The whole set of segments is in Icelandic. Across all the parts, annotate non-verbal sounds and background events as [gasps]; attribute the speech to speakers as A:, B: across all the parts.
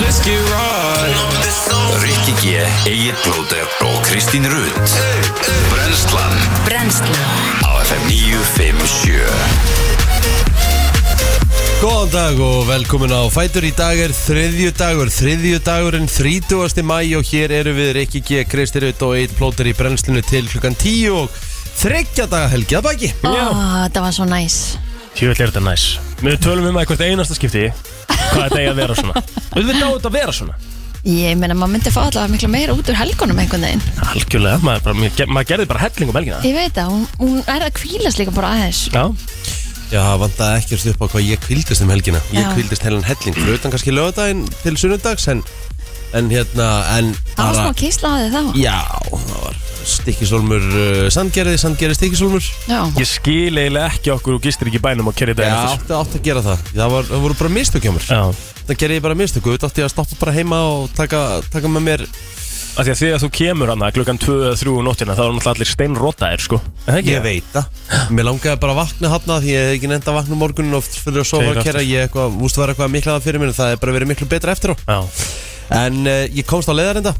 A: Let's get right
B: Rikki G, Egil Blóter og Kristín Rutt Brenslan
C: Brennslan
B: á FM 957
D: Góðan dag og velkomin á Fætur í dag er þriðju dagur, þriðju dagurinn 30. mæ og hér eru við Rikki G, Kristi Rutt og Eitt Plóter í brennslinu til klukkan 10 og þryggja daga helgi að baki
C: Ó, þetta var svo næs
E: Tjóðvill er þetta næs Við tölum um að hvert einasta skipti Hvað þetta eigi að vera svona Auðvitað á þetta að vera svona
C: Ég meina, maður myndi fá allavega miklu meira út úr helgunum einhvern veginn
E: Algjörlega, maður, bara, mér- maður gerði bara helling um helgina
C: Ég veit það, hún, hún er að kvílast líka bara aðeins
E: Já,
D: Já, vantaði ekkert upp á hvað ég kvildist um helgina Ég
C: Já.
D: kvildist heilan helling, fyrir utan kannski lögadaginn til sunnudags en, en hérna, en
C: Það var smá kýsla á þig þá
D: Já, það var stikkisólmur uh, sandgerði, sandgerði stikkisólmur
C: Já,
E: ég skil eiginlega ekki okkur og gistir ekki í bænum og kerði
D: Já,
E: þetta sko.
D: átti, átti að gera það Það, var, það voru bara mistökjumur
E: Já,
D: Það gerði ég bara mistöku, þetta átti ég að stoppa bara heima og taka, taka með mér
E: af því að þegar þú kemur hana klukkan 2 eða 3 á nóttina þá er náttúrulega allir steinrotaðir sko En það ekki?
D: Ég veit það Mér langaði bara að vakna hann því ég hef ekki nefnd að vakna morgunin og fyrir að sofa
E: Segir
D: að kera Ég eitthvað, múst vera eitthvað miklaðan fyrir mér en það er bara verið miklu betra eftir á
E: Já,
D: En uh, ég komst á leiðarenda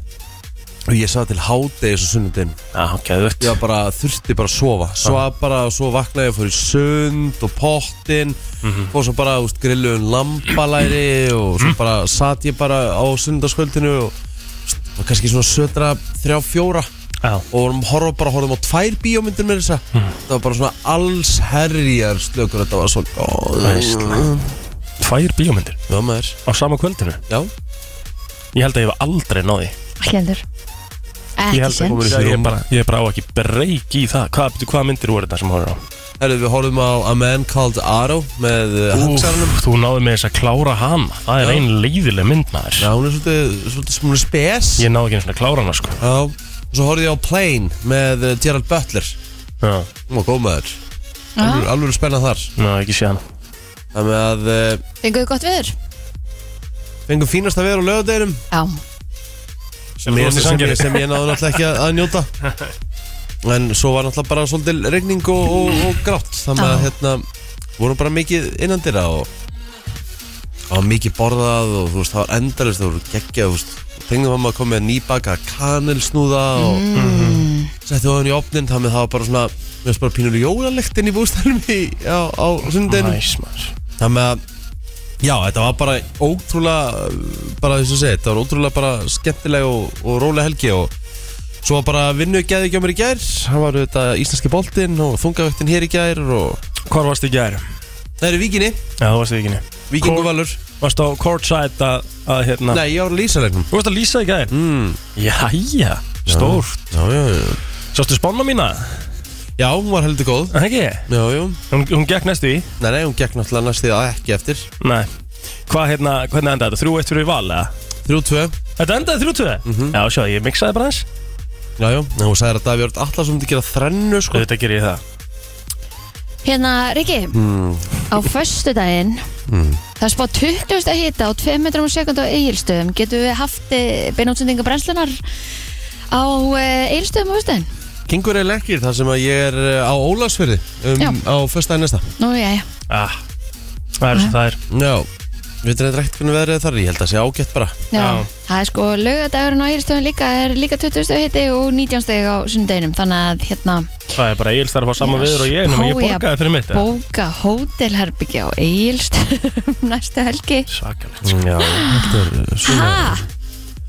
D: og ég sá til hádegis og sunnundin
E: já, geðvögt
D: Ég var bara, þurfti bara að sofa Svaf bara og svo vaknaði ég og fór í sund og pottin Og svo bara úst, grilluðum lambalæri Og svo bara sat ég bara á sunnundaskvöldinu Og úst, var kannski svona sötra þrjá fjóra
E: Já,
D: og vorum horfa bara horfum á tvær bíómyndir með þessa
E: Hmm.
D: mm. það var bara svona alls herjar slökur þetta var svo góð
E: tvær bíómyndir
D: já maður
E: á sama kvöldinu
D: já
E: Ég held að ég var aldrei náði
C: hlendur
E: Ég
C: Ekki
E: held að
C: sinn
D: komin í
E: ég
D: rúm.
E: bara, ég bara á ekki breyk í það Hvað, hvað myndir voru þetta sem horfir á?
D: Herðu, við horfum á A Man Called Arrow með eh, hansarunum
E: Úff, Þú náði með þess að klára hana Það er
D: Já.
E: ein leiðileg mynd maður
D: já hún er svolítið svolítið sem hún er spes
E: Ég náði ekki einu svona að klára hana sko
D: já og svo horfði ég á Plane með eh, Gerald Butler
E: Já,
D: hún var góð maður
C: Já.
D: alveg, alveg spennað þar
E: ná ekki sé hana
D: það með að eh,
C: Fenguðu gott viður?
D: fengum fínasta veður á lögadeginum
C: Já,
D: sem,
E: þú
D: ég-
E: varst í
D: sem, ég-
E: Sandgerði.
D: sem ég náðu náttúrulega ekki að, að njóta en svo var náttúrulega bara svolítið regning og, og, og grátt þannig að
C: Já.
D: hérna vorum bara mikið innandira og það var mikið borðað og þú veist það var endalist það voru geggjað þú veist tengðum hann að koma með nýbaka kanilsnúða og setti ofan í opnin þannig að það var bara svona mér finnst bara pínur jólalektin í bústælum í, á, á sundinu
E: Næs maður
D: Þannig að Já, þetta var bara ótrúlega uh, bara þess að segja, þetta var ótrúlega bara skemmtileg og, og róleg helgi og svo var bara vinnu gæði ekki á mér í gær hann var auðvitað íslenski boltinn og þungavöktin hér í gær og
E: Hvar varst í gær?
D: það eru Víkinni,
E: Já, þú varst í vikinni
D: Víkingu Valur
E: Varst á courtside að, að hérna
D: Nei, ég var að lýsa leiknum
E: Þú varst að lýsa í gær?
D: Ah. mm.
E: Jæja, stór
D: Já, já, já
E: Sástu spána mína?
D: Já, hún var heldur góð
E: Það ekki?
D: Já, já
E: Hún, hún gekk næstu í
D: Nei, nei, hún gekk náttúrulega næst því að ekki eftir
E: Nei Hvað hérna, hvernig endaði þetta? 3-1 fyrir val eða?
D: 3-2
E: Þetta endaði 3-2? Já, sjá, ég mixaði bara eins
D: Já, já Nei, Hún sagði að Davíð Örn Atlas myndi gera þrennu sko
E: Þetta ger ég það
C: hérna Riki
E: Mm.
C: Á föstudaginn Það er spáð 20 að hita á 2 metrum á sekund á eigilstöðum Getum við haft eh, beinútsendinga brennslunar á eigilstöðum á föstudaginn?
D: Gengur er lekkir þar sem að ég er eh, á Ólasfyrði
C: Já.
D: um, á föstudaginn næsta
C: Nú, jæja
E: ah, Það er, það er
D: Já, við erum reynd hvernig veðrið er þar Ég held að það sé ágætt bara
C: Já,
E: Já.
C: það er sko lögadagurinn á Egilstöðum líka er líka 20 steg hitti og 19 steg á sundeginum þannig að hérna
E: Það er bara Egil starf á sama
C: Ég
E: viður og ég Nú, ég
C: spái að
E: borgaði fyrir mitt
C: bóka hótelherbyggi á Egilstöðum [laughs] næstu helgi
E: Svakalegt sko.
D: Já, þetta er uh, svona
C: Ah. Ha,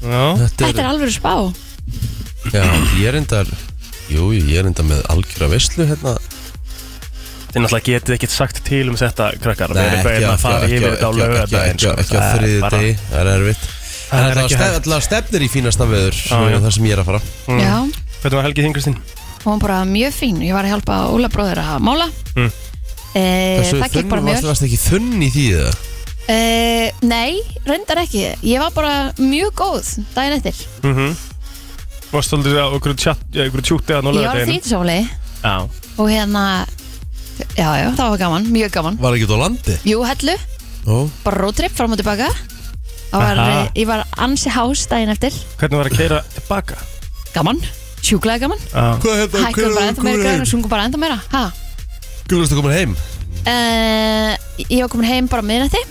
E: Já,
C: þetta er alveg spá
D: Já, ég er reyndar Jú, jú, ég er reyndar með algjöra veislu hérna
E: Þið náttúrulega getið ekkert sagt til um þetta krakkar Við erum
D: ekki
E: bauðin um að fara yfir þetta á
D: ekki- ekki-
E: lögadaginn
D: ekki-
E: sko.
D: ekki á
E: Það er
D: þriði
E: bara-
D: degi, það er erfitt
E: Það
D: En
E: er ekki
D: það
E: hægt.
D: alltaf stefnir í fínasta veður
E: já.
D: Það sem ég er að fara
E: Mm.
C: Já,
E: Hvernig var helgið þín Kristín?
C: og hún bara mjög fín ég var að hjálpa Óla bróður að mála
E: Mm.
C: e,
D: Þessu
C: Það gekk bara mjög
D: varst, varst ekki þunn í því það
C: e, Nei, reyndar ekki ég var bara mjög góð daginn eftir
E: Mm -hmm. Varst þú aldrei á ykkur tjúti að nú
C: Ég var
E: lögadaginn?
C: þýtisóli
E: Já,
C: og hérna Já, já, það var gaman, mjög gaman
D: Var ekki út á landi
C: Jú, hellu
D: Ó,
C: bara roadtrip fram og tilbaka Það var,
E: Aha.
C: eh, ég var ansi hás daginn eftir
E: hvernig var að keira tilbaka?
C: gaman, sjúklega gaman
E: Já,
D: Hvað hérna,
C: hækkum bara enda meira græn og sungum bara enda meira ha. Eh,
D: Gulvist að koma heim
C: uh, ég var komin heim bara á miðnætti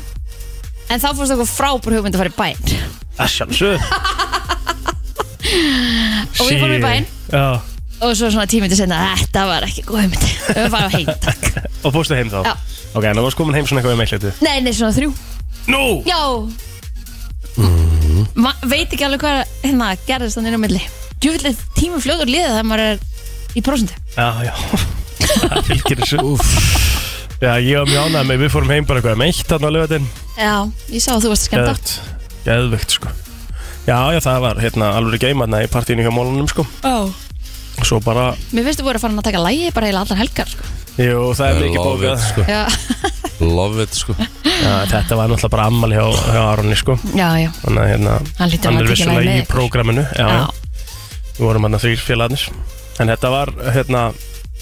C: En þá fórst okkur frábúr hugmynd að fara í bæn
E: Það sjálfsög
C: [laughs] Og við fórum í bæn
E: Já,
C: Og svo svona tímyndi senna, þetta var ekki góð hugmynd [laughs] Við varum að heim takk.
E: og fórstu heim þá
C: Já.
E: Ok, en það varst komin heim svona eitthvað um eitt hlutu
C: Nei, nei, svona þrjú
E: Nú!
C: Já Ma, Veit ekki alveg hvað hérna gerðist þannig á milli Djúvillig tími fljóður liða þegar maður er í prósentu
E: Já, já Það fylgir þessu Já, ég var mjög ánægð með, við fórum heim bara eitthvað um eitt þarna á lögatinn
C: Já, ég sá að þú varst að skemmta
E: Geðvegt, sko Já, já, það var hérna alveg geimarna í partýningamólunum, sko
C: Ó,
E: Svo bara,
C: Mér finnst þú voru að fara að taka lægi bara heila allar helgar sko.
E: jú, það er
D: I
E: mikið
D: love it,
E: bókað
D: sko.
C: Já,
D: Love it, sko
E: já, Þetta var náttúrulega bara ammal hjá, hjá Aronni, sko
C: já, já
E: Þannig að hérna,
C: Hann hlýtur að
E: hann
C: hafa
E: er
C: tekið lagið
E: vissulega
C: með
E: í
C: ykkur.
E: prógraminu Já, já,
C: Já,
E: við vorum hann að þrýr félagarnir en þetta var hérna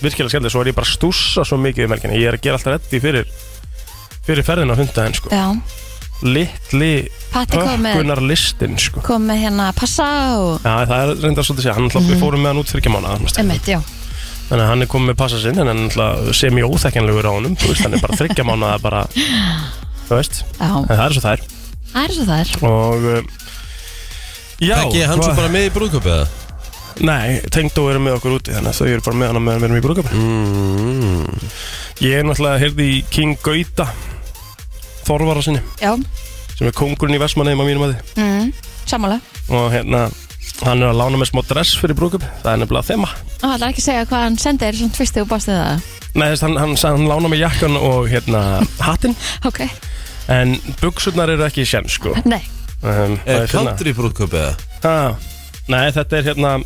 E: virkilega skemmtilegt svo er ég bara að stússa svo mikið um helginni ég er að gera alltaf reddi fyrir fyrir ferðin á hundahinn sko
C: já.
E: litli
C: Patti
E: Ah,
C: kom með,
E: pökkunar listin sko
C: kom með hérna passa og
E: Já, það er reyndar svolítið sér, hann alltaf, við fórum með hann út þryggja mánu þannig
C: Emmett, já
E: að hann er komið með passa sinn en hann alltaf sem ég óþekjanlegur á honum þú veist, hann er bara þryggja mánu það er bara, þú veist,
C: Já,
E: en það er svo það er
C: það er svo það er
E: og uh, já,
D: Ekki hann svo
E: hvað-
D: bara með í brúðköp eða?
E: Nei, tengdó eru með okkur úti þannig að þau eru bara með hana meðan við erum í brúðkapinu
D: Mm.
E: Ég er náttúrulega heyrði í King Gauta Þorvara sinni
C: Já,
E: sem er kongurinn í Vestmanneim á mínum að
C: mm, sammála
E: og hérna hann er að lána mér smá dress fyrir brúkup það er nefnilega þema
C: Og ætlar ekki að segja hvað hann sendi þér svona tvist þegar þú bast við það
E: Nei, þess, hann, hann, hann, hann lána mér jakkan og hérna hattinn
C: Ok,
E: en buksurnar eru ekki í sjenn sko um,
C: [laughs] nei,
E: það
D: Er
E: er finna.
D: country brúðköp eða?
E: Ha, Nei, þetta er hérna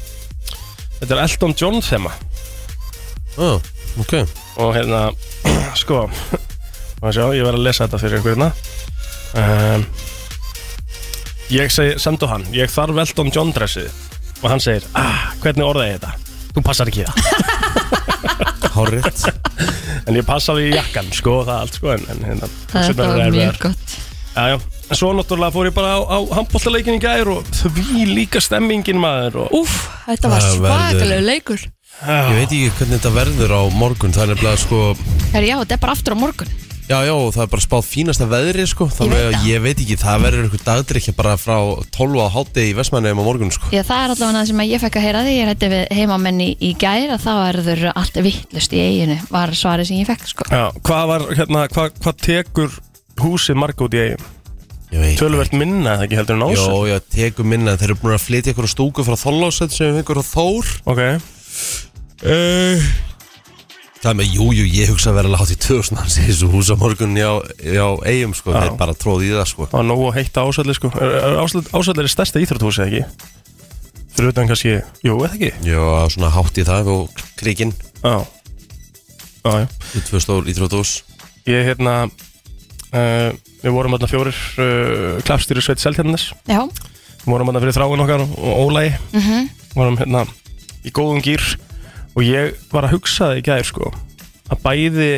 E: þetta er Elton John þema
D: Ó, ok
E: og hérna [clears throat] sko maður sjá, ég verð að lesa þetta fyrir ykkur hérna um, ég segi, sendu hann ég þarf Elton John dressið og hann segir, ah, hvernig orðaði ég þetta þú passar ekki í það
D: Hárrétt
E: [laughs] en ég passaði í jakkan, sko, og það allt sko, en, en hérna,
C: það
E: buxurnar
C: var
E: eru
C: mjög
E: erfiðar.
C: gott
E: Já, já. En svo náttúrulega fór ég bara á, á handbóltaleikin í gær og því líka stemmingin maður og
C: Úf, þetta var
D: Það verður-
C: svakalegu leikur
D: Ég veit ekki hvernig þetta verður á morgun Það er nefnilega sko
C: Herra, já, þetta er bara aftur á morgun
D: Já, já, og það er bara spáð fínasta veðri sko Þannig
C: veit
D: að
C: það.
D: ég veit ekki, það verður einhver dagdrykja bara frá 12 að hátti í Vestmannheim á morgun sko
C: Já, það er allavega það sem að ég fekk að heyra því Ég hætti við heimamenni í gær að þá er þurr allt vittlust í eiginu var svarið sem ég fekk, sko
E: já, hvað var, hérna, hvað, hvað tekur húsið marg út í eigin?
D: Ég veit
E: Tölvert minna, eða ekki heldur en ásöld?
D: Jó, já, tegum minna Þeir eru búin að flytja ykkur stúku frá Þollásett sem við ykkur á Þór
E: Ok,
D: Eh. Það með, jú, jú, ég hugsa að vera alveg hátt í 2000 hans í þessu hús á morgun já, já, eigum, sko,
E: Já.
D: þeir bara tróði í það, sko
E: það var nógu að heita ásöldi sko Er- er Ásöld ásöld er stærsta íþróttúsi ekki? Fyrir utan kannski, jú eða ekki?
D: Já, svona hátt í það og krikin
E: Já Já, já
D: Tvö stór íþrótús
E: Ég hérna uh, Við vorum þarna fjórir uh, Klapstýri sveit seltjarnis
C: Já,
E: Við vorum þarna fyrir þráin okkar og ólægi mm -hmm. Vorum hérna í góðum gýr Og ég var að hugsa það í gæðir sko Að bæði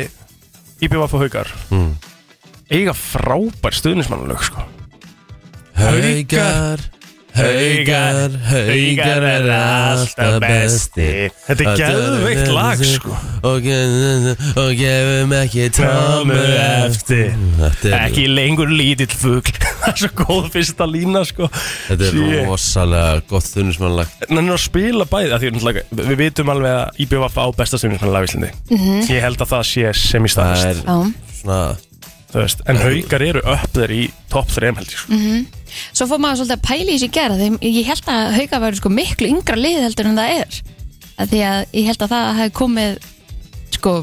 E: Íbjöfaf og haugar
D: Mm.
E: Eiga frábær stuðnismannalög sko
D: Haugar, haugar, haugar er alltaf besti
E: Þetta er geðveikt lag sko
D: Og, ge- og gefum ekki tómu eftir Þetta er,
E: Ekki lengur lítill fugl [laughs] Það er svo góð fyrsta lína sko
D: þetta
E: Shit.
D: er rosalega gott þunnismannlag
E: En hann er að spila bæði að því, náttúrulega, Við vitum alveg að IBVF á besta stuðnismannalög í Íslandi Ég held að það sé sem í
D: Það
E: staðist
D: er
C: já
D: svona
E: Þú veist, En haugar eru upp þeir í topp 3 held ég sko
C: Svo fór maður svolítið að pæla í þessi gera því ég held að hauka væri sko miklu yngra lið heldur en það er að því að ég held að það hefði komið sko,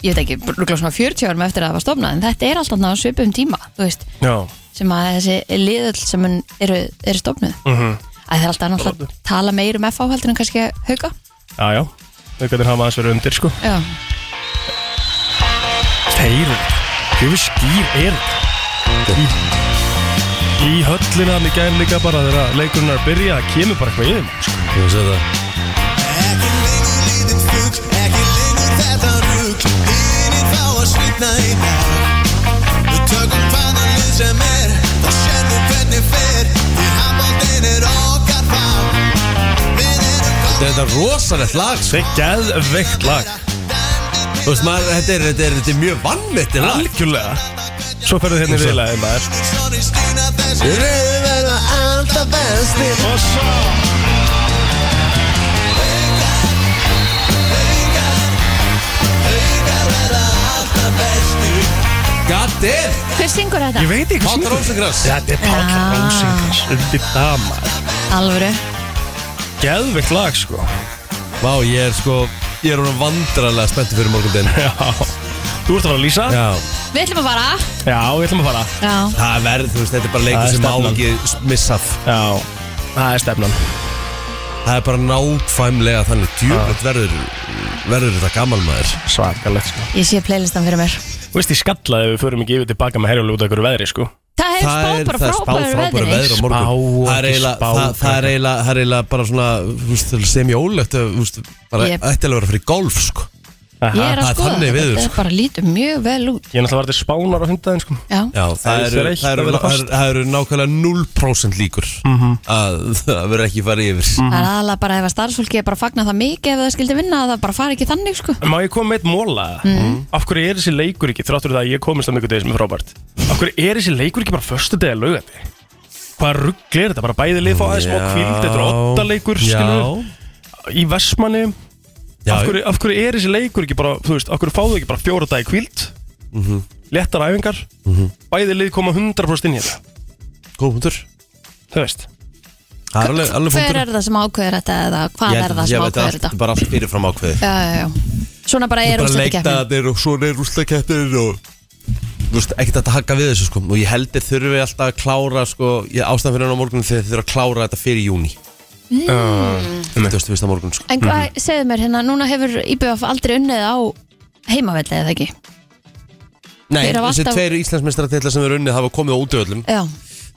C: ég veit ekki, rúkla svona 40 árum eftir að það var stofnað en þetta er alltaf náðu svipum tíma, þú veist
E: Já,
C: sem að þessi liðöld sem mun eru, eru stofnuð
E: Mhm.
C: að það er alltaf náttúrulega að tala meir um FH heldur en kannski hauka
E: já, já Haugarnir hafa aðeins verið undir sko
C: Já,
E: Þeir Hjöfum skýr er Í, í höllina hann í gæn líka bara þegar leikurinn er að byrja það kemur bara eitthvað yfir mig, sko.
D: Þú veist þetta
A: Ekki lengur lítið fugl, ekki lengur þetta rugl Hinir fá að svitna í dag Við tökum hvaða lið sem er og sérðum hvernig fer Því handbóltinn er okkar þá Við erum
D: Þetta er þetta rosalegt lag sko.
E: Þetta er geðveikt lag
D: Þú veist maður, þetta er, þetta er, þetta er mjög vannvittir lag
E: Algjörlega Svo ferðu hérna í viðlaðið maður
A: komnir svona í Rauðu verða alltaf bestir
E: Og svo
D: God damn
C: Hver syngur þetta?
E: Ég veit ekki
D: Páll
E: syngur.
D: Rósinkrans.
E: Þetta er Páll
C: Ah.
E: Rósingrans Þetta er dama
C: Alvöru
E: Geðvikt lag sko
D: Vá, ég er sko Ég er hún vandrarlega spenntur fyrir morgundin
E: [laughs] Já Þú ert að fara að lýsa?
D: Já
C: Við ætlum að fara
E: Já, við ætlum að fara
C: Já
D: Það verður, þú veist, þetta er bara leikur
E: Það er
D: sem má
E: stefnan.
D: ekki s- missað
E: Já Það er stefnan
D: Það er bara nákvæmlega þannig djúblet verður, verður þetta gaman maður
E: Svakalegt sko
C: Ég sé playlistan fyrir mér
E: Þú veist, ég skallaði ef við förum ekki yfir tilbaka með herjulega út af hverju veðri sko
C: Það hefur spáð
D: það er
C: bara frábæru
D: frábæru veður
C: veðri
D: á morgun
E: Spá og
D: Það er
E: ekki
D: eiginlega-
E: spá,
D: það- það er
E: krakkar.
D: eiginlega- það er eiginlega bara svona þú veist, semjólegt þú veist, bara
C: Ég-
D: ættilega að vera fyrir golf sko.
C: Ég er
D: Það
C: að
D: er
C: skoða
D: þannig
C: þetta,
D: veður,
C: þetta er
D: sko.
C: bara lítur mjög vel út
E: Ég er náttúrulega varðið spánar á hundaðin sko
C: Já,
D: Já, það
E: Það er
D: eru
E: eitt
D: það
E: að
D: eru-
E: vera
D: það
E: fast. Mhm.
D: eru- það eru nákvæmlega 0% líkur að [laughs] það verður ekki farið yfir
E: Mm.
C: það er aðalega bara ef að starfsfólki er bara að fagna það mikið ef það skildi vinna að það bara fari ekki þannig sko
E: Má ég koma með eitt móla? Mm. Af hverju er þessi leikur ekki, þráttur það að ég komist að mjög degi sem er frábært Af hverju er þessi leikur ekki bara förstu degi að laugandi? Hvað ruggli er þetta? Bara bæði lið fá aðeins smá kvíld, þetta er åtta leikur
D: Já,
E: skilur, í Vestmanni
D: já,
E: af hverju, af hverju er þessi leikur ekki bara, þú veist, af hverju fáðu ekki bara fjóra dagi kvíld
D: Mhm.
E: Léttar æfingar Bæði lið koma 100% inn í þetta
D: góð punktur
E: Þú veist
D: Það er alveg, alveg
C: Hver
D: punktur
C: er það sem ákveður þetta eða hvað
D: Ég-
C: er það
D: ég
C: sem
D: veit
C: ákveður
D: allt-
C: þetta
D: Bara allt fyrirfram ákveði
C: Já, já, já Svona bara er
D: bara
C: úrstætti keppni
D: leiktaðir og svona er úrslakettir og þú veist, ekkert hægt að haka við þessu sko og ég heldur þurfi alltaf að klára sko, ég ástæðan fyrir hann á morgun þegar þið þurfa að klára þetta fyrir júni mm. þú veist, á morgun sko
C: En hvað, segðu mér hérna, núna hefur IBF aldrei unnið á heimavelli eða ekki?
D: Nei,
C: Þeir hafa
D: þessi
C: alltaf-
D: tveir íslensmestratitla sem eru unnið hafa komið á útöðlum
C: Já,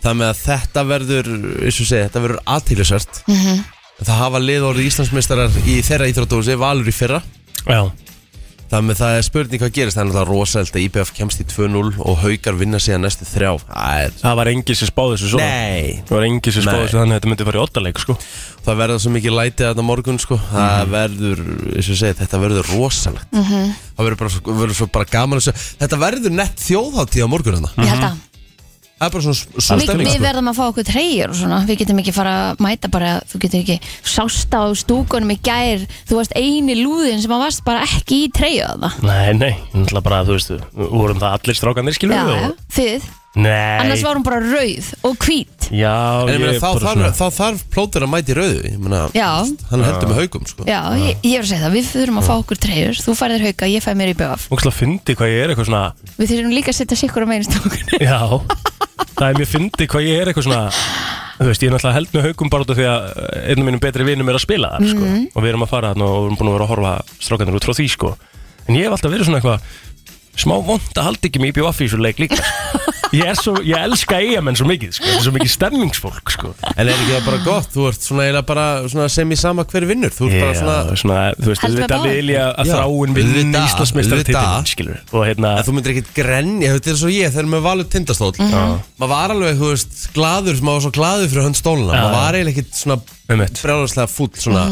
D: þannig að þetta verður, eins og segja, þetta verður aðtýrlisvert mm
C: Mhm.
D: það hafa lið orðið íslensmestrar í þeirra íþróttúsi valur í fyrra
E: Já
D: Þannig að það er spurning hvað gerist, það er náttúrulega rosælt að IBF kemst í 2-0 og haukar vinna síðan næstu þrjá. Það er...
E: Það var engin sem spáði þessu svona
D: Nei,
E: Það var engin sem spáði
D: Nei.
E: þessu þannig að þetta myndi fara í oddaleik sko
D: Það verða svo mikið lætið þetta morgun sko Það verður, eins og ég segi, þetta verður rosalegt Það verður bara, svo- verður svo bara gaman að sjá Þetta verður nett þjóðháttíð á morgun hérna
C: ég held að
D: Það er bara svona svo
C: við,
D: stemning
C: við
D: sko
C: verðum að fá okkur treyjur og svona Við getum ekki fara að mæta bara Þú getur ekki sást á stúkunum í gær Þú varst eini lúðin sem að varst bara ekki í treyju að það
E: Nei, nei, náttúrulega bara, þú veist, vorum það allir strákanir skilur
C: Já,
E: við
C: já,
E: og-
C: þið
E: Nei
C: Annars var hún bara rauð og hvít
E: Já,
D: En ég meina
E: er
D: þá,
E: bara
D: þarf-
E: svona-
D: þá þarf plótur að mæti rauðu Ég meina,
C: Já,
D: hann heldur með haukum sko
C: já, ég, ég er að segja það Við þurfum að fá okkur treyjur, þú færðir hauka, ég fæ mér í BF
E: Ógstlega fyndi hvað ég er eitthvað svona
C: Við þurfum líka að setja sikkur á meginn stúkunum
E: Já Það er mér fyndi hvað ég er eitthvað svona Þú veist, ég er náttúrulega held með haukum bara út af því að einn af mínum betri vinum er að spila þar sko.
C: Mhm.
E: og við erum að fara þarna og við erum búin að vera að horfa strákanir út frá því sko. en ég hef alltaf verið svona eitthvað smá vond að halda ekki mig í bjóaf í þessu leik líka sko. ég, er svo, ég elska eigamenn svo mikið sko. Þetta er svo mikið stemmingsfólk sko.
D: En er ekki það bara gott, þú ert svona eiginlega bara svona sem í sama hver vinnur Þú ert bara svona,
E: svona, þú veist,
C: Heldur með
E: þetta
C: báðum.
E: vilja að
D: Já,
E: þráin vinni
D: auðvitað, auðvitað.
E: Íslandsmeistaratitilinn, skilur og hérna,
D: að þú myndir ekkit grenja, þetta er svo ég þegar maður valur tindastól mm -hmm. Maður var alveg, þú veist, gladur, maður var svo gladur fyrir hönd stólna
E: Já.
D: Maður var eiginlega ekkit svona
E: Einmitt.
D: brjálæslega fúll svona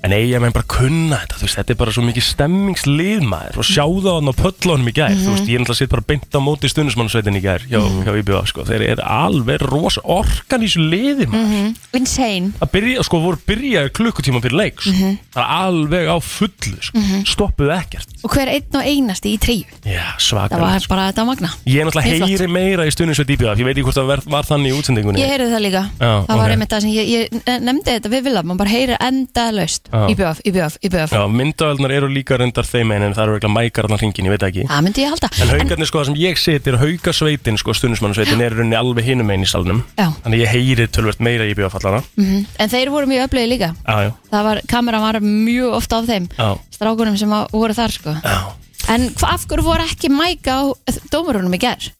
E: en eiga menn bara kunna þetta, þú veist, þetta er bara svo mikið stemmingslið maður og sjá það hann á pöllunum í gær, þú veist, ég er náttúrulega sitt bara beint á móti stundismannsveitin í gær hjá,
D: Mhm.
E: hjá IBA, sko, þeir eru alveg rosa orkan í þessu liði
C: Mhm.
E: maður
C: [laughs] Insane
E: að byrja, sko, voru byrjaði klukkutíma fyrir leik, sko,
C: Mhm.
E: það er alveg á fullu, sko, stoppuðu ekkert
C: Og hver einn og einasti í treyju
E: já,
C: Mhm. Það
E: svakalega,
C: var
E: sko.
C: bara þetta að magna
E: ég er náttúrulega
C: Mjög flott.
E: heyri meira í stundisveit IBA, ég veit ekki hvort það var, var þannig í útsendingunni
C: Ég heyrði það líka
E: Já,
C: Það var
E: ok.
C: einmitt það sem ég, ég nefndi þetta við vilja Man bara heyri enda laust
E: Já.
C: Íbjöf, íbjöf, íbjöf
E: Já, myndavelnar eru líka reyndar þeim einn en það eru eitthvað mækarnar hringin, ég veit það ekki
C: Það myndi ég halda
E: En haugarnir sko, það sem ég seti er haugasveitin sko, stundismannsveitin er í rauninni alveg hinum einn í salnum
C: Já.
E: Þannig ég heyri tölvert meira í bjóðfallana
C: Mhm. En þeir voru mjög öflögi líka
E: Já, já,
C: Það var, kameran var mjög ofta á þeim
E: já,
C: Strákunum sem að- voru þar sko
E: já.
C: En hva, af hverju voru ekki mæk á dómarunum í ger?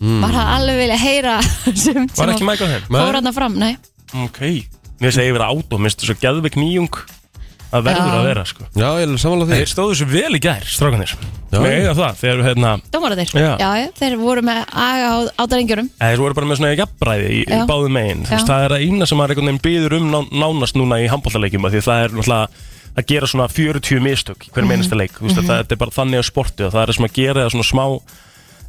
C: Var það alveg vilja heyra [laughs] sem,
E: Var
C: sem
E: ekki mækar þeim?
C: fór hann fram, nei
E: Ok Mér segi yfir að átó, minnst svo geðveik nýjung Það verður
C: Já.
E: að vera sko
D: Já, ég er samanlega því
E: Þeir stóðu svo vel í gær, strákanir
D: Já.
E: Mér eiga það, þeir, hérna,
C: Dómarunir,
E: Já.
C: já, já, þeir voru með aga á, á drengjurum
E: þeir voru bara með svona jafnbræði í, í
C: Já.
E: báðum megin
C: Já.
E: Það er að eina sem maður einhvern veginn býður um ná, nánast núna í handbóltaleikjum Því það er náttúrulega að gera svona
C: Mhm.
E: 40 mistök í hverjum einasta leik Þú veist, mm -hmm. Það þetta er bara þannig að sporti og það er það sem að gera það svona smá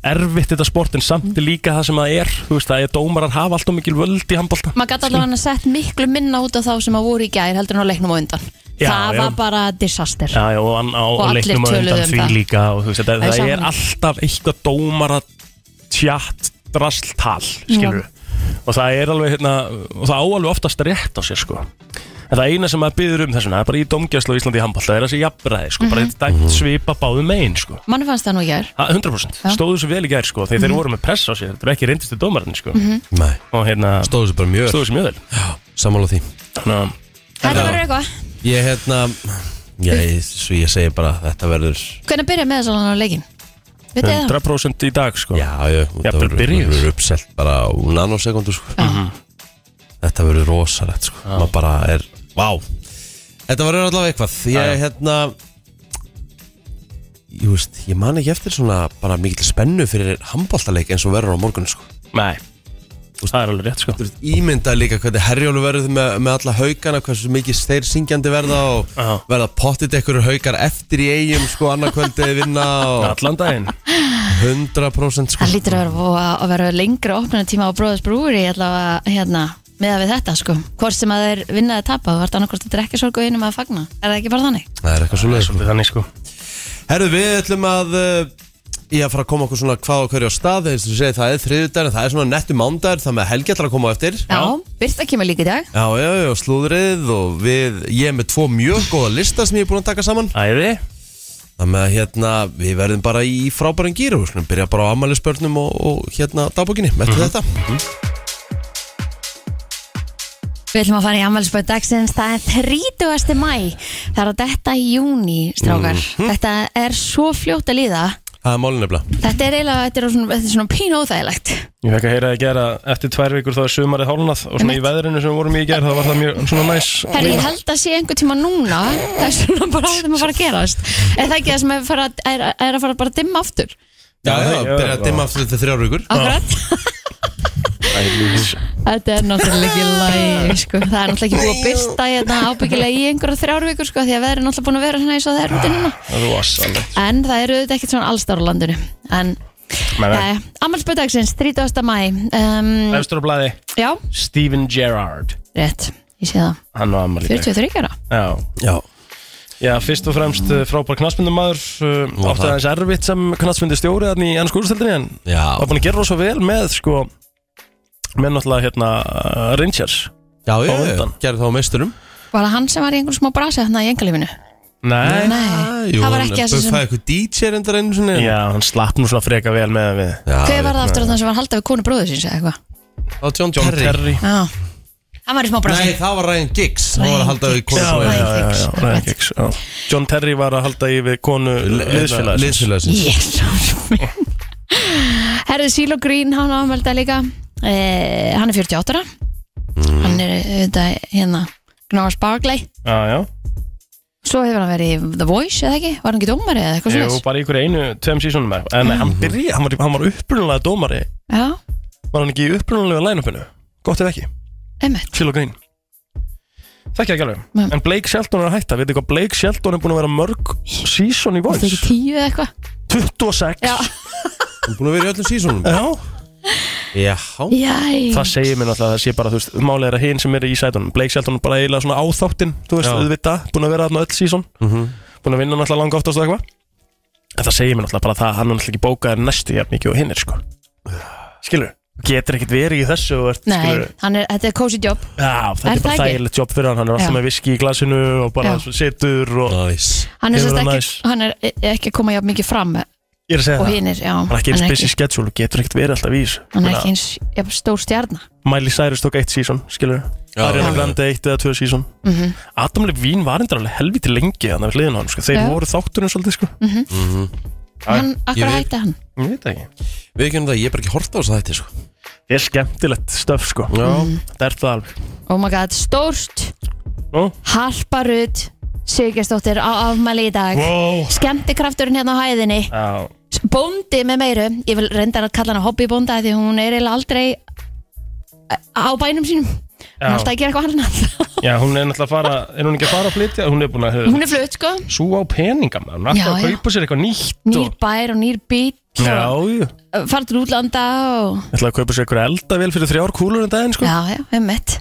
E: erfitt þetta sport en samt
C: Mhm.
E: er líka það sem það er þú veist það er dómarar hafa alltaf mikil völd í handbólta
C: maður gæti allavega að sett miklu minna út á þá sem að voru í gær heldur en á leiknum á undan
E: Já,
C: það
E: já.
C: var bara disaster
E: Já, já, og, an, á,
C: Og
E: og
C: allir
E: leiknum á
C: töluðu
E: undan
C: um
E: því
C: það.
E: líka og, þú veist, það,
C: Það er
E: það er
C: saman.
E: alltaf eitthvað dómara tjatt drastltal skilur og það er alveg hérna, og það á alveg oftast rétt á sér sko en það eina sem maður byður um þessuna það er bara í domgjæslu á Íslandi í handball það er þessi jafnræði sko,
C: Mhm.
E: bara þetta
D: Mhm.
E: dæmt svipa báðum megin sko
C: mann fannst það nú í gær
E: Ha, 100%
C: Já. Mhm.
E: stóðu svo vel í gær sko þegar þeir voru með press á sér þetta er ekki reyndistu dómarinn sko
D: Nei,
E: og hérna
D: stóðu þessu bara mjög
E: stóðu svo mjög vel
D: Samála því
E: Þannig að
C: þetta verður eitthvað
D: Ég hérna Ég, svo ég segi bara Þetta verður
C: hvernig byrja með þess að á leikin veit ég það
E: 100% í dag sko
D: Já,
E: Jafnvel
D: já
E: Mhm.
D: Þetta verður-
E: byrjuð.
D: verður uppselt bara á nanosekundu sko.
C: Já.
D: Þetta verður rosalegt sko. Maður bara er Vá Þetta verður allavega
E: Já,
D: eitthvað Ég
E: já.
D: hérna Ég veist Ég man ekki eftir svona Bara mikil spennu fyrir handbóltaleik eins og verður á morgun sko.
E: nei það er alveg rétt sko
D: Þú veist, ímynda líka hvernig herjólu verður með, með alla haugana, hversu mikið þeir syngjandi verða og
E: Já.
D: verða pottit ekkur haugar eftir í eigum sko annarkvöldið vinna og
E: allan daginn
D: 100% sko
C: það lítur að vera, búið að vera lengra opnunartíma á Bróðars Brúri allavega hérna með við þetta sko hvort sem að þeir vinnaði tapa þú vart annarkvort að drekja sorg og einum að fagna er það ekki bara þannig?
D: Það er eitthvað svo
E: Það er
D: leið sko.
E: svolítið þannig sko
D: Herru við ætlum að uh, ég að fara að koma okkur svona hvað og hverju á stað eins og segja það er þriðudagur en það er svona nettu mándagur það með helgi ætlar að koma á eftir
C: Já, Birta kemur líka í dag
D: Já, já, já, slúðrið og við, ég er með tvo mjög góða lista sem ég er búin að taka saman
E: Æði
D: Þannig að hérna, við verðum bara í frábæran gýr og slunum byrja bara á ammælisbörnum og, og hérna dagbókinni, eftir
E: Mhm.
D: þetta
C: Við ætlum að fara í afmælisböð dagsins, það er 30. mæ, það er að detta í júni, strákar. Þetta er svo fljótt að líða,
D: Það er málin nefnilega
C: þetta er eiginlega, þetta er svona, þetta er svona pínu óþægilegt.
E: Ég fekk að heyra að gera eftir tvær vikur þá er sumarið hálnað og svona í veðrinu sem við vorum í í gerð þá var það mjög svona næs
C: Herri, ég held að sé einhver tíma núna, það er svona bara að það maður fara að gerast. Er það ekki það sem er, fara, er, er að fara bara að dimma aftur?
D: Já, já,
E: já,
D: byrja að
E: já.
D: dimma aftur þetta þrjár vikur
C: Akkurat? Þetta er náttúrulega ekki læg, sko. Það er náttúrulega ekki búið að byrsta hérna ábyggilega í einhverja þrjár vikur, sko, því að veðrið er náttúrulega búin að vera svona eins og það er úti núna.
E: Rosalegt
C: En það eru auðvitað ekkert svona allstar á landinu En
E: Nei, nei.
C: Amalspöldagsins, 30. mæ um,
E: Efstur á blæði
C: Já,
E: Steven Gerrard
C: rétt, ég sé það
E: Hann var ammali
C: 43 ára
E: Já
D: Já,
E: Já, fyrst og fremst uh, frábær knastmyndumæður uh, átti
D: það.
E: aðeins erfitt sem knastmyndi stjóri þannig í enn skúrstöldinni en
D: já,
E: var búin að gera rosa vel með sko með náttúrulega hérna uh, Rangers
D: já, já,
E: Á
D: já.
E: undan.
D: gerði það á meisturum
C: Var það hann sem var í einhverjum smá brasi þarna í engalífinu?
E: Nei,
C: Nei, það var ekki þessi
D: sem
C: sem
D: Buffaði eitthvað DJ reyndar einu sinni
E: Já, hann slapp nú svona freka vel með við
D: já
C: Hver var það aftur þannig sem var haldið við konu bróður síns eða eitthvað?
D: Það var John,
E: John
D: Terry,
E: Terry
C: Já, hann var í smá brasi
D: Nei, það var Ryan Giggs Það var að halda við
C: Giggs.
D: konu sem-
C: Já, já. Giggs,
E: Ryan
C: akkurat.
E: Giggs, já. John Terry var að halda í við konu
D: Hérna,
E: liðsfélagsins
D: Liðsfélagsins
C: Jésús minn Herðu Silo Green, hann ámelda líka eh, Hann er 48 ára
E: Mm.
C: Hann er auðvitað hérna Gnars Barkley
E: Já, já,
C: Svo hefur hann verið í The Voice eða ekki? Var hann ekki dómari eða eitthvað
E: Jú,
C: svona?
E: bara í ykkur einu, tveim sísónum eða eitthvað. En mm. hann byrja, hann var, hann var upprunalega dómari
C: Já,
E: Var hann ekki í upprunalega line-upinu? Gott ef ekki,
C: einmitt
E: Phil og Green Þekki það ekki alveg
C: Nei.
E: En Blake Shelton er að hætta, veitir hvað Blake Shelton er búin að vera mörg sísón í
C: Það er ekki
E: voice
C: tíu eða eitthvað
E: 26
C: Já.
D: Hún er búin að vera í öllum sísónum
E: Já,
D: Já,
C: Jæ
E: það segir mér náttúrulega að það sé bara, þú veist, málið er að hinn sem er í sætunum Blake Shelton er bara eiginlega svona áþáttinn, þú veist,
D: Já.
E: auðvitað, búin að vera þarna öll sísón búin að vinna náttúrulega langa oftast og eitthvað en það segir mér náttúrulega bara það að hann er náttúrulega ekki bókaður næstu jafn mikið og hinn er sko skilur, getur ekkert verið í þessu og ert,
C: Nei,
E: skilur,
C: hann er, þetta er cozy job
E: já, þetta
C: Er
E: er bara
C: það ekki?
E: þægilegt jobb fyrir hann hann er alltaf
C: Já.
E: með viski í glasinu og bara
C: Já.
E: situr og
D: nice
C: Hann er,
E: Hefur
C: sem sagt
E: það
C: ekki,
E: næs.
C: hann er e- ekki að koma jafn mikið fram og
E: ég er að segja það,
C: hinir, já
E: hann er ekki eins busy schedule og getur ekkert verið alltaf í þessu
C: hann er
E: Meina,
C: ekki eins jafn, stór stjarnar
E: Miley Cyrus tók eitt sísón, skilur
D: Já,
E: Ariana
D: já, já.
E: Grande eitt eða tvö sísón
C: Mhm.
E: Adam Levine var endur alveg helviti lengi þannig við hliðin á hann, sko. þeir
C: Já. Mhm.
E: voru þátturinn svolítið sko.
C: Hann, akkur
D: veit.
C: hætti hann
E: ég veit það ekki,
D: Við kemum það, ég er bara ekki hort á þess að þetta sko
E: ég er skemmtilegt stöf sko.
C: Mhm.
E: það er það alveg
C: Oh my god, stórst
E: Nú?
C: Harpa Rudd Sigurgestóttir á afmæli í dag
E: wow.
C: Skemmtikrafturinn hérna á hæðinni
E: Já,
C: Bóndi með meiru Ég vil reynda að kalla hana hobbybónda af Því hún er eiginlega aldrei á eh, bænum sínum Hún er alltaf að gera eitthvað annað [laughs]
E: Já, hún er náttúrulega að fara, er hún ekki að fara að flytja? Hún er búin að
C: Hún er flutt sko
E: súa á peninga maður, hún er alltaf
C: Já,
E: að
C: já.
E: kaupa sér eitthvað nýtt
C: Nýr bær og nýr bíl
E: Já,
C: og
E: jú,
C: fara til útlanda og
E: ætla að kaupa sér eitthvað eldavél fyrir þrjár kúlur en daginn, sko
C: Já, já, við mitt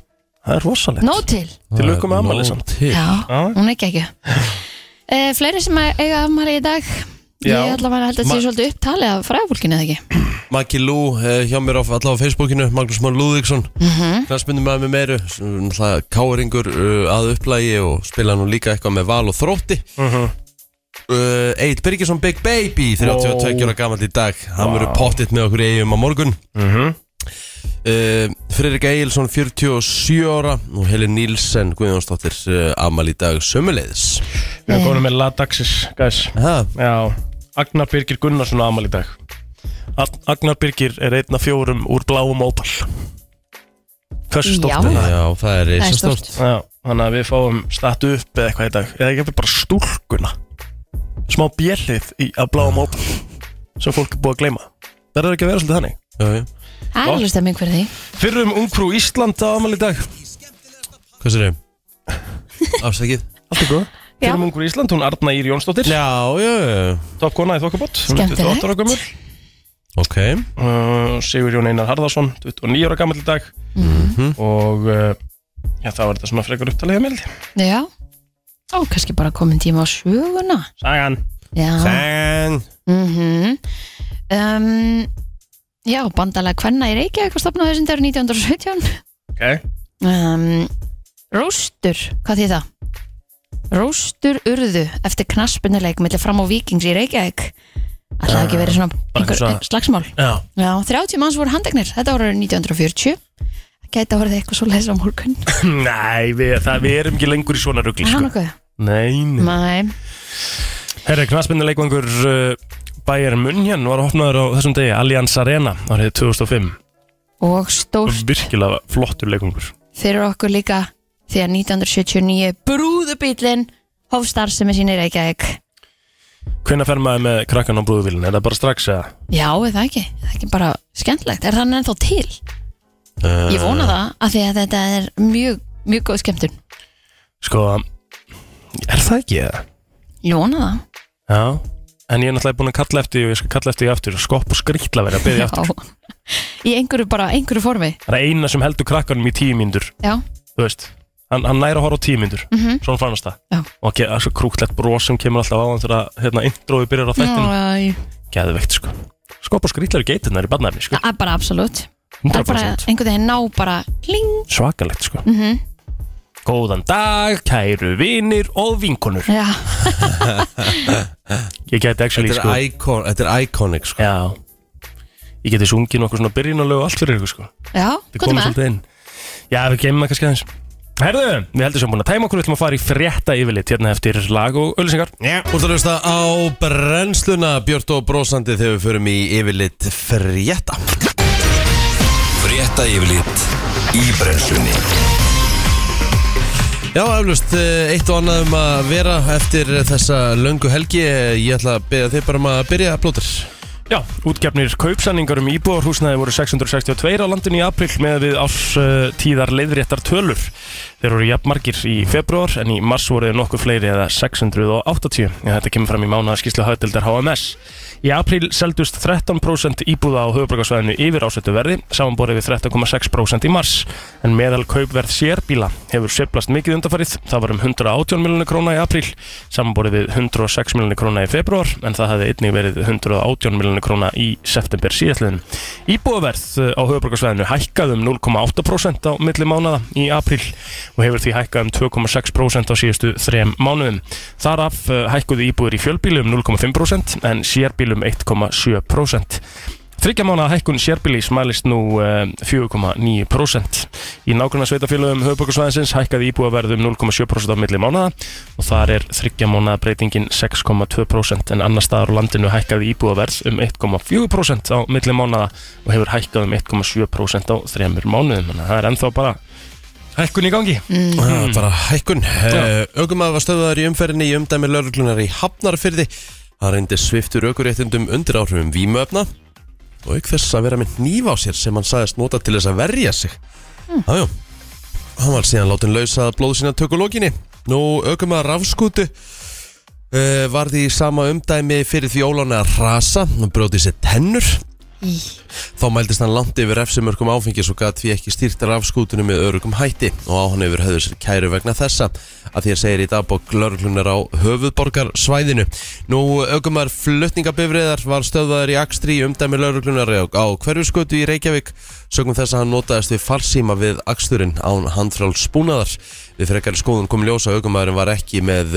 E: Það er rosalegt
C: Nóg til
E: Til lukku með ammali samt
D: til
C: Já, hún er
E: [laughs]
C: ekki ekki e, Fleiri sem að eiga afmæli í dag
E: Já.
C: Ég ætla bara að held að þetta sé svolítið upptalið af fræðfólkinu eða ekki
D: Maggi Lú eh, hjá mér á, allavega á Facebookinu Magnús Már Lúðvíksson mm -hmm. með meiru náttúrulega káringur uh, að upplægi og spila nú líka eitthvað með val og þrótti mm uh, Eitt Birgisson Big Baby 32 ára gamall í dag hann verður pottitt með okkur í eigum á morgun uh, Fredrik Egilson 47 ára og Helin Nílsen Guðjónsdóttir uh, amal í dag sömuleiðis
E: Við erum komin með Ladaxis, guys
D: ha,
E: Já, Agnar Birgir Gunnarsson á ammali í dag Ag- Agnar Birgir er einn af fjórum úr bláum ópal Hversu
C: Já.
E: stórt er það?
D: Já, það er
C: Það er
D: reisastórt
C: stórt
E: Já, þannig að við fáum statu upp eða eitthvað í dag eða ekki bara stúlkuna smá bjellið í að bláa mópa sem fólk er búið að gleyma verður ekki að vera svolítið þannig
D: Já, já.
C: Það er alveg stemming fyrir því
E: Fyrrum ungfrú Ísland á amal í dag
D: Hvað sér þau? [laughs] Afsakið
E: Allt er góð
C: Já.
E: Fyrrum ungfrú Ísland, hún Arna Ír Jónsdóttir
D: Já, já, já
E: Topp kona í Þokkabót
C: Skemmtilegt.
E: 28 ára gömur
D: Ok
E: uh, Sigur Jón Einar Harðarsson 29 ára gammal í dag -hmm. og uh, já, það var þetta svona frekar upptalið að meldi
C: Já, og kannski bara komin tíma á söguna
E: Sagan
C: Já
D: Bang
C: mm um, Já, bandalega hvenna í Reykjavík var stopnað þessum dagur 1917
E: okay.
C: um, Róstur, hvað þýð það? Róstur urðu eftir knaspunileik millir fram á vikings í Reykjavík Alltaf ekki verið svona einhver,
E: Eh, svona-
C: slagsmál
E: Já,
C: Já, 30 manns voru handeknir, þetta voru 1940 Gæti að voru eitthvað svo lesa á morgun
E: [laughs] nei, við, það, við erum ekki lengur í svona rugli
C: Er það
E: sko.
C: nokkuð?
E: Nei, nei
C: Nei,
E: Herra, knaspinnuleikvangur uh, Bayern München var opnaður á þessum degi Allianz Arena árið 2005
C: og stórt
E: Virkilega flottur leikvangur
C: fyrir okkur líka því að 1979 brúðubílinn hóf starfsemi sín í Reykjavík
E: Hvenær fer maður með krakkan á brúðuvílinn? Er það bara strax eða?
C: Já, er það ekki, er það ekki bara skemmtlegt er þannig ennþá til?
E: Eh.
C: Ég vona það af því að þetta er mjög, mjög góð skemmtun
E: Sko, er það ekki eða?
C: Ég vona það
E: Já En ég er náttúrulega búin að kalla eftir því og ég skal kalla eftir því aftur og skopp og skrýtla verið að byrja aftur.
C: Já. Í einhverju bara, einhverju formi
E: Það er eina sem heldur krakkanum í tíu mínútur,
C: Já,
E: þú veist. Hann, hann næra að horfa á tíu mínútur, mm -hmm. svona fannast það.
C: Mhm. Já.
E: Og það er svo krúklegt bros sem kemur alltaf á hann þegar að, hérna, introið byrjar á þættinu.
C: Æ,
E: Gæðvegt, sko. Skopp og skrýtla eru geitirnar í barnæmi, sko.
C: það er bara absolutt Það er bara
E: 100%.
C: einhvern veginn ná bara kling
E: svakalegt sko
C: Mhm.
E: Góðan dag, kæru vinir og vinkonur
C: Já,
E: Ég geti actually
D: Þetta
E: sko
D: er, icon, þetta er iconic sko
E: Já Ég geti sungið nokkuð svona byrjunarlegu og allt fyrir ykkur sko
C: já,
E: Þið
C: hvað er
E: komið
C: með?
E: svolítið inn Já, við geymum það kannski aðeins Herðu, við heldum sem búin að tæma okkur Við ætlum að fara í frétta yfirlit hérna eftir lag og öllisingar
D: yeah. Þú ert að hlusta á brennsluna Björn og brósandi þegar við förum í yfirlit frétta
B: Frétta yfirlit í brennslunni
D: Já, eflust, eh, eitt og annað um að vera eftir þessa löngu helgi Eh, Ég ætla að beða þig bara um að byrja blótur
E: Já, útgefnir kaupsanningar um íbúðarhúsnaði voru 662 á landinu í april með við ástíðar leiðréttar tölur. Þeir voru jafnmargir í februar en í mars voru þeir nokkuð fleiri eða 680. Ja, þetta kemur fram í mánaðarskíslu haugdeldar HMS. Í april seldust 13% íbúða á höfuborgarsvæðinu yfir ásættu verði, samanborið við 13,6% í mars. En meðal kaupverð sérbíla hefur sveplast mikið undarfarið. Það var um 118 miljonir króna í april, samanborið við 106 miljonir króna í februar, en það hafði einnig verið 118 miljonir króna í september síðastliðin. Íbúðverð á höfuborgarsvæðinu hækkaði um 0,8% á milli mánada í april og hefur því hækkað um 2,6% á síðustu þrem mánuðum. Þar af eh, hækkuðu íbúður í fjölbílu um 0,5% en sérbílu um 1,7%. Þryggja mánaða hækkun sérbílis mælist nú eh, 4,9%. Í nákvæmna sveitafélögum höfubokarsvæðinsins hækkaði um íbúaverðum 0,7% á milli mánaða og þar er þryggja mánaða breytingin 6,2% en annar staðar á landinu hækkaði íbúaverð um 1,4% á milli mánaða og hefur hækkað um 1,7% á þremur mánuðum. Þannig að það er ennþá bara hækkun í gangi.
D: Það er Ah, bara hækkun Ögum að var stöðaður í umferðinni í umdæmi lauruglunar í Hafnarfyrði Það reyndi sviftur ökuréttindum undir áhrifum vímöfna og auk þess að vera með nýf á sér sem hann sagðist nota til þess að verja sig Jájú, Hann var síðan látin lausa blóð sína tökulókinni Nú aukum að rafskútu uh, Var því í sama umdæmi fyrir því ólána að rasa Hann bróti sér tennur
C: Í.
D: Þá mældist hann langt yfir refsimörkum áfengis og gat því ekki stýrt rafskútunum með örugum hætti og á hann yfir höfðu sér kæru vegna þessa að því að segir í dagbók lörglunar á höfuðborgarsvæðinu. Nú aukumar flutningabifriðar var stöðvaður í Akstri í umdæmi lörglunar á hverfuskötu í Reykjavík sögum þess að hann notaðist við farsíma við Aksturinn án handfráls spúnaðar. Við frekari skoðun kom ljós að aukumæðurinn var ekki með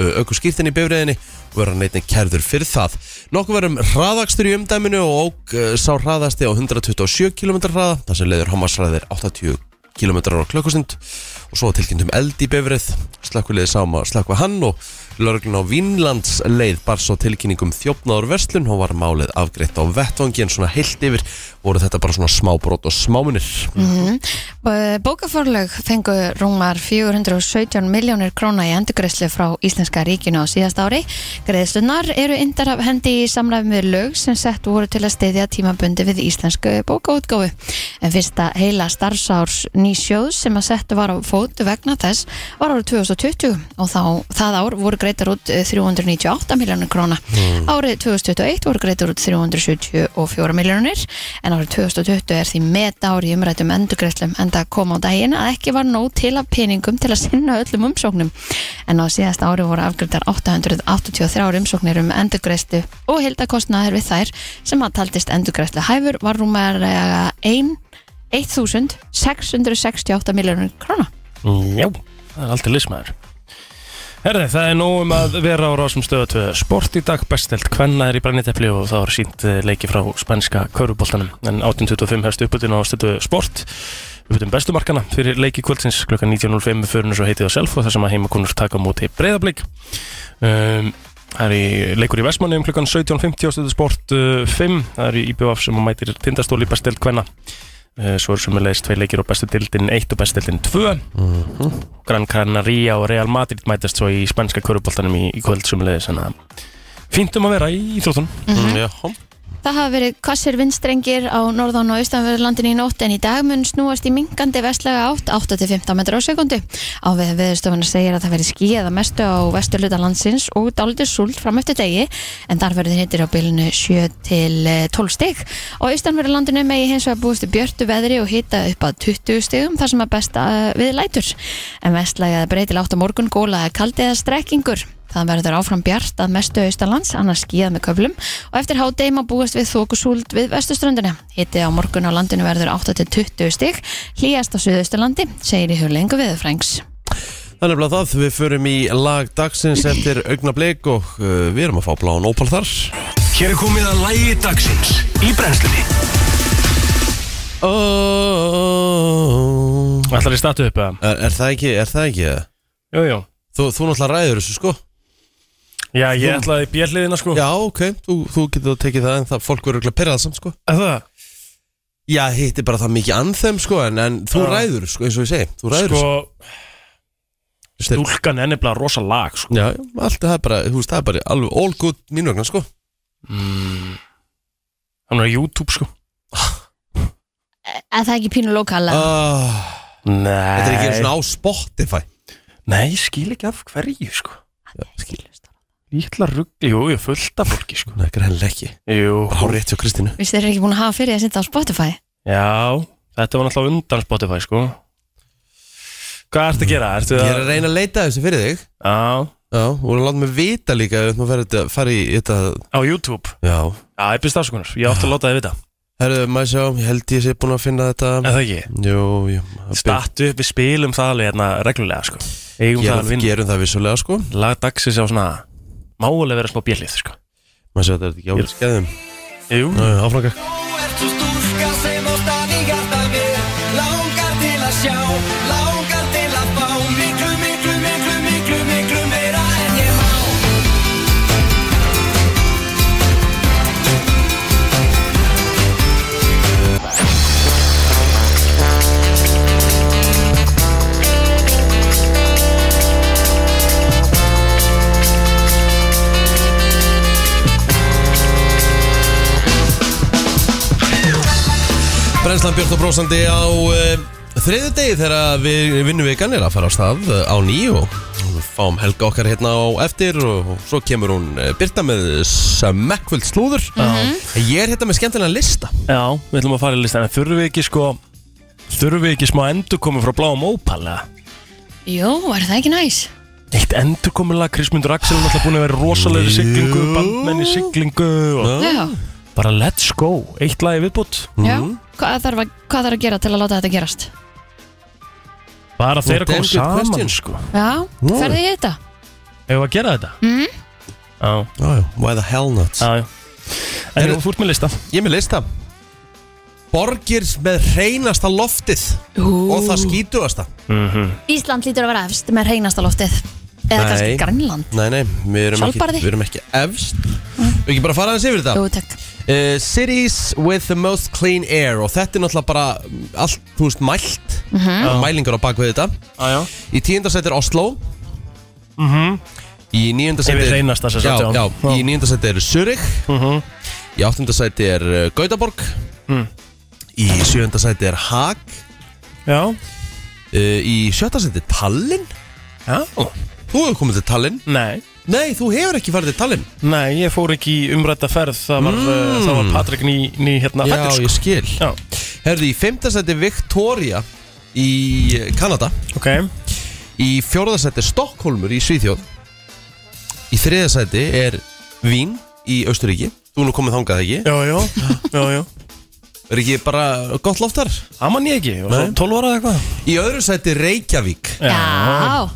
D: aukuskýrtin í bifriðinni og verður hann einnig kærður fyrir það. Nokkuð verðum hraðakstur í umdæminu og ók uh, sá hraðasti á 127 km hraða, þar sem leiður hámasræðir 80 km á klukkustund og svo var tilkynnt um eld í bifrið slakkuleiði sáum um að slakka hann og lörglun á Vínlands leið bar svo tilkynningum þjófnaður verslun og var málið afgreitt á vettvangi en svona heilt yfir voru þetta bara svona smábrot og smáminir
C: Eh, Bókaforlög fengu rúmar 417 miljónir króna í endurgreðslu frá Íslenska ríkinu á síðast ári. Greðslunar eru indar af hendi í samræmi við lög sem sett voru til að steyðja tímabundi við íslensku bókaútgáfu. En fyrsta heila starfsárs nýsjóðs sem að settu var á fót vegna þess var árið 2020 og þá, það ár voru greitar út eh, 398 miljónir króna. Árið 2021 voru greitar út 374 miljónir en árið 2020 er því met ári umrættum endurgreislum en það kom á daginn að ekki var nóg til af peningum til að sinna öllum umsóknum en á síðasta ári voru afgreitar 883 umsóknir um endurgreislu og hildakostnaður við þær sem að taldist endurgreislu hæfur var rúmar 1.668 miljónur króna
E: Mm, Já, það er aldrei lismæður Herði, það er nóg um að vera á rásum stöða 2 Sport í dag bestelt kvenna er í brennitefli og það var sínt leiki frá spænska köruboltanum en 18.25 hefst uppbytun á stöðu sport uppbytun bestumarkana fyrir leiki kvöldsins klukkan 19.05 fyrir svo heitið á self og það sem að heimakonur taka á móti breyðablík um, Það er í leikur í Vestmanni um klukkan 17.50 á stöðu sport uh, 5 það er í IBF sem mætir tindastóli bestelt kvenna Eh, Svo eru sömulegis tvei leikir og bestu dildin 1 og bestu dildin 2
D: Mhm.
E: Gran Canaria og Real Madrid mætast svo í spænska köruboltanum í, í kvöld sömulegis Þannig að fínt um að vera í Íþróttunum
D: mm, Já,
C: Mhm. Það hafa verið hvassir vindstrengir á norðan og austanverðlandinu í nótt en í dag mun snúast í minkandi vestlega átt 8-15 metrar á sekundu. Á við viðstofuna segir að það verið skíða mestu á vesturluta landsins og dálítið súlt fram eftir degi en þar verður hittir á bylunu 7-12 eh, stig. Á austanverðlandinu megi hins vegar búist við björtu veðri og hita upp að 20 stigum þar sem að besta eh, við lætur. En vestlega breytil átt á morgun góla kaldi eða strekkingur. Það verður áfram bjart að mestu austalands, annars skíðað með köflum og eftir hádegi má búast við þókusúld við vestuströndina. Hitti á morgun á landinu verður 8-20 stig, hlýjast á suðausturlandi, segir í huglengu viðurfrængs.
D: Þannig að það, við förum í lag dagsins eftir augnablik og uh, við erum að fá bláan ópal þar.
B: Hér er komið að lægi dagsins í brennslunni
D: Oh,
E: Ætlar ég statu upp eða?
D: er, er það ekki, er það ekki? eða?
E: Jú, jú
D: Þú, þú náttúrulega ræður þessu sko?
E: Já, ég ætlaði í bjelliðina sko
D: Já, ok, þú, þú getur að tekið það en það fólk verður ekki að pyrrað samt sko
E: Er Það,
D: Já, hittir bara það mikið anþem sko en, en þú
E: Já.
D: ræður sko, eins og ég segi Þú ræður
E: sko
D: sko, sko.
E: Dúlkan er nefnilega rosa lag sko
D: Já, já, allt það er bara, þú veist, það er bara alveg all good mín vegna sko
E: Hann er á YouTube sko
C: En það er ekki pínu lokala.
D: ah,
E: Nei
D: Þetta er ekki einu svona á Spotify
E: Nei, ég skil ekki af hverju sko
C: Uh,
E: Lítla rugg Jú, ég er fullt af fólki sko
D: Nei, greinlega ekki
E: Jú
D: Há rétt hjá Kristínu
C: Vist þeir eru ekki búin að hafa fyrir að senda á Spotify?
E: Já, þetta var náttúrulega undan Spotify sko Hvað ertu að gera? Ertu
D: Ég
E: að...
D: er að reyna að leita þessu fyrir þig
E: Já,
D: Já, og hún láta mig vita líka ef þú ferð þetta- fara í þetta
E: á YouTube
D: Já
E: Já, ég byrst afsökunar, ég átti að láta þið vita
D: Herðu, maður sjá, ég held ég sé búin að finna
E: En
D: þetta
E: það ekki,
D: Jú, jú
E: statu upp, við spilum það alveg hérna reglulega sko Eigum það að
D: Gerum,
E: vinna
D: gerum það vissulega sko
E: Lag dagsins á svona, málega vera smá bjellið sko
D: Maður sjá, þetta er ekki áfram skæðum
E: Jú,
D: Áfram ekki
A: Þú ert svo stúlka sem oftan í hjarta mér Langar til að sjá, langar til að fá Miklu, miklu, miklu, miklu, miklu meira en ég má
D: Brennslan Björn og Brósandi á uh, Þriðu degi þegar við vinnum vikan er að fara á stað eh, á nýju og við fáum helga okkar hérna á eftir og og svo kemur hún eh, Birta með smekkvöld slúður Ég er hérna með skemmtilega lista
E: Já, við ætlum að fara í listan En þurfum við ekki sko Þurfum við ekki smá endurkomi frá bláum ópal eða?
C: Jú, er það ekki næs?
E: Eitt endurkomulag Krismundur Axel er alltaf búin að vera rosalegri siglingu Bandmenn í siglingu og...
C: Já,
E: Bara let's go Eitt lagi viðbútt
C: já Hvað þarf að, hvað þarf að gera til að láta þetta gerast?
E: Bara þeir að
D: damn
E: koma
D: good
E: saman
D: question.
E: sko
C: Já, ferði ég þetta?
E: Hefur að gera þetta? Mm Já,
D: oh, Why the hell not
E: já, já En
D: Eru-
E: jú, þú ert með lista
D: Ég er með lista Borgir með hreinasta loftið
C: Ú.
D: og það skítugasta
C: Ísland lítur að vera efst með reynasta loftið Eða kannski
D: Nei.
C: Grænland
D: Nei, nei, við erum, ekki,
C: Svalbarði.
D: við erum ekki efst Við ekki bara fara aðeins yfir þetta
C: Mm. Jú, takk
D: uh, Cities with the most clean air og þetta er náttúrulega bara mm, allt, þú veist, mælt
C: Mhm.
D: mælingar á bakvið þetta
E: Já, já
D: Í tíundasæti er Oslo Í níundasæti
E: Mhm. Yfir hreinasta sem sagt,
D: já,
E: já.
D: já,
E: Já. Mhm.
D: Í níundasæti er Zurich Í áttundasæti er uh, Gautaborg
E: Mm.
D: Í sjöundasæti er Haag
E: Já,
D: uh, Í sjöttasæti Tallinn
E: já.
D: Þú hefur komið til Tallinn
E: Nei
D: Nei, þú hefur ekki farið til Tallinn
E: Nei, ég fór ekki í umrætta ferð Það var, mm. það var Patrik ný, ný hérna
D: Já,
E: fæddur, sko.
D: ég skil
E: Já,
D: Herðu, í fimmtasæti Victoria Í eh, Kanada
E: ok
D: Í fjórðasæti Stokkólmur í Svíþjóð Í þriðasæti er Vín í Östuríki Þú er nú komið þangað ekki
E: Jó, jó, jó, jó
D: Er ekki bara gott loft þar?
E: Það man ég ekki, og svo
D: Nei.
E: 12 ára eða eitthvað
D: Í öðru sæti Reykjavík
C: Já,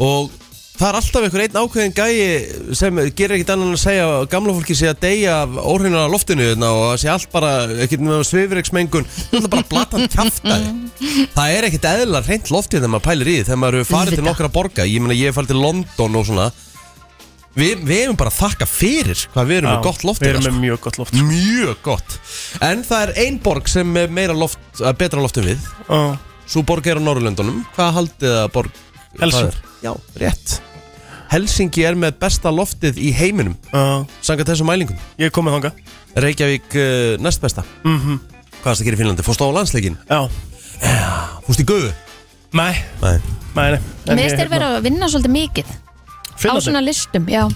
D: Og það er alltaf einhver einn ákveðin gæi Sem gerir ekkit annan að segja að Gamla fólki sé að deyja af óhreinara loftinu hérna, Og það sé allt bara ekkit með svifriksmengun Það er bara blatan kjaftaði Það er ekkit eðla reynt loftið hérna Þegar maður pælir í því Þegar maður hefur farið til
C: Auðvitað.
D: nokkra borga Ég meina ég hef farið til London og svona Vi, Við hefum bara að þakka fyrir Hvað við erum með gott
E: Við
D: loftið
E: erum
D: sko.
E: með mjög gott loft
D: Mjög gott En það er ein borg sem er meira loft, eh, betra loftum við
E: Ó,
D: Svo borg er á Norrlöndunum Hvað haldið að borg
E: Helsinki.
D: það er? Já, rétt Helsingi er með besta loftið í heiminum
E: ó,
D: Sangað þessum mælingum
E: Ég er komið þangað
D: Reykjavík uh, næst besta mm
E: Mhm.
D: -hmm. Hvað er það að gera í Finnlandi? Fórstu á landsleikin?
E: Já
D: Fórstu í Guðu?
E: Nei,
D: Nei
E: nei, nei En
C: mér
E: ég- hérna-
C: styrir verið að vinna svolítið mikið Á
E: Finnarnir,
C: svona listum, já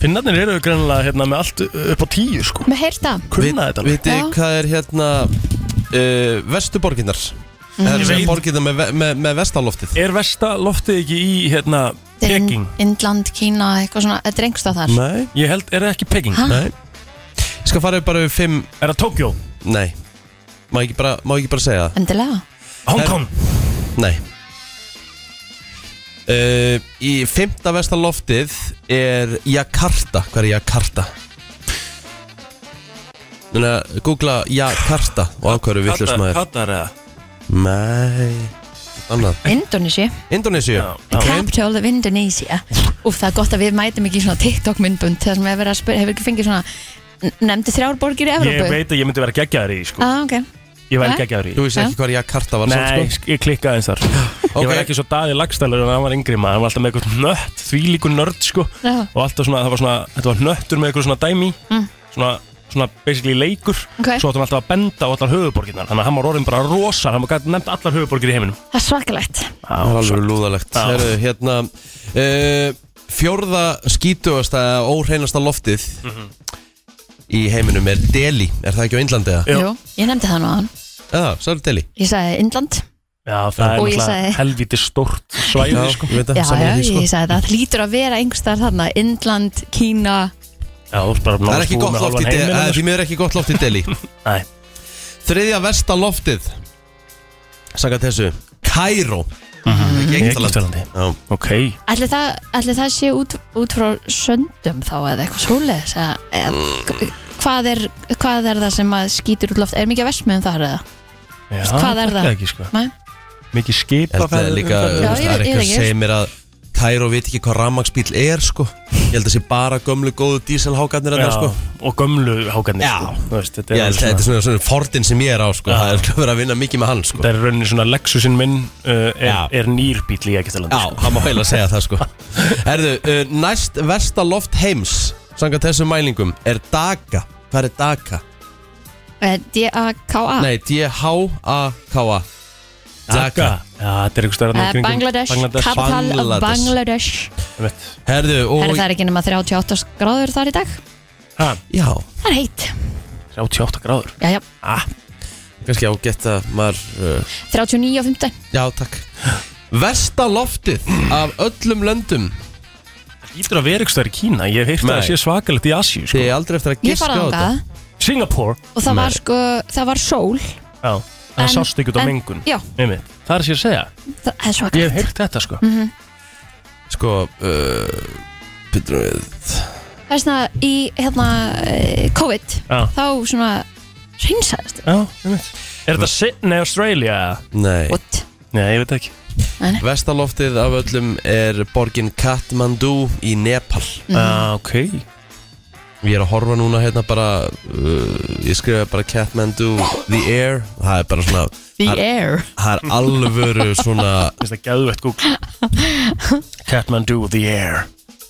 E: Finnarnir eru greinlega hérna með allt upp á tíu sko
C: Mér heyrt það
E: Kunna þetta alveg.
D: Vitið þið
C: Já.
D: hvað er hérna uh, Vestuborginnar
E: Mhm.
D: Það er sem borginnar með, ve- með, með vestaloftið
E: Er versta loftið ekki í hérna
C: Þetta er
E: Peking?
C: Ind- Indland, Kína, eitthvað svona Þetta er engst á þar
D: Nei
E: Ég held, er það ekki Peking?
C: Ha?
D: Nei Ég skal fara yfir bara við fimm
E: Er það Tokyo?
D: Nei Má ekki bara, má ekki bara segja það?
C: Endilega
E: Hong Kong?
D: Nei uh, Í fymta vestar loftið er Jakarta Hvað er Jakarta? Núna, googla Jakarta og ákvæður við hlust maður
E: Katar eða?
D: Nei Annað
C: Indonesia
D: Indonésiu
E: Já, já.
C: Capital of Indonesia Úf, það er gott að við mætum ekki í svona TikTok myndbund Þegar sem hefur, verið að spyr, hefur ekki fengið svona Nemndi þrjár borgir í
E: Ég
C: Evrópu
E: veit að ég myndi vera geggjaður í því, sko
C: ah, okay.
E: Ég væri
C: Nei.
E: geggjaður í því.
D: Þú veist ekki hvað Jakarta var
E: Nei,
D: samt, sko.
E: sk- ég klikkaði eins þar Ég var
D: Ok.
E: ekki svo daði lagstælur en hann var yngri maður Hann var alltaf með eitthvað nött, þvílíku nörd sko
C: Já.
E: Og alltaf svona, það var svona, þetta var nöttur með eitthvað svona dæmi mm. Svona, svona basically leikur
C: Ok.
E: Svo átti hann alltaf að benda á allar höfuborginnar Þannig að hann var orðin bara rosa, hann gæti nefnt allar höfuborgir í heiminum
C: Það er svakalegt
D: sko Það er alveg lúðalegt
E: Já.
D: Heru, hérna, uh, Fjórða skítugasta eða óhreinasta loftið
E: Mhm.
D: í heiminum er Delhi Er það ekki á Indlandi eða?
E: Jú.
C: Jú, ég nefndi það nú aðan
D: Já, svo er Delhi
C: Ég sagði Indland
E: Já, það er
C: Og ég
E: náttúrulega
C: sagði-
E: helviti stórt
D: Já,
E: svæði sko
D: ég veit að
C: Já,
D: sammála
C: já,
D: því, sko.
C: ég sagði það Það lítur að vera einhverstaðar þarna Indland, Kína
E: Já, þú ert bara
D: Það er
E: nánast
D: ekki
E: búin
D: gott
E: með
D: loft í
E: hálfan
D: Delhi
E: heiminn
D: Það er
E: annars.
D: því miður ekki gott loft í Delhi
E: Nei.
D: Þriðja versta loftið Saka þessu Kairó Ekki
E: Egyptalandi.
D: Já.
E: Ok,
C: Ætli það, ætli það sé út, út frá söndum þá eða eitthvað svoleiðis eða, eða, hvað, er, hvað er það sem að skýtur út loft? Er mikið að versmiðum þar eða?
E: Já,
C: Hvað er
E: þekki
C: það?
E: Ekki, sko.
C: Nei?
E: Mikið
D: Ég held að það er
E: skipaferð-
D: líka
E: umferð.
C: Já,
D: Það er
C: ég veit- ég
D: eitthvað
C: veit
D: sem
C: ekki.
D: segir mér að Kairó veit ekki hvað rammaksbíl er sko Ég held að sé bara gömlu góðu
E: Já,
D: díselhákarnir þarna sko
E: og gömlu hákarnir
D: Já.
E: sko. Þú veist, þetta
D: Ég
E: er,
D: held að
E: svona,
D: þetta er svona, svona fordin sem ég er á sko
E: Já.
D: Það er sko verið að vinna mikið með hann sko
E: þetta er rauninni svona Lexusinn minn uh, er,
D: Já.
E: er nýrbíl í Egyptalandi
D: Já, það má heila segja það
E: [laughs]
D: sko Erðu, uh, næst versta loft heims Sanga þessum mælingum Er Daga Hvað er Daga?
C: Eh, D-A-K-A
D: Nei, D-H-A-K-A
E: Dhaka Já, þetta er eitthvað stöðar
C: Eh, Bangladesh, Capital of Bangladesh
E: Bangladesh
D: Herðu, og
C: Herri, Það er ekki nema 38 gráður þar í dag
E: Hæ,
D: Já,
C: Það er heitt
E: 38 gráður
C: já, já.
D: kannski ágætt að maður uh,
C: 39 og 15
D: Já, takk Versta loftið af öllum löndum
E: Ítur að vera eitthvað stöðar í Kína Ég hef heyrt að
D: Nei.
E: það sé svakalegt í Asíu
D: Þið
E: sko.
D: er aldrei eftir að
C: Ég
D: giska á
C: faraði
D: þetta
C: þangað
E: Singapore
C: og það var sko, það var sól
E: Já, það
C: En-
E: sást ekki út á
C: en-
E: mengun
C: Já,
E: Nei, það er sér að segja
C: það er
E: Ég
C: svakar
E: hef heyrt þetta
C: Mhm.
E: sko
D: Sko uh, Pítur við
C: Það er svona í hérna eh, COVID
E: Já,
C: þá svona reynsaðist
E: já, einmitt Er þetta Sydney, Australia?
D: Nei
C: What?
E: Nei, ég veit ekki
D: Versta loftið af öllum er borgin Kathmandu í Nepal
C: Mhm.
E: Já, Ah, ok
D: Ég er að horfa núna hérna bara uh, Ég skrifa bara Kathmandu The Air Það er bara svona
C: The
D: Það er-
C: air
D: Það er alvöru svona
E: Mér finnst það gæðvett Google
C: [laughs]
E: Kathmandu, the air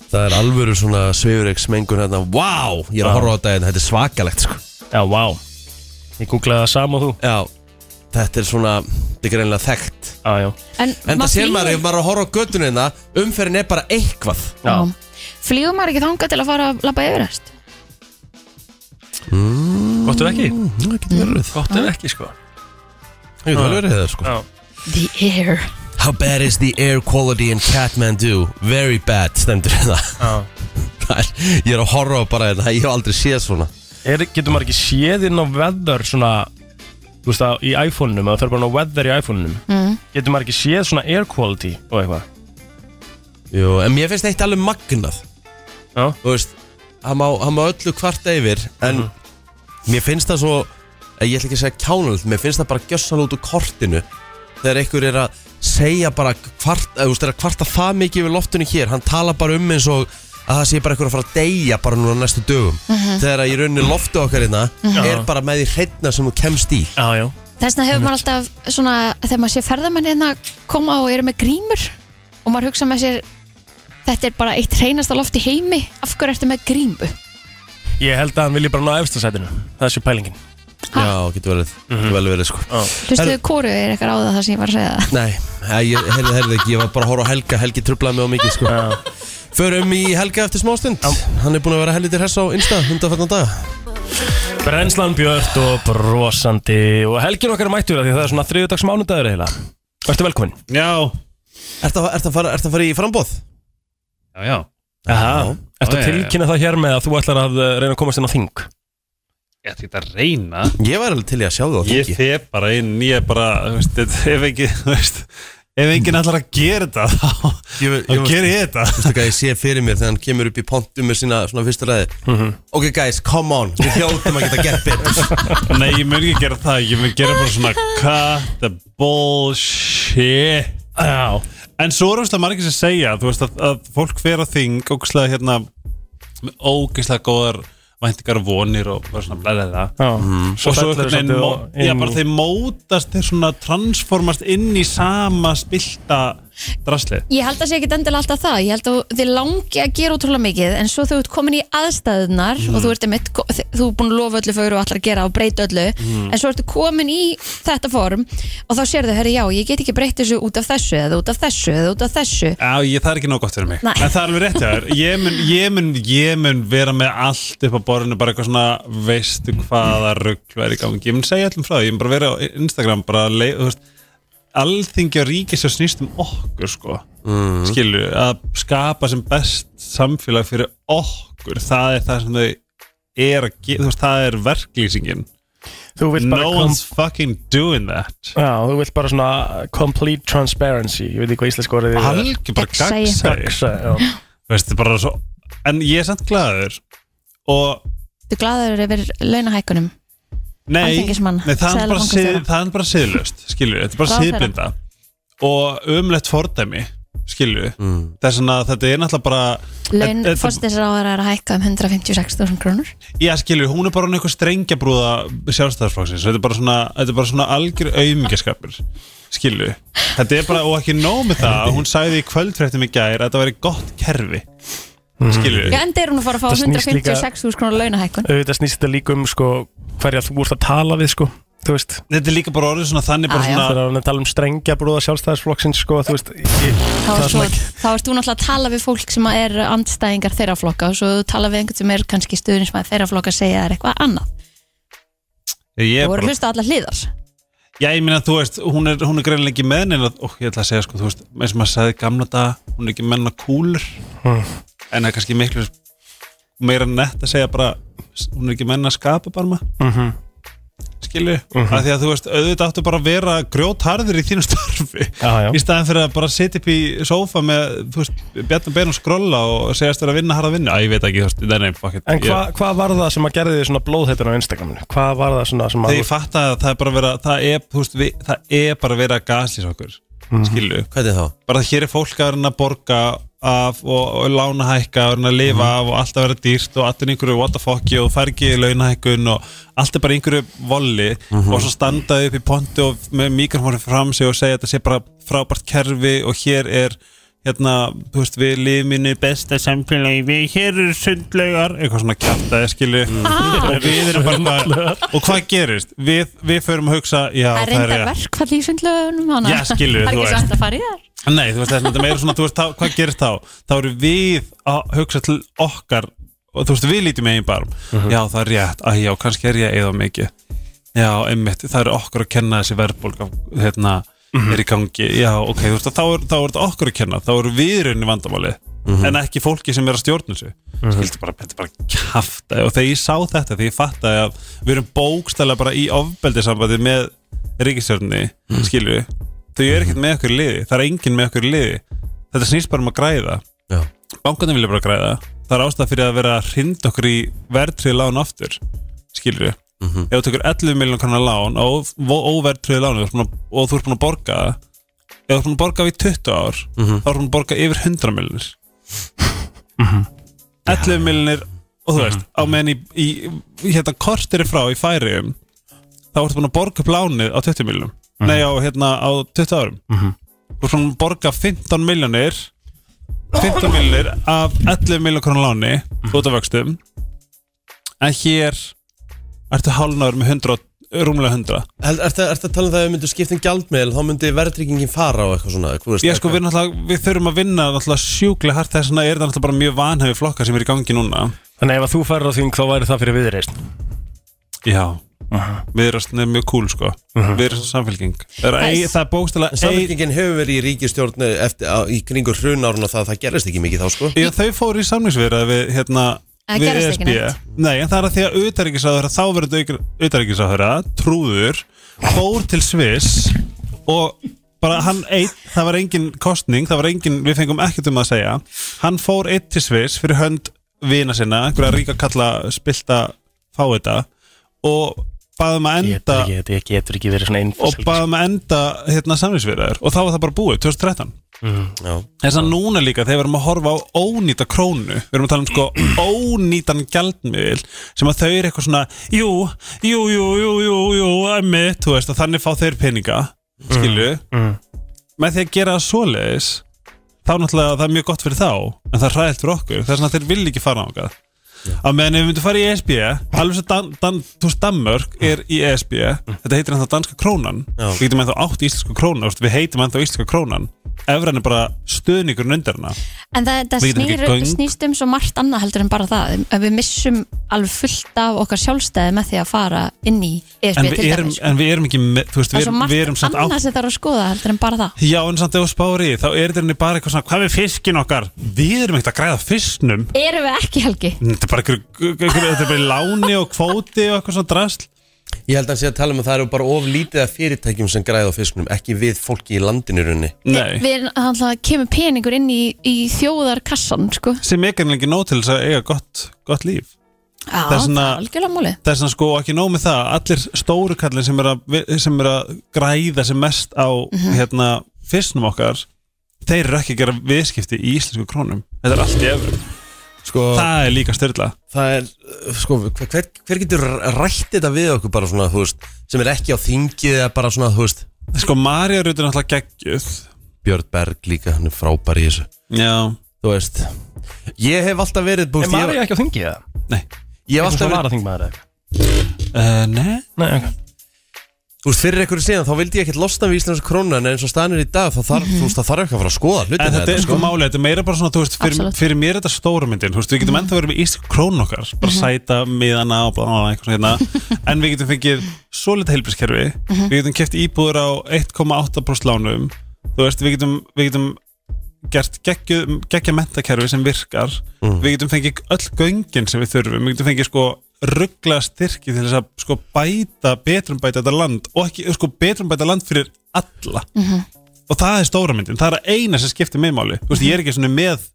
D: Það er alvöru svona svifurreiksmengun hérna Vá, ég er að horfa á þetta hérna Þetta er svakalegt sko
E: Já, vá Ég googlaði það sama og þú
D: Já, þetta er svona Þetta er greinlega þekkt
E: Já, já
D: En
C: En,
D: það sér maður,
C: flýgur-
D: ef maður er að horfa á göttunni hérna Umferðin er bara eitthvað
E: Já.
C: Já. Flýgur maður ekki þangað til að fara að labba yfir þess?
E: Gott ef ekki
D: Það getur verið
E: Gott ef ekki, sko
D: Það getur vel verið það sko
E: Já
C: The air
D: How bad is the air quality in Kathmandu? Very bad, stendur það
E: Já
D: [laughs] Það er- Ég er að horfa á bara þetta, ég hef aldrei séð svona
E: er, Getur maður ekki séð inn á weather svona Þú veist það, í iPhone-num Það fer bara inn á weather í iPhone-num mm. Getur maður ekki séð svona air quality og eitthvað
D: Jú, en mér finnst eitt alveg magnað
E: Já.
D: Þú veist, hann má, hann má öllu kvart yfir En mér finnst það svo eh, Ég ætla ekki að segja kjánald Mér finnst það bara gjössan út úr kortinu Þegar einhver er að segja bara kvart, eða, þú veist, er að kvarta það mikið yfir loftinu hér Hann tala bara um eins og að það sé bara einhver að fara að deyja bara núna á næstu dögum Þegar að í rauninni loftu okkar hérna er bara með því hreitna sem þú kemst í
E: Já, já
C: Þess vegna hefur maður alltaf svona þegar maður sé ferðamenn hérna koma og eru með grímur og maður hugsa með sér þetta er bara eitt hreinasta loft í heimi af hverju ertu með grímu?
E: Ég held að hann vilji bara ná efstasætinu Það er sér pælingin
C: Ha.
D: Já, getur verið, getur vel verið sko
C: Hlustu þau kóru er eitthvað á það það sem ég var að segja
D: Nei, eh, ég heyrði, heyrði ekki, ég var bara að horfa á Helga, Helgi trublaði mig á mikið sko
E: Já
D: Förum í Helga eftir smástund Hann er búin að vera helviti hress á Insta undanfarnan dag
E: Brennslan björt og brosandi Og helgin okkar er mættur af Því að það er svona þriðudags mánudagur eiginlega Ertu velkomin?
F: Já,
D: Ertu að, ert að, fara- ertu að fara í frambóð?
F: já, já
E: Aha,
F: Já,
E: ertu
F: já,
E: að
F: já.
E: tilkynna það hér með að þú ætlar að eh, reyna að komast inn á þing
F: Ég ætti þetta að reyna
D: Ég væri alveg til í að sjá þú á
F: Ég
D: þingi
F: feg bara inn, ég er bara þú veist, þetta- Ef ekki, þú veist Ef enginn ætlar að gera þetta þá,
D: Ég
F: þá
D: veist
F: ger ég þetta
D: ekki að ég sé fyrir mér þegar hann kemur upp í pontu með sína svona fyrstu ræði Ok guys, come on, við hljóðum að geta gett betur
F: [laughs] Nei, ég mun ekki gera það Ég mun gera bara svona Cut the bullshit
E: Já,
F: En svo er það margir sem segja Þú veist að, að fólk fer á þing Ógislega hérna Með ógislega góðar væntingar og vonir Og bara svona blæðið það
E: já
F: Mhm. og svo
E: fellur
F: einhvern
E: svolítið
F: veginn
E: inn
F: já,
E: í-
F: bara þeir mótast þeir svona transformast inn í sama spilta drasli
C: Ég held að sé ekki endilega alltaf það ég held að þið langi að gera útrúlega mikið en svo þú ert komin í aðstæðunar og þú ert einmitt, ko- þi- þú ert búin að lofa öllu fyrir og allar að gera og breyta öllu
E: Mm.
C: en svo ertu komin í þetta form og þá sérðu, herri já, ég get ekki breytt þessu út af þessu eða út af þessu eða út af þessu
F: Já, ég, það er ekki nóg gott fyrir mig
C: Nei.
F: En það er alveg rétt hjá þér ég mun, ég, mun, ég mun vera með allt upp á borðinu Bara eitthvað svona Veistu hvaða rugl er í gangi Ég mun segja allum frá því Ég mun bara vera á Instagram bara leið, þú veist, Alþingi og ríkis og snýst um okkur sko. mm. Skilu Að skapa sem best samfélag fyrir okkur Það er það sem þau er að gera veist, Það er verklýsingin
E: Þú vilt bara
F: No
E: kom-
F: one's fucking doing that
E: Já, þú vilt bara svona complete transparency Ég veit ekki hvað íslensk orðið er.
F: Algjör bara
C: Gagnsæi.
F: gagnsæi
E: Gagnsæ, já.
F: Þú veist, þetta er bara svo En ég er samt glæður Og
C: Þú glaður yfir launahækunum
F: Nei,
C: Alþingismann,
F: nei það, er bara sið,
C: seðlabankastjóra.
F: það er bara siðlust skilur, þetta er bara
C: Ráðherra.
F: siðblinda og umlegt fordæmi skilur, mm. þess vegna þetta er náttúrulega bara
C: Laun
F: þetta-
C: fórstinsráðara er að hækka um 156.000 krónur
F: Já, skilur, hún er bara einhver strengjabrúða sjálfstæðarsflokksins, þetta er bara svona, þetta er bara svona algjör auðmingjaskapur skilur, þetta er bara, og ekki nóg með það, hún sagði í kvöldfréttum í gær að þetta væri gott kerfi skilur,
C: Já, enda er hún að fara að
E: Það
C: fá
E: snýst líka-
C: 156.000 krónur launahækun
E: Auðvitað snýst þetta líka um sko, hverja þú ert að tala við sko. þú veist
F: Þetta er líka bara orðið svona þannig bara
C: Ah, já.
E: þegar
F: svona
E: hann er að tala um strengja brúða sjálfstæðisflokksins sko, þú veist ég,
C: Þá
E: það er
C: ert þú,
E: svona ekki
C: þá ert þú náttúrulega að tala við fólk sem er andstæðingar þeirra flokka og svo þú tala við einhvern sem er kannski stuðnismæð þeirra flokka að segja þér eitthvað annað.
F: Ég
C: Þú
F: er
C: voru að
F: bara
C: hlusta á allar hliðar.
F: Já, ég meina, þú veist, hún er, hún er greinlega ekki með neina og ég ætla að segja, sko, þú veist, eins og maður sagði í gamla dag, hún er ekki menna kúlur
E: Hmm.
F: en það er kannski miklu meira nett að segja bara hún er ekki menna að skapa bara maður mm
E: Mhm.
F: skilju, að því að þú veist auðvitað áttu bara að vera grjótharður í þínu starfi,
E: Já, já.
F: í staðan fyrir að bara sitja upp í sófa með, þú veist bjartum bein og skrolla og segjast vera að vinna harða vinnu, að ég veit ekki, þú veist, það er nefn
E: En hvað hva var það sem að gerði því svona blóðheitun á Instagraminu? Hvað var það svona sem að
F: þegar ég fatt að það er bara verið að það er, þú veist, við, það er bara verið að gaslýsa okkur
E: Mhm.
F: skilju,
D: Hvernig þá?
F: bara hér er fólk að reyna að borga af og, og lána hækka og reyna að lifa af og allt að vera dýrt og allt er í einhverju what the fuck you og fær ekki launahækkun og allt er bara í einhverju volli og svo standa upp í pontu og með mikrofónu fram sig og segja að þetta sé bara frábært kerfi og hér er hérna, þú veist, við lifinu besta samfélagi, við hér eru sundlaugar eitthvað svona kjartaði, skilju og við erum bara og hvað gerist? Við, við förum að hugsa já,
C: Það er reyndar
F: rétt.
C: verkfall í sundlöfunum hana. [laughs]
F: Já, skilur,
C: Það er
F: þú
C: ekki
F: veist.
C: samt að fara í þær.
F: Nei, þú veist það, er svona- þetta er meira svona, þú veist, þá, hvað gerist þá? Þá eru við að hugsa til okkar og þú veist, við lítum eigin barm Já, það er rétt, að já, kannski er ég eða mikið Já, einmitt, það eru okkur að kenna þessi verðbólga, hérna, er í gangi Já, ok, þú veist, þá er, þá er þetta okkur að kenna, þá eru við rauninni vandamáli en ekki fólki sem er að stjórna þessu mm Skiltu bara, þetta er bara kjafta og þegar ég sá þetta, þegar ég fattaði að við erum bókstælega bara í ofbeldisambandi með ríkisjörni, mm þau eru ekkert með okkur í liði það er enginn með okkur í liði þetta snýst bara um að græða
D: Já.
F: bankarnir vilja bara græða það er ástæða fyrir að vera að hrinda okkur í verðtrið lán aftur skilur við ef þú tekur 11 miljonar kannar lán og óverðtrið lán og þú ert búin að- og þú ert búin að borga það, ef þú ert búin að borga við 20 ár þá ert búin að borga yfir 100 miljonir 11 miljonir og þú veist á meðan í, í, í hérna kortir er frá í færiðum þá ertu búin að borga upp lánið á 20 miljonum nei á hérna á 20 árum þú ert búin að borga 15 miljonir 15 miljonir af 11 miljón krónu láni út af vöxtum en hér ertu hálfnaður með 100, rúmlega 100
D: Er þetta að tala um það að við myndum skipta um gjaldmiðl þá myndi verðryggingin fara og eitthvað svona hvað veist,
F: ég sko við náttúrulega, við þurfum að vinna náttúrulega sjúklega hart þess vegna er það náttúrulega bara mjög vanhæfi flokkar sem er í gangi núna
E: Þannig ef að þú færir á þing þá væri það fyrir viðreist
F: já við erum mjög cool sko við erum samfélking það er,
C: Nice.
F: ein- það er bókstælega
D: Samfélkingin hefur verið í ríkistjórn eftir, á, í kringur hrunárun og það, það gerist ekki mikið þá sko
F: Já, þau fóru í samningsverða við, hérna,
C: Það
F: við E
C: gerðist ekki neitt.
F: Nei, en það er að því að utarrikiðsáðurra, þá verður utarrikiðsáðurra, trúður, fór til Sviss og bara hann eitt, það var engin kostning, það var engin, við fengum ekkert um að segja, hann fór eitt til Sviss fyrir hönd vina sinna, einhverja ríka kalla spilta fáiða og baðum að enda
E: Getur ekki, ég getur ekki verið svona
F: og
E: einfæsel
F: baðum að enda hérna samningsverðar og þá var það bara búið, 2013
E: sko.
D: Já,
F: þess að núna líka þegar við erum að horfa á ónýta krónu við erum að tala um sko ónýtan gjaldmiðil sem að þau eru eitthvað svona jú, jú, jú, jú, jú, jú emmitt, þú veist, og þannig fá þeir peninga skilju með því að gera það svoleiðis þá náttúrulega það er mjög gott fyrir þá en það er hræðilt fyrir okkur, þess að þeir vilja ekki fara ángað að meðan ef við myndum fara í ESB alveg sem dan, dan, þú veist Danmörk er í ESB þetta heitir ennþá danska krónan
D: Já.
F: við getum ennþá átt íslensku krónan þú veist, við heitum ennþá íslenska krónan Evran er bara stöðningurinn undir hana
C: En það, það
F: Við getum ekki
C: snýr,
F: göng.
C: snýst um svo margt annað heldur en bara það Ef Við missum alveg fullt af okkar sjálfstæði með því að fara inn í ESB
F: en
C: til
F: við, erum,
C: dæmis
F: en við erum ekki með, þú veist,
C: Það
F: við
C: er svo
F: erum,
C: margt
F: við erum samt
C: annað
F: átt
C: sem þarf að skoða heldur en bara það
F: Já, en samt ef þú spáir í, því, þá er þetta bara eitthvað svona, hvað er fiskin okkar? Við erum ekkert að græða fisknum
C: Erum við ekki helgi?
F: Þetta er bara einhver, einhver, þetta er bara í láni og kvóti og eitthvað svona drasl
D: ég held að hann sé að tala um að það eru bara of lítið af fyrirtækjum sem græða á fisknum, ekki við fólki í landinu í rauninni
F: Nei,
C: Við erum þannig að kemur peningur inn í, í þjóðarkassan sko Já,
F: sem ekki lengi nóg til þess að eiga gott, gott líf
C: það er
F: svona-
C: algjörlega
E: [clears throat]
C: múli
F: það er svona sko ekki nóg með það allir stóru kallin sem er að, sem er að græða sem mest á hérna, fyrstnum okkar þeir eru ekki að gera viðskipti í íslensku krónum þetta er allt í efru
D: Sko, það,
F: það er líka styrla
D: er, uh, sko, hver, hver getur rætt þetta við okkur bara svona, þú veist sem er ekki á þingið eða bara svona, þú veist
F: sko Marja Rut er náttúrulega geggjuð
D: Björn Berg líka, hann er frábær í þessu
F: já
D: þú veist ég hef alltaf verið, búst,
E: En maður
D: ég,
E: er ekki á þingi það?
F: nei
D: ég
E: Eitthvað
D: hef alltaf
E: svona
D: verið
E: varaþingmaður eða eitthvað?
F: uh, nei
E: Nei, ok
D: Þú veist, fyrir einhverju síðan, þá vildi ég ekkert losna við íslenska krónu en eins og staðan er í dag, þá þarf, þú veist, það þarf ekki að fara að skoða hlutina
F: En þetta er
D: þetta,
F: sko málið, þetta er meira bara svona, þú veist, fyrir,
C: Absolutt.
F: fyrir mér er þetta stóra myndin, þú veist, við getum ennþá verið með íslensk krón okkar, bara sæta miðana og bara annað eitthvað svona hérna, en við getum fengið svolítið heilbrískerfi, við getum keft íbúður á 1,8% lánum, þú veist, við getum, við getum gert geggju, geggja mentakerfi sem virkar, við getum fengið öll göngin sem við þurfum, við getum fengið sko ruggla styrki til þess að sko bæta, betrum bæta þetta land og ekki, sko betrum bæta land fyrir alla og það er stóra myndin, það er að eina sem skiptir mig máli, þú veist, ég er ekki svona með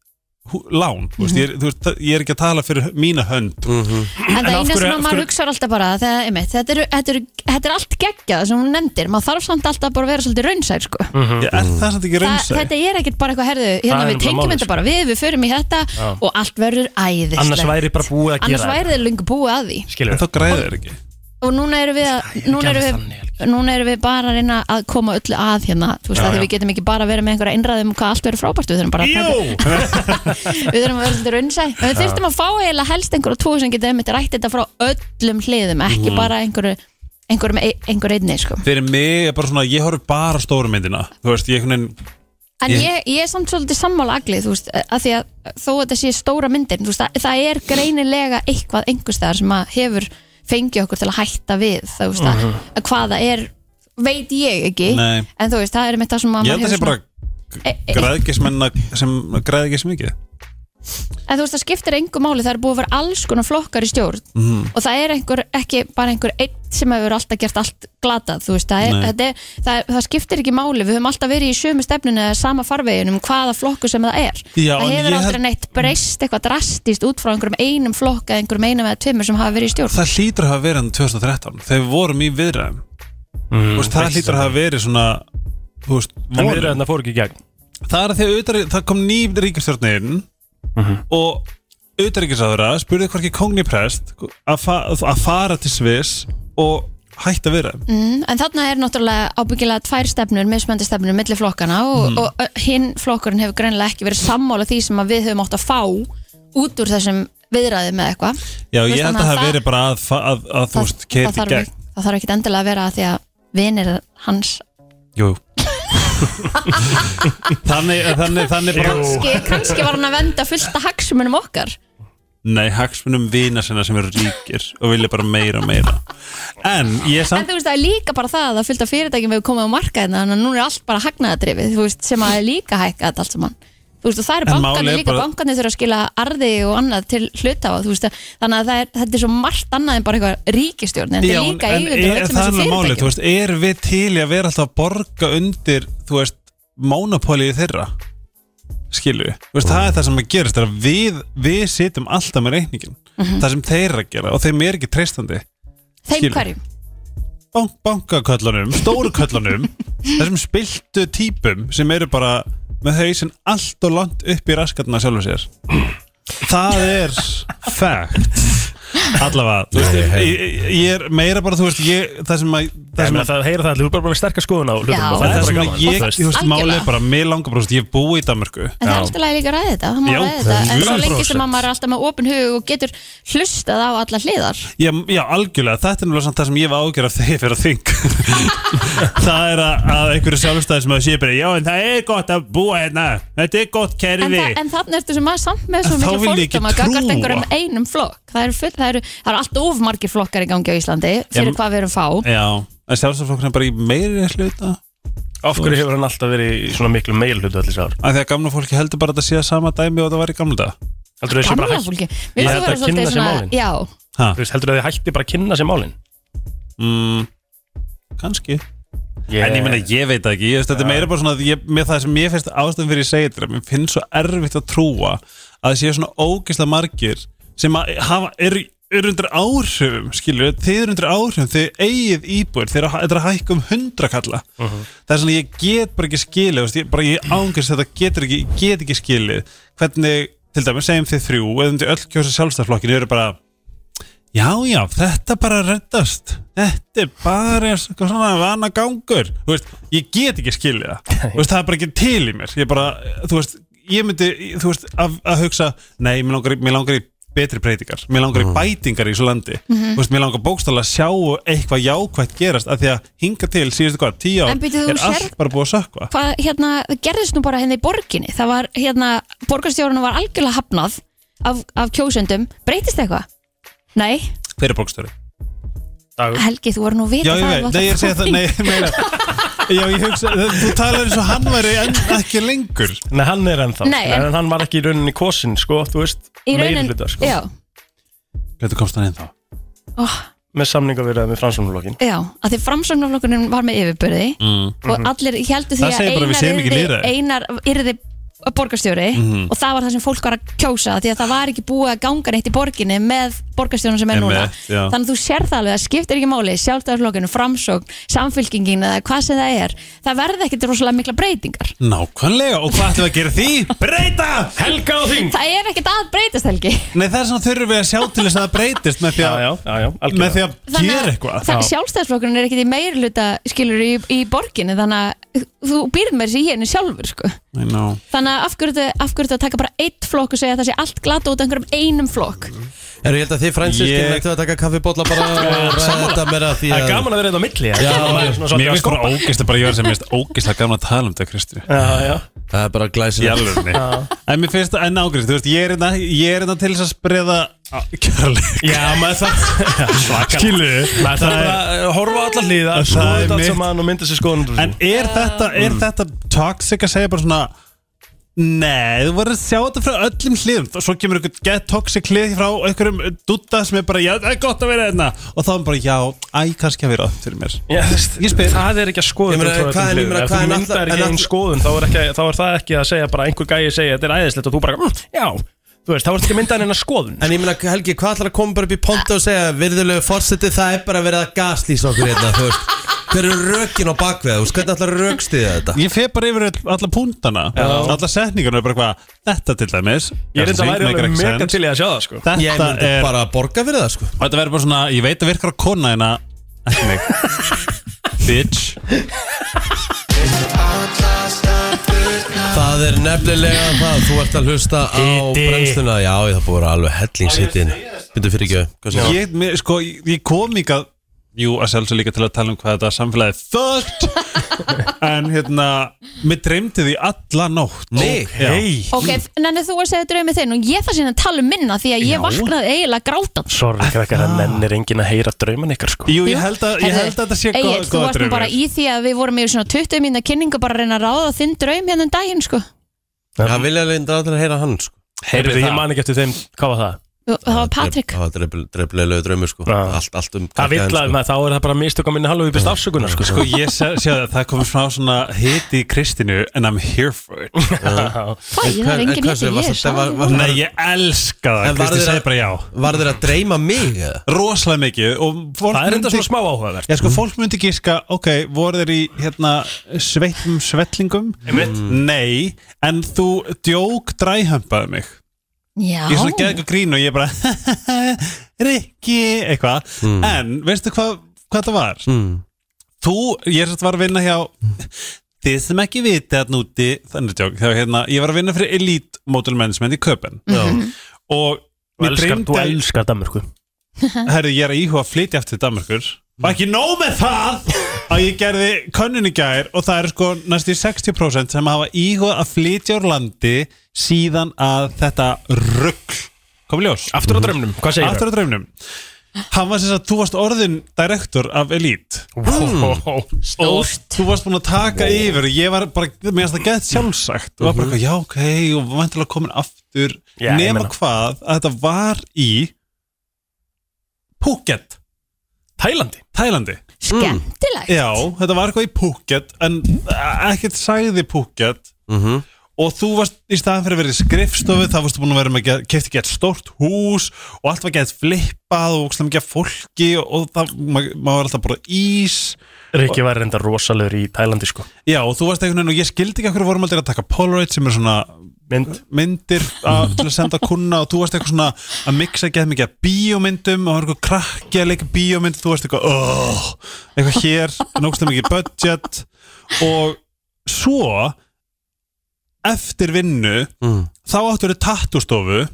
F: hú- lán, þú veist, ég er, þú veist, ég er ekki að tala fyrir mína hönd
C: En það
E: af
C: eina
E: hverju- af
C: sem að maður
E: hverju-
C: hugsar alltaf bara það, einmitt, þetta, er, þetta, er, þetta er allt geggjað sem hún nefndir, maður þarf samt alltaf bara að vera svolítið raunsæk sko.
F: ég er það samt ekki
C: það,
F: raunsa
C: Þetta er ekkert bara eitthvað herðu hérna
E: Mm. Það er
C: við
E: nefnilega
C: tengjum
E: málið,
C: þetta
E: sko.
C: bara við, við förum í þetta
E: Já.
C: og allt verður æðislegt
E: Annars væri bara búið að
C: Annars
E: gera
C: væri þeir lungu búið að því
E: Skilur
F: en þá græðir þeir ekki
C: og núna erum við, að- núna erum við,
E: alveg
C: núna erum við bara að reyna að koma öllu að hérna þú veist
E: Já,
C: að
E: já.
C: við getum ekki bara að vera með einhverja innræðum um hvað allt verður frábært, við þurfum bara að taka
E: Jú!
C: [laughs] við þurfum að vera svolítið raunsæ en við þurftum að fá eiginlega helst einhverju tvo sem getur einmitt rætt þetta frá öllum hliðum ekki
E: Mhm.
C: bara einhverju einhverjum, einhverjum einni sko.
F: fyrir mig er bara svona, ég horf bara á stóra myndina þú veist, ég einhvern veginn
C: en
F: Ég-
C: ég, ég er samt svolítið sammála aglið þú veist, að því að þó að þetta sé stóra myndir veist, það, það er greinilega eitthvað einhverstaðar sem að hefur fengið okkur til að hætta við það, veist, að, að hvaða er veit ég ekki
F: Mhm. Nei.
C: en þú veist, það er mitt það sem
F: ég
C: að maður
F: held að
C: hefur
F: það sé bara
C: e- e-
F: græðgismenna sem græðgis mikið
C: en þú veist það skiptir engu máli það er búið að vera alls konar flokkar í stjórn
F: Mhm.
C: mm. og það er einhver, ekki bara einhver einn sem hefur alltaf gert allt glatað þú veist, það, er,
F: Nei.
C: þetta er, það, er, það skiptir ekki máli við höfum alltaf verið í sömu stefninu eða sama farveginum um hvaða flokku sem það er
F: Já,
C: það
F: en
C: hefur
F: ég
C: aldrei
F: held-
C: neitt breyst eitthvað drastist út frá einhverjum einum flokka eða einhverjum einum eða tveimur sem hafa verið í stjórn
F: það hlýtur að hafa verið hann 2013 þegar við vorum í viðræðum Þú veist, það hlýtur að hafa verið svona þú veist,
E: En
F: vonin.
E: við erum fór ekki í gegn
F: það er að því að utar, það kom ný ríkistjórnin og utaríkisráðurra spurði hvorki kongni prest að, fa að fara til Sviss og hætta að vera
C: Mm, en þarna er náttúrulega ábyggilega tvær stefnur, mismöndi stefnur milli flokkana og,
F: Mhm.
C: og ö, hinn flokkurinn hefur greinlega ekki verið sammála því sem að við höfum átt að fá út úr þessum viðræði með eitthvað
F: Já,
C: Þú
F: ég
C: veist,
F: held
C: þannig
F: að það
C: að
F: hafi verið bara að, fa- að, að þú veist, keiri í
C: þarf
F: gegn
C: ekki- það þarf ekkit endilega að vera að því að vinir hans [laughs]
F: Jú Þannig, þannig, þannig bara
C: kannski, kannski var hann að venda fullt af hagsmunum okkar
F: Nei, hagsmunum vina sinna sem eru ríkir og vilja bara meira og meira En ég
C: en
F: samt
C: þú veist það er líka bara það að fullt af fyrirtækjum hefur komið á markaðina þannig að nú er allt bara hagnaðadrifið þú veist, sem að er líka hækkað þetta allt saman þú veist og það eru
F: En málið
C: bankarnir
F: er
C: líka
F: bara-
C: bankarnir þurfa að skila arði og annað til hlutafa þú veist þannig að það er, þetta er svo margt annað en bara eitthvað ríkistjórn en þetta er líka
F: en
C: eigundur
F: er
C: öllum
F: það
C: þessum
F: alveg málið, þú veist,
C: fyrirtækjum
F: er við til í að vera alltaf að borga undir, þú veist, mónopólið þeirra? Skilu, þú veist, það er það sem að gerist, það er að við, við sitjum alltaf með reikningin,
C: Mhm.
F: það sem þeir eru að gera og þeim er ekki treystandi.
C: þeim
F: skilur.
C: hverjum
F: Bank, bankaköllunum, stóru
C: [laughs]
F: köllunum, þessum spiltu típum sem eru bara með hausinn allt og langt upp í raskatna sjálfur sér. Það er fact. Allavega, þú veist,
D: Nei,
F: ég,
D: hey.
F: ég, ég er meira bara, þú veist, ég, það sem að, það
E: Ég
F: sem
E: meina,
F: að
E: Það heyra það allir, þú er bara bara með sterkar skoðun á hlutum
C: Já.
E: og
F: það er
E: bara
F: sem að
E: gaman,
F: ég,
E: þú
F: þú
E: veist.
F: veist,
C: Algjörlega.
F: málið er bara mig langar bara, þú veist, ég búi í Danmörku
C: En það er alltaf læg líka að ræða þetta, það má
F: Já,
C: ræða þetta
F: það er
C: En svo
F: 100%.
C: lengi sem að maður er alltaf með opin hug og getur hlustað á alla hliðar
F: já, já, algjörlega, þetta er náttúrulega samt það sem ég var ágjör af þegar fyrir að
C: [laughs]
F: þing það er að, að einhverju sjálfstæði sem að sé bara, já, en það er gott að búa hérna þetta er gott
C: En,
F: kerfi
C: þa en þannig ertu sem maður samt
F: En
C: með svo
F: þá
C: mikla
F: vil ég ekki
C: fordóma Gagart
F: trúa.
C: einhverjum einum flokk Það eru, full, það eru, það eru allt of margir flokkar í gangi á Íslandi Fyrir
F: Em-
C: hvað við erum fá
F: já, en sjálfstæðisflokkurinn er bara í meiri hluta
E: Af hverju hefur hann alltaf verið í svona miklu meil hlutu allir sár?
F: af því að gamla fólki heldur bara að þetta sé að sama dæmi og það var í gamla dag
E: Heldur þau bara
C: Gamla
E: hætti
C: fólki
E: Ég
C: Við
E: held
C: þú vera
E: að kynna
C: svolítið
E: sér
C: svona
E: málin.
C: Já,
F: ha,
E: Þú veist, heldur þau hætti bara að kynna sér málin?
F: mm, kannski
E: Ég-
F: En ég meina, ég veit það ekki, ég veist, þetta er meira bara svona að ég, með það sem ég finnst ástæðum fyrir ég segi þetta, mér finnst svo erfitt að trúa að það séu svona ógeðslega margir sem að hafa, eru, eru undir áhrifum, skilur, þið eru undir áhrifum, þið eigið íbúir, þið eru að- þetta er að hækka um hundrakalla. Það er svona, ég get bara ekki skilið, þú veist, ég, bara ég ángast þetta getur ekki, ég get ekki skilið, hvernig, til dæmis, segjum þið þrjú, eða undir öll kjósa sjálfstæðflokkinu eru bara, Já, já, þetta bara reddast Þetta er bara eins og svona vana gangur Þú veist, ég get ekki skilið [laughs] það Þú veist, það er bara ekki til í mér Ég bara, þú veist, ég myndi, þú veist, að, að hugsa Nei, mér langar, í- mig langar í betri breytingar mér langar í bætingar í þessu landi
C: Mhm.
F: Þú veist, mér langar bókstæðlega að sjá eitthvað jákvætt gerast af því að hinga til síðustu hvað, tíu ár
C: En bíddu, þú
F: er allt
C: sérð-
F: bara búið að sökva
C: hvað, hérna, það gerðist nú bara hérna í borginni það var, hérna, borgarstjórunum var algjörlega hafnað af, af kjósendum breytist eitthvað? Nei,
F: hver er bókstæði?
E: Dagur
C: Helgi, þú voru nú að
F: Já,
C: vita
F: ég veit,
C: það þú átt
F: nei, ég segi það,
C: fá
F: nei, meira
C: [laughs]
F: Já, ég hugsa, þú talar eins og hann væri enn ekki lengur
E: Nei, hann er ennþá
C: Nei, en-
E: en hann var ekki í rauninni kosin, sko, þú veist
C: í raunin,
E: meirihluta, sko.
C: já,
F: Hvernig komst hann inn þá?
C: oh,
E: Með samningavirðað með fransunflokkin
C: já, að því framsóknarflokkurinn var með yfirbyrði og allir heldur
F: Mm.
C: því
F: Það segir bara að við séum ekki
C: að
F: lýðræði. Mhm.
C: einar yrði borgarstjóri og það var það sem fólk var að kjósa því að það var ekki búið að ganga neitt í borginni með borgarstjórnum sem er
F: Einmitt,
C: núna
F: já.
C: þannig að þú sér það alveg að skiptir ekki máli sjálfstæðarflokkinu, framsókn, samfylkingin eða hvað sem það er, það verði ekkit rosalega mikla breytingar
F: Nákvæmlega, og hvað ætlum við að gera því? Breyta!
E: Helga á þing!
C: það er ekkit að breytast helgi [laughs]
F: Nei, það er svona þurfum við að sjá til þess að það breytist með því
E: Já,
F: að,
E: já, já, já,
F: með því
E: algjörlega
F: að gera eitthvað
C: það, sjálfstæðarflokkurinn er ekkit í meirluta skilur í, í borginni þannig að þú býrð með þessi í henni sjálfur sko.
F: Nei, ná.
C: þannig að af hverju þetta- af hverju þetta að taka bara eitt flokk og segja að það sé allt glata út af einhverjum einum flokk
D: Eru ég held að þið fransiskin
F: Ég-
D: ég... ættu að taka kaffibólla bara og ræða þetta meira því
E: Það
D: að
E: er gaman að vera þetta á milli
D: Já,
F: Mér finnst bara ógæst að bara ég var sem mest ógæst að gamla tala um þetta, Kristi
E: Já, já,
D: Það er bara
F: Í
D: glæsilegt
F: alvörunni En mér finnst það enn ágæst, þú veist, ég er hérna- ég er hérna til þess að spreða kjörleik
E: já, maður það Skilu Maður það bara að horfa á alla hlýða
F: Það
E: Svo
F: er
E: þetta allt
F: mitt.
E: saman og mynda sér skoðunum
F: En er þetta,
E: Mm.
F: er þetta toxic að segja bara svona Nei, þú verður að sjá þetta frá öllum hliðum og svo kemur einhver get toxic hlið frá einhverjum dutta sem er bara, já, það er gott að vera hérna og þá er bara, já, æ, kannski að vera öll fyrir mér
E: Já, þú veist, það er ekki að skoða
D: Ég meina,
E: þetta um frá
D: hvað
E: öllum
D: er- ég meina,
E: hliðum. Ef þú
D: hvað er
E: myndar ekki
D: náttúrulega- en
E: einn
D: náttúrulega-
E: skoðun þá er, ekki, þá er það ekki að segja bara einhver gæi segja þetta er æðislegt og þú bara, mm, já, þú veist, þá ertu ekki að mynda henni skoðun
D: En ég meina, Helgi, hvað ætlar að koma bara upp í ponta og segja Virðulegu forseti, það er bara verið að gaslýsa okkur hérna, þú veist Hver eru rökin á bakveða, þú veist, hvernig ætlar að rökstiða þetta?
F: Ég fer bara yfir öll- alla púntana alla setningarna er bara hvað, þetta til dæmis
E: Ég er þetta
F: kannski
E: væri
F: make
E: alveg
F: sense.
E: mega til í að sjá það, sko
D: Ég
F: Þetta
D: myndi
F: er,
D: bara að borga fyrir það, sko
F: og þetta verður bara svona ég veit að virkar að kona hérna ekki
E: [laughs]
F: mig Bitch
D: Það er nefnilega það, þú ert að hlusta á
E: Hitti.
D: brennsluna Já, ég það búið að vera alveg hellingshittin Bindu fyrir ekki, hvað segir
F: ég, mér, sko, ég ég kom hingað Jú, að sjálfsög líka til að tala um hvað þetta samfélagið þögt
D: [laughs]
F: En hérna, mér dreymdi því alla nótt
D: Nei.
F: okay.
C: ok, nenni þú að segja draumið þinn og ég það síðan að tala um minna því að ég
F: Já.
C: vaknaði eiginlega sko.
D: Ah,
C: grátans
E: Sorry, krakkar, það nennir enginn að heyra drauman ykkar, sko
F: Jú, ég held að, ég held að þetta sé
C: Egil,
F: góð,
C: þú varst nú bara
F: draumur
C: í því að við vorum yfir svona 20 mínna kynningu bara að reyna að ráða þinn draum hérna um daginn sko.
D: Já, vilja leindar allir að heyra hann, sko
E: Heyrðu,
F: það.
E: ég man ekki eftir þeim, hvað var það?
C: Þú- það var Patrik
D: Það var dreiflega draumur, sko
E: Já.
D: Allt, allt um
E: Það vill að, maður, þá er það bara mistök á minni halvu við byrst afsökunar, sko
F: Sko, ég sé, sé að það komið frá svona hiti í Kristinu And I'm here for it
C: hvað, það er engin hitti, ég er sáð
D: Var,
F: Nei, ég elska það,
D: En varð
F: Kristi
D: þér að-
F: segi bara já
D: var þeir að dreyma mig, eða?
F: Rosalega mikið og fólk
E: Það er enda
F: myndi-
E: svona smá áhugavert
F: Já, sko, fólk myndi gíska, ok, voru þeir í hérna, sveittum svellingum?
E: Einmitt.
F: Nei, en þú djók dræhömpaði mig.
C: já,
F: Ég er svona geði eitthvað grín og ég bara, [laughs] Rikki, eitthvað.
E: Mm.
F: En, veistu hvað hva það var?
D: Mm.
F: Þú, ég er satt var að vinna hjá, þið sem ekki viti að núti, þannig djók, þá hérna, ég var að vinna fyrir Elite Model Management í Köpen.
D: Já.
F: Og
E: Þú
F: mér
E: elskar,
F: dreymdi
E: þú
F: að,
E: elskar sko. Danmörku
F: herru, ég er að íhuga að flytja aftur til Danmarkur. Og ekki nóg með það að ég gerði könnun í gær og það er sko næstu í 60% sem hafa íhuga að flytja úr landi síðan að þetta rugg kom í ljós.
E: Aftur á drömmnum, hvað segir
F: Aftur á draumnum. Hann var sem sagt, þú varst orðin direktor af Elite
D: Hmm.
F: og þú varst búin að taka yfir og ég var bara, mér finnst það gett sjálfsagt og var bara, eitthvað, já ok, og vantilega komin aftur
E: Já, ég
F: nema
E: meina.
F: hvað að þetta var í Phuket,
E: Tælandi
F: Tælandi
C: skemmtilegt
F: Mm. Já, þetta var eitthvað í Phuket en ekkert sagði Phuket
D: Mhm.
F: og þú varst í staðan fyrir að vera í skrifstofu þá varstu búin að vera með að kefti gett stórt hús og allt var gett flippað og ógeðslega mikið af fólki og það, ma maður var alltaf bara ís
E: Rikki var reynda rosalegur í Tælandi, sko
F: Já, og þú varst einhvern veginn og ég skildi ekki að hverju vorum aldrei að taka Polaroid sem er svona
E: Mynd
F: myndir að, til að senda kunna og þú varst eitthvað svona að mixa gett mikið af bíómyndum og var eitthvað krakki að leika bíómynd þú varst eitthvað, oh, eitthvað hér nógstum mikið budget og svo eftir vinnu
D: Mm.
F: þá áttur þau tattustofu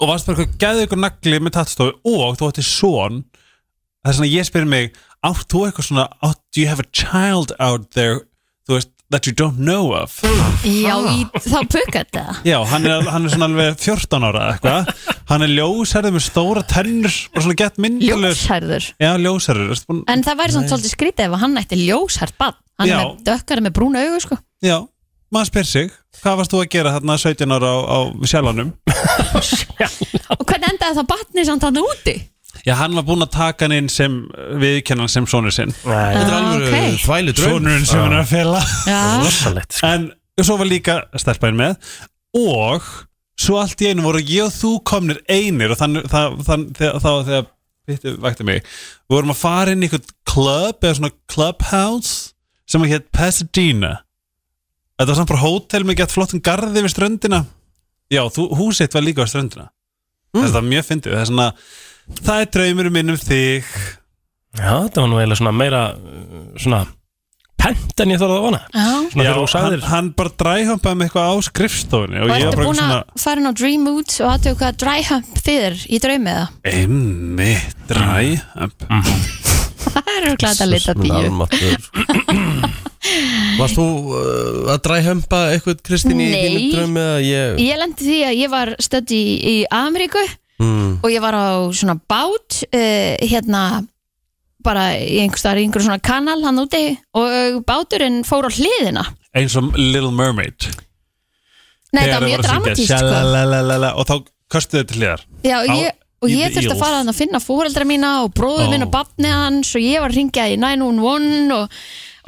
F: og varst bara eitthvað gæði ykkur nagli með tattstofu og þú ætti son það er svona ég spyrir mig átt þú eitthvað svona átt, do you have a child out there þú veist, that you don't know of
C: Já, í,
F: Ah.
C: þá
F: [laughs]
C: pukkaði það
F: já, hann er, hann er svona alveg 14 ára eða eitthvað, hann er ljósherður með stóra tennur og svona gett myndalur
C: Ljósherður
F: já, ljósherður, ertu búin
C: En það væri samt svolítið skrítið ef hann ætti ljóshært bann Hann
F: Já.
C: er dökkari með brúna augu sko
F: já, maður spyr sig hvað varst þú að gera þarna 17 ára á, á sjálfanum
C: Og hvernig endaði það batnið samt hann úti?
F: já, hann var búin að taka hann inn sem viðkennan sem sonur sinn
E: Nei,
D: Þetta er alveg
C: ok.
D: þvælu draun
F: sonurinn sem hann er að fela
C: Já,
E: rosalegt sko.
F: en svo var líka stelpæn með og svo allt í einu voru ég og þú komnir einir og þann, það, þann, þegar, þá þegar Vittu vakti mig, við vorum að fara inn í eitthvað club eða svona clubhouse sem að hétt Pasadena þetta var samt bara hótel með gett flottum garði við ströndina já, þú, húsitt var líka við ströndina þetta var mjög fyndið, það er svona það er draumur minn um þig
E: Já, þetta var nú eiginlega svona meira uh, svona pent en ég þorði að vona
C: já
E: Svona
F: já,
E: þegar þú
F: hann,
E: sagðir
F: hann bara dræhampaði með eitthvað á skrifstofunni og
C: Og
F: ég
C: ertu
F: var bara
C: búin
F: svona
C: að fara inn á Dream Moods og aðtöku hvað dryhump þýðir í draumið það?
F: Einmitt, dræ upp.
C: Það er örglega þetta lita bíu
D: Varst
C: [laughs]
D: þú uh, að dræhempa eitthvað Kristín í
C: Nei.
D: þínum draum eða ég
C: Ég lendi því að ég var stödd í, í Ameríku
D: Mm.
C: og ég var á svona bát uh, hérna bara í einhvers staðar í einhver svona kanal hann úti og báturinn fór á hliðina
F: Eins og Little Mermaid
C: Nei, þetta var
F: Þegar þau voru að
C: mjög
F: syngja
C: dramatískt sko.
F: "Shalalalalala", Og þá köstuðu þau til hliðar
C: Já, og
F: Á-
C: ég, og
F: í
C: ég
F: the
C: þurfti að
F: Eels.
C: fara hann að finna fóreldra mína og bróður
F: Ó.
C: minn og barni hans og ég var að ringja í 911 og,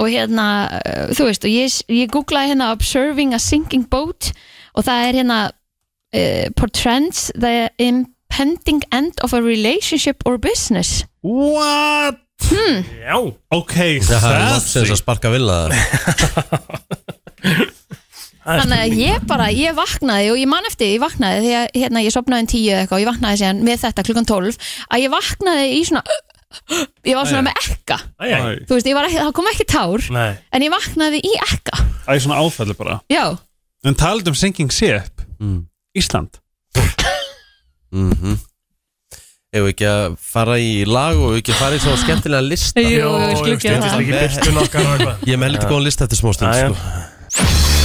C: og hérna, eh, þú veist og ég, ég googlaði hérna Observing a Sinking Boat og það er hérna uh, Portrends the impending end of a relationship or business
F: What?
C: Hmm.
E: Já,
F: Ok,
D: Það er loksins
F: þessi
D: að sparka vilja þar
C: Þannig að ég bara, ég vaknaði og ég man eftir, ég vaknaði því að hérna, ég sopnaði um tíu eða eitthvað og ég vaknaði síðan með þetta klukkan 12 að ég vaknaði í svona [gasps] ég var svona með ekka
E: æj, æj
C: þú veist, ég var ekki, það kom ekki tár
E: Nei,
C: en ég vaknaði í ekka
F: Það er svona áfællu bara
C: já,
F: En talað um Sinking Ship
D: Mm.
F: Ísland
D: mm -hmm. Ef við ekki að fara í lag og við ekki að fara í svo skemmtilega lista
C: Jú, við skulum gera
E: stundist
C: það.
E: ekki byrstu nokkar og eitthvað
D: Ég er með heldur góðan lista eftir smástund
E: Jæja.
D: sko.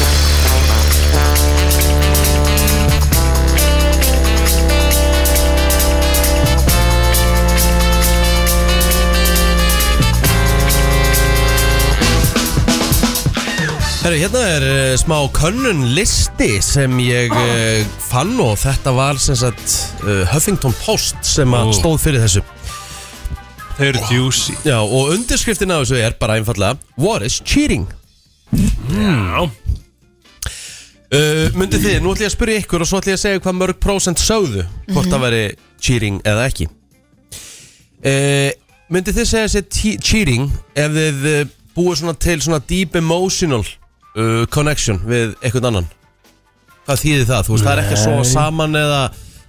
D: Herru, hérna er uh, smá könnun listi sem ég uh, fann og þetta var sem sagt uh, Huffington Post sem að
F: Ó.
D: stóð fyrir þessu
F: Þau eru juicy
D: Já, og undirskriftin af þessu er bara einfallega What is cheating?
E: Já,
D: Uh, Mundið þið, nú ætlum ég að spyrja ykkur og svo ætlum ég að segja hvað mörg prósent sögðu hvort það væri cheating eða ekki uh, Mundið þið segja sér te- cheating ef þið uh, búið svona til svona deep emotional uh, connection við einhvern annan Hvað þýðir það? Þú veist, það er ekki að sofa saman eða,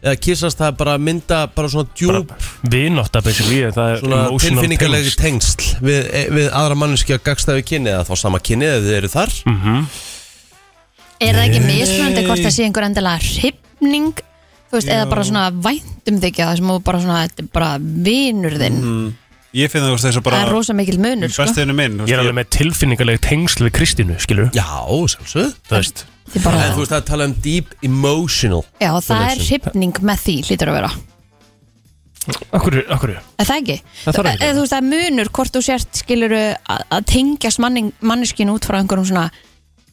D: eða kissast, það er bara að mynda bara svona djúp,
E: vinótt að byrja við Það er
D: svona
E: emotional
D: tilfinningalegi
E: tengsl.
D: tengsl við, e- við aðra manneski að gagstaðu kynni eða þá sama kynni eða þið eru þar
E: Mm.
C: er það ekki mismunandi hvort það sé einhver endilega hrifning þú veist, eða bara svona væntum þykja það sem þú bara svona, þetta er bara vinur þinn
F: Ég finn það þess að bara
C: það er rosa mikil munur, sko
F: Bestiðinu minn þú
E: Ég er alveg
F: veist,
E: með tilfinningalegi tengsl við Kristínu, skilur
D: Já, sjálfsögðu
E: Það veist
C: Þetta er bara,
D: En þú veist það er að tala um deep emotional
C: já, það er hrifning með því, hlýtur að vera
E: Akkur, akkur
C: Er það ekki?
E: Það þarf ekki.
C: Eða þú veist, það er munur hvort þú sért skilur að tengjast manning, manneskinu út frá einhverjum svona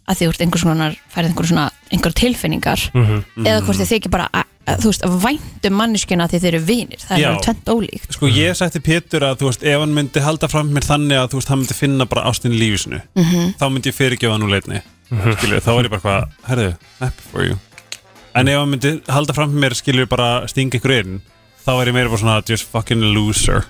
C: að því þú ert einhver svona, færið einhver svona einhver tilfinningar
E: Mhm.
C: eða hvort þið þykir bara að, að, þú veist, að væntum manneskinu að þið eru vinir, það er
F: Já.
C: alveg tvent ólíkt
F: Sko ég sætti Pétur að þú veist Ef hann myndi halda fram mér þannig að þú veist Hann myndi finna bara ástin í lífisinu -hmm. Þá myndi ég fyrirgefa hann úr leitni Skilju, þá er ég bara hvað Herðu, happy for you En ef hann myndi halda fram mér skilju bara stinga ykkur inn Þá er ég meira bara svona just fucking loser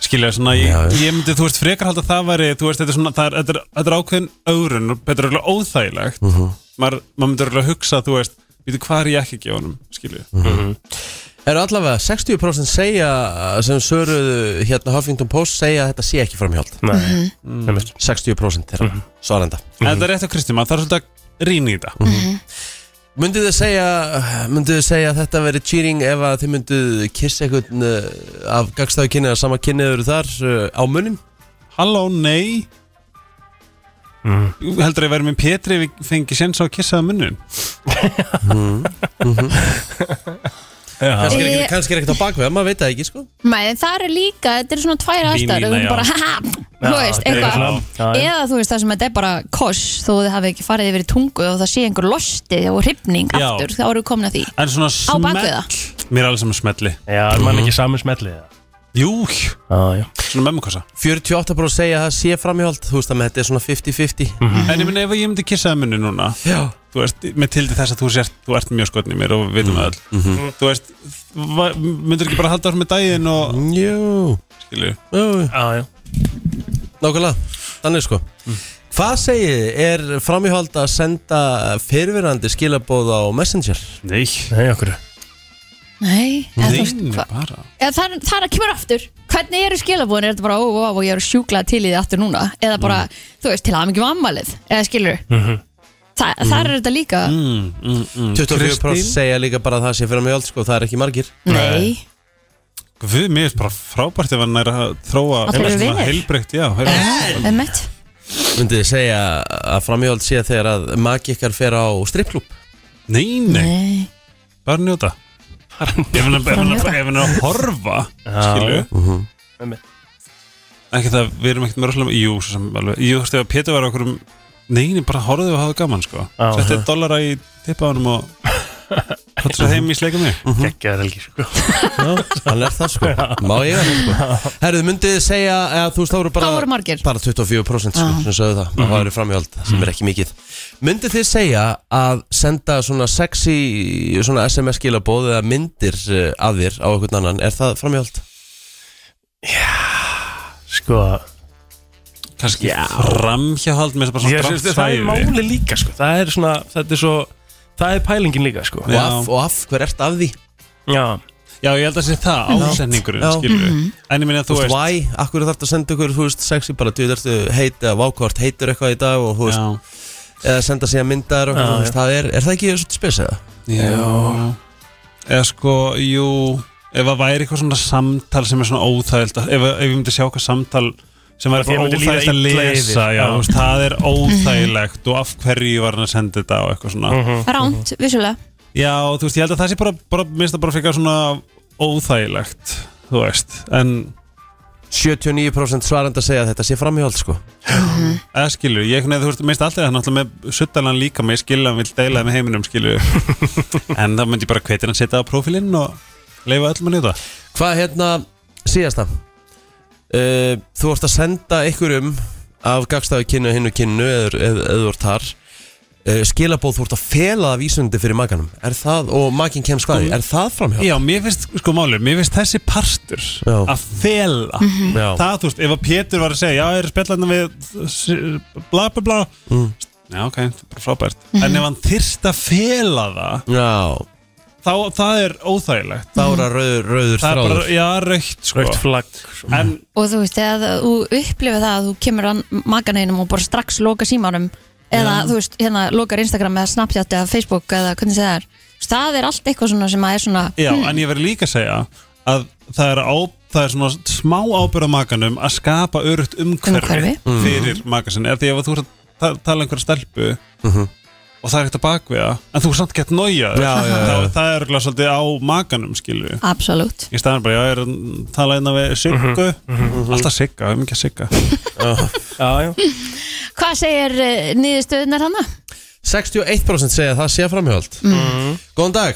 F: Skilju, svona ég, ég myndi Þú veist frekar halda að það væri Þú veist þetta er svona það er, þetta er, þetta er ákveðin ögrun og Þetta er alveg óþægilegt mm -hmm. Maður maður myndi alveg hugsa þú veist Býtu hvað er ég ekki að gefa honum skilju
D: Eru allavega 60% segja sem söruðu hérna Huffington Post segja að þetta sé ekki framhjáld
E: Nei, nefnir Mhm.
D: 60% þeirra svarenda
F: En þetta er rétt á Kristi maður þarf svolítið að rýna í þetta
D: Myndið þið segja, myndið þið segja að þetta veri cheering ef að þið myndið kissa einhvern uh, af gagstaðu kynni að sama kynnið eru þar uh, á munnin?
F: Halló, nei Heldur að ég væri með Petri ef ég fengi séns á að kissa það munnum
D: Kannski er
C: Ég-
D: ekkert- kannski er ekkert á bakveg, maður veit það ekki sko
C: Nei, en það er líka, þetta er svona tvær aðstæður
E: Línuna,
C: þú
E: já.
C: bara, haha, þú veist,
E: þetta er
C: eitthvað
E: svona- já, já.
C: eða þú veist það sem þetta er bara koss þó þið hafi ekki farið yfir í tungu og það sé einhver losti og hrifning
F: Já.
C: aftur þá eru komin að því
F: En svona
C: bakvið það?
F: smell Mér er alveg saman smelli
E: Já, er mann ekki saman smellið það?
F: Jú,
E: Mm-hmm. Já, já.
F: svona memmukossa
D: 48 bara segja að það sé framhjóld, þú veist að með þetta er svona 50-50
F: En ég meni ef ég myndi kissa það munni núna
D: Já
F: Þú veist, með tildi þess að þú sért, þú ert mjög skotn í mér og við vitum það öll Þú veist, va- myndir ekki bara halda þar með daginn og
D: Jú,
F: skilur
D: jú,
E: Já, já.
D: nákvæmlega, þannig sko Hvað segið, þið? er framhjóld að senda fyrirverandi skilabóð á Messenger?
F: Nei,
E: Nei, okkur.
C: Nei, eða, þú veist,
F: nei,
C: hva,
F: bara
C: eða það, er- það er að kemur aftur hvernig eru skilabúin, er þetta bara ó, ó, ó, ég er sjúklað til í því aftur núna eða bara, þú veist, til að mikið ammalið eða skilur Þa, þar er þetta líka,
F: mm, mm, mm.
D: 24%
F: Kristín?
D: segja líka bara að það sé framhjóld sko, það er ekki margir
C: nei
F: Guð, mér er bara frábært ef hann er að þróa
C: Að þeir eru vinir?
F: Heilbreykt, já heyrðu.
C: emmett,
D: Myndið þið segja að framhjóld sé þegar að maki ykkar fer á strippklub
F: Nei, nei,
C: nei
F: bara njóta Ef hann er- ef hann er- ef hann er að horfa Skilju
D: Mhm.
E: Einmitt.
F: Ekki það, við erum ekkert með rosalega Jú, svo sem alveg Jú, þú veist, ef Pétur var okkur um Nei, nei, bara horfðu og hafa gaman, sko
E: Já,
F: Setti dollara í tippa honum
D: [laughs]
F: og Hattu svo heim í sleika mig
D: Mhm.
E: Gekkjaður helgi, sko.
D: Hann er það sko, má ég að það sko Herðu, myndið þið segja að þú veist þá eru bara
C: Þá voru margir. Ah.
D: Bara 24% sko,
C: Já.
D: sem sögðu það Það eru framhjóld, sem er ekki mikið Myndið þið segja að senda svona sexy svona SMS skilabóð eða myndir eh, að þér á einhvern annan Er það framhjóld?
E: Sko,
F: Kanski framhjáhald með þess
E: ég
F: bara svona
E: syns það er
F: drátt sæði
E: máli líka, sko. Það er svona, þetta er svo, það er pælingin líka, sko.
D: Og
F: Já.
D: af, og af, hver ert af því?
E: Já,
F: Já, ég held að sé það, ásendingurinn,
D: Já.
F: skilju En ég minna að
D: Þú
F: þú
D: veist,
F: veist
D: why? Akkur þarf þetta að senda ykkur, þú veist, sexy bara Þú veist, heita, vákvart, heitir eitthvað í dag og þú veist,
F: Já,
D: eða senda síðan myndar og
E: Já,
D: þú veist, það er, er það ekki svolítið spes eða?
F: Já Eða sko, jú Ef það væri eitthvað svona samtal sem er svona óþægild Ef, ef ég myndi sjá eitthvað samtal sem væri
E: Þér
F: eitthvað
E: myndi líða
F: óþægild að
E: illa
F: lesa já,
E: yfir, já.
F: þú veist, Það er óþægilegt og af hverju var hann að senda þetta og eitthvað svona
C: ránt, vissulega
F: Já, þú veist, ég held að það sé bara, bara minnst það bara fyrir svona óþægilegt Þú veist, en
D: 79% svarandi að segja að þetta sé framhjóld sko
F: eða skilur, ég hvernig, þú veist, minnst alltaf það náttúrulega með suttalann líka með skilur hann vil deila með heiminum skilur [laughs] en það myndi ég bara hvetir hann setja á prófílinn og leifa öllum að njóta
D: Hvað hérna síðasta? Uh, þú ert að senda ykkurum af gagstafi kynnu hinn og kynnu eða eð, eð þú ert þar uh, skilabóð þú ert að fela það vísundi fyrir makanum er það, og makinn kemst hvaði,
F: Sko,
D: er það framhjóld?
F: Já, mér finnst, sko málið, mér finnst þessi partur
D: Já. Mhm.
F: að fela
D: Já,
F: það, þú veist, ef að Pétur var að segja já, ég er spjallarna við s- bla bla bla
D: Mm.
F: já, ok, það er bara frábært
D: Mhm.
F: en ef hann þyrst að fela það
D: Já.
F: þá, það er óþægilegt
D: þá er það rauður, rauður
F: það er
D: þráður
F: bara, já, raukt, sko
E: raukt flagg, sko.
F: en,
C: og þú veist, eða þú upplifa það að þú kemur að maganeginum og bara strax loka símanum eða þú veist, hérna lokar Instagram eða Snapchat eða Facebook eða hvernig það er Þú veist, það er allt eitthvað svona sem að er svona
F: já, en ég verði líka að segja að það er, á, það er svona smá ábyrða makanum að skapa örugt umhverfi,
C: Umhverfi.
D: Mhm.
F: fyrir makasin eða því ef að þú ert að ta- tala um einhverja stelpu og það er ekkert að bakviða en þú er samt gett nójað
D: Mhm. Já, já, já.
F: það, það er örugglega svolítið á makanum skilju
C: absolutt
F: í staðan bara, já, ég er að tala einna við
D: Mhm,
F: Siggu, alltaf Sigga, við erum ekki að Sigga
E: Já, já.
C: hvað segir uh, niðurstöðunar hana?
D: 61% segja að það sé framhjóld Góðan dag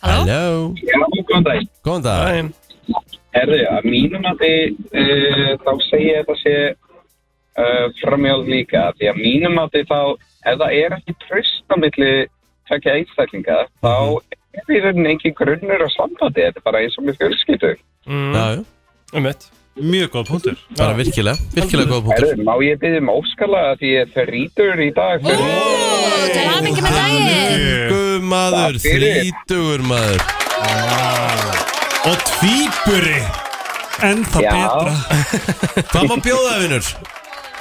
C: Halló?
D: Hello.
G: Já, góðan dag.
D: Góðan dag
E: Daginn.
G: Herðu, að mínum að þið, uh, þá segja þetta sé uh, framjálf líka. Því að mínum að þið þá, ef það er ekki tröst á milli tvekja einstaklinga, þá er í rauninni engin grunnur á sambandi. Þetta er bara eins og með fjölskyldu.
D: Já, já.
E: Um mitt.
F: mjög góð punktur
D: bara virkilega, virkilega góða punktur
G: Herðu, má ég biðja um óskala að því ég er þrítur í dag. Fyrir...
C: Ó, til hamingi með daginn
D: Þrítugur maður,
G: Takk fyrir.
D: þrítugur maður
F: og tvíburi en það
G: Já.
F: betra
D: [laughs] Hvað má bjóða, vinnur?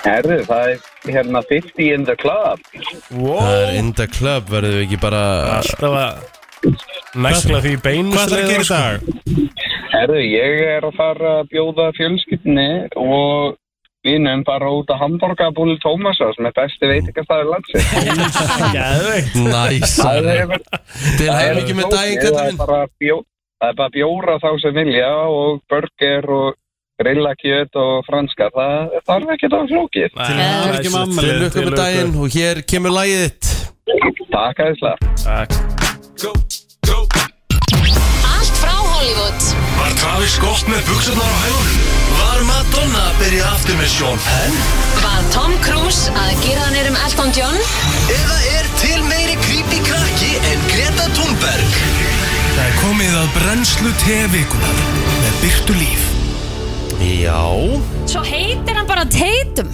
G: Herðu, það er hérna 50 in the club.
E: Wow,
D: Það er in the club, verðum við ekki bara
E: alltaf að næsla því beinu
F: Hvað ætlar að gera í dag?
G: Herðu, ég er að fara að bjóða fjölskyldinni og vinum bara út að hamburgabúli Tómasar sem er besti veitingastæður landsins.
E: Geðveikt.
G: Það
D: næsari
G: er-
D: Til
G: það er
D: hefði ekki með daginn,
G: flókið,
D: kallar
G: það er
D: minn
G: bara bjó- Það er bara bjóra þá sem vilja og burger og grillakjöt og franska. Það það er ekki það flókið.
E: Nei,
C: Til
E: það er
F: hamingju
E: svo-
F: með afmælið.
D: Til lukku með daginn og hér kemur lagið þitt
G: Takk aðeinslega.
E: Takk.
H: Allt frá Hollywood
B: Var Travis gott með buksunar á hægunum? Var Madonna að byrja aftur með Sean Penn?
H: Var Tom Cruise að gera hann erum Elton John
B: Eða er til meiri creepy krakki en Greta Thunberg? Það er komið að brennslu tevikunar með byrtu líf.
D: Já,
C: Svo heitir hann bara Tatum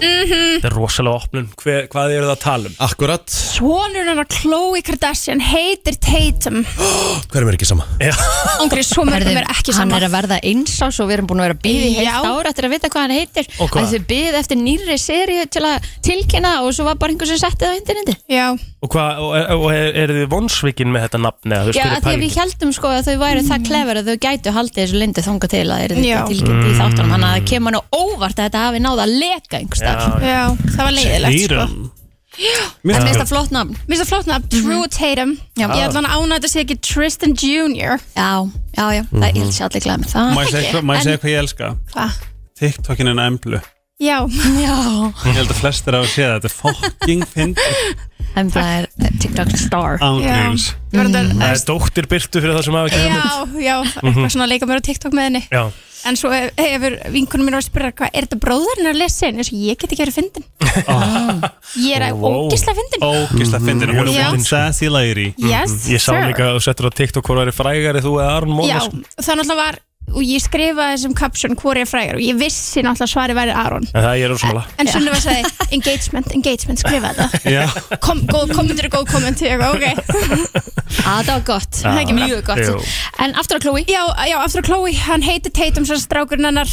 E: Þetta er rosalega opnun. Hver, hvað eru það að tala um?
D: akkurat
I: Svonur hennar Khloe Kardashian heitir Tatum
D: Hver er mér ekki sama?
I: Ángri, svo mörgum er ekki
C: hann
I: saman
C: er að verða einsás og við erum búin að vera að býða í heilt
I: Já.
C: ár eftir að vita hvað hann heitir
E: Og hvað?
C: að þau býð eftir nýri seríu til að tilkynna og svo var bara einhver sem setti það á interneti
I: Já,
E: Og, hvað, og, og er, eru þið vonsvikin með þetta nafni? eða þú
C: Já,
E: spyrir
C: að því að
E: pælingu?
C: við heldum sko að þau væri það klefur að þau gætu haldið þessu lindu þanga til að það er
I: Já.
C: þetta tilkynnt
F: Mm.
C: í þáttunum þannig að það kemur nú óvart að þetta hafi náða að leka einhvers staðar.
E: Já,
I: já, það var leiðilegt sko.
E: Dýrum.
C: En minnst það flott nafn
I: Mér finnst það flott nafn, Drew Tatum
C: Mhm. Já.
I: Ég ætla hann ánægt að segja ekki Tristan Jr.
C: Já, já, já, það er ills allir glæð með það
F: Mhm. Má ég segja
I: ekki.
F: hvað- má ég segja
I: En-
F: hvað ég elska?
I: Hva?
F: TikTokin en emblu
I: Já,
C: Já,
F: Ég held að flestir á að sé þetta Þetta er fucking fynd
C: en það er TikTok star
F: ángríns
I: ég var þetta
E: Það er dóttir Byrtu fyrir það sem hafa ekki
I: Já,
E: hugmynd.
I: já,
E: Mhm.
I: eitthvað svona að leika mér á TikTok með henni
E: Já.
I: En svo hef- hefur vinkunum mér að spyrja hvað, er þetta bróðarinn að lesa henni? Svo ég get ekki verið fyndin Ég er að
E: Wow.
I: ógislega fyndin
F: Ógist að fyndin Ah, Hún
I: Já.
F: er Mm, fyndin sko. sassy lady
I: Yes,
E: mhm, Ég sá
I: sir.
E: líka að þú settur á TikTok hvort væri frægari þú eða Aron
I: Já,
E: Mónas.
I: það náttúrulega var og ég skrifaði þessum caption hvori er frægar og ég vissi náttúrulega svari væri Aron
E: En það ég er rosalega.
I: en Sunniva sagði engagement, engagement, skrifaði þetta
F: Já
I: Kom, góð kommentur er góð komment ég, eitthvað, ok.
C: Að það var gott,
E: Já,
C: mjög
E: jú.
C: gott En aftur að Chloe
I: já, já, aftur að Chloe, hann heiti Tatum sem strákurinn hennar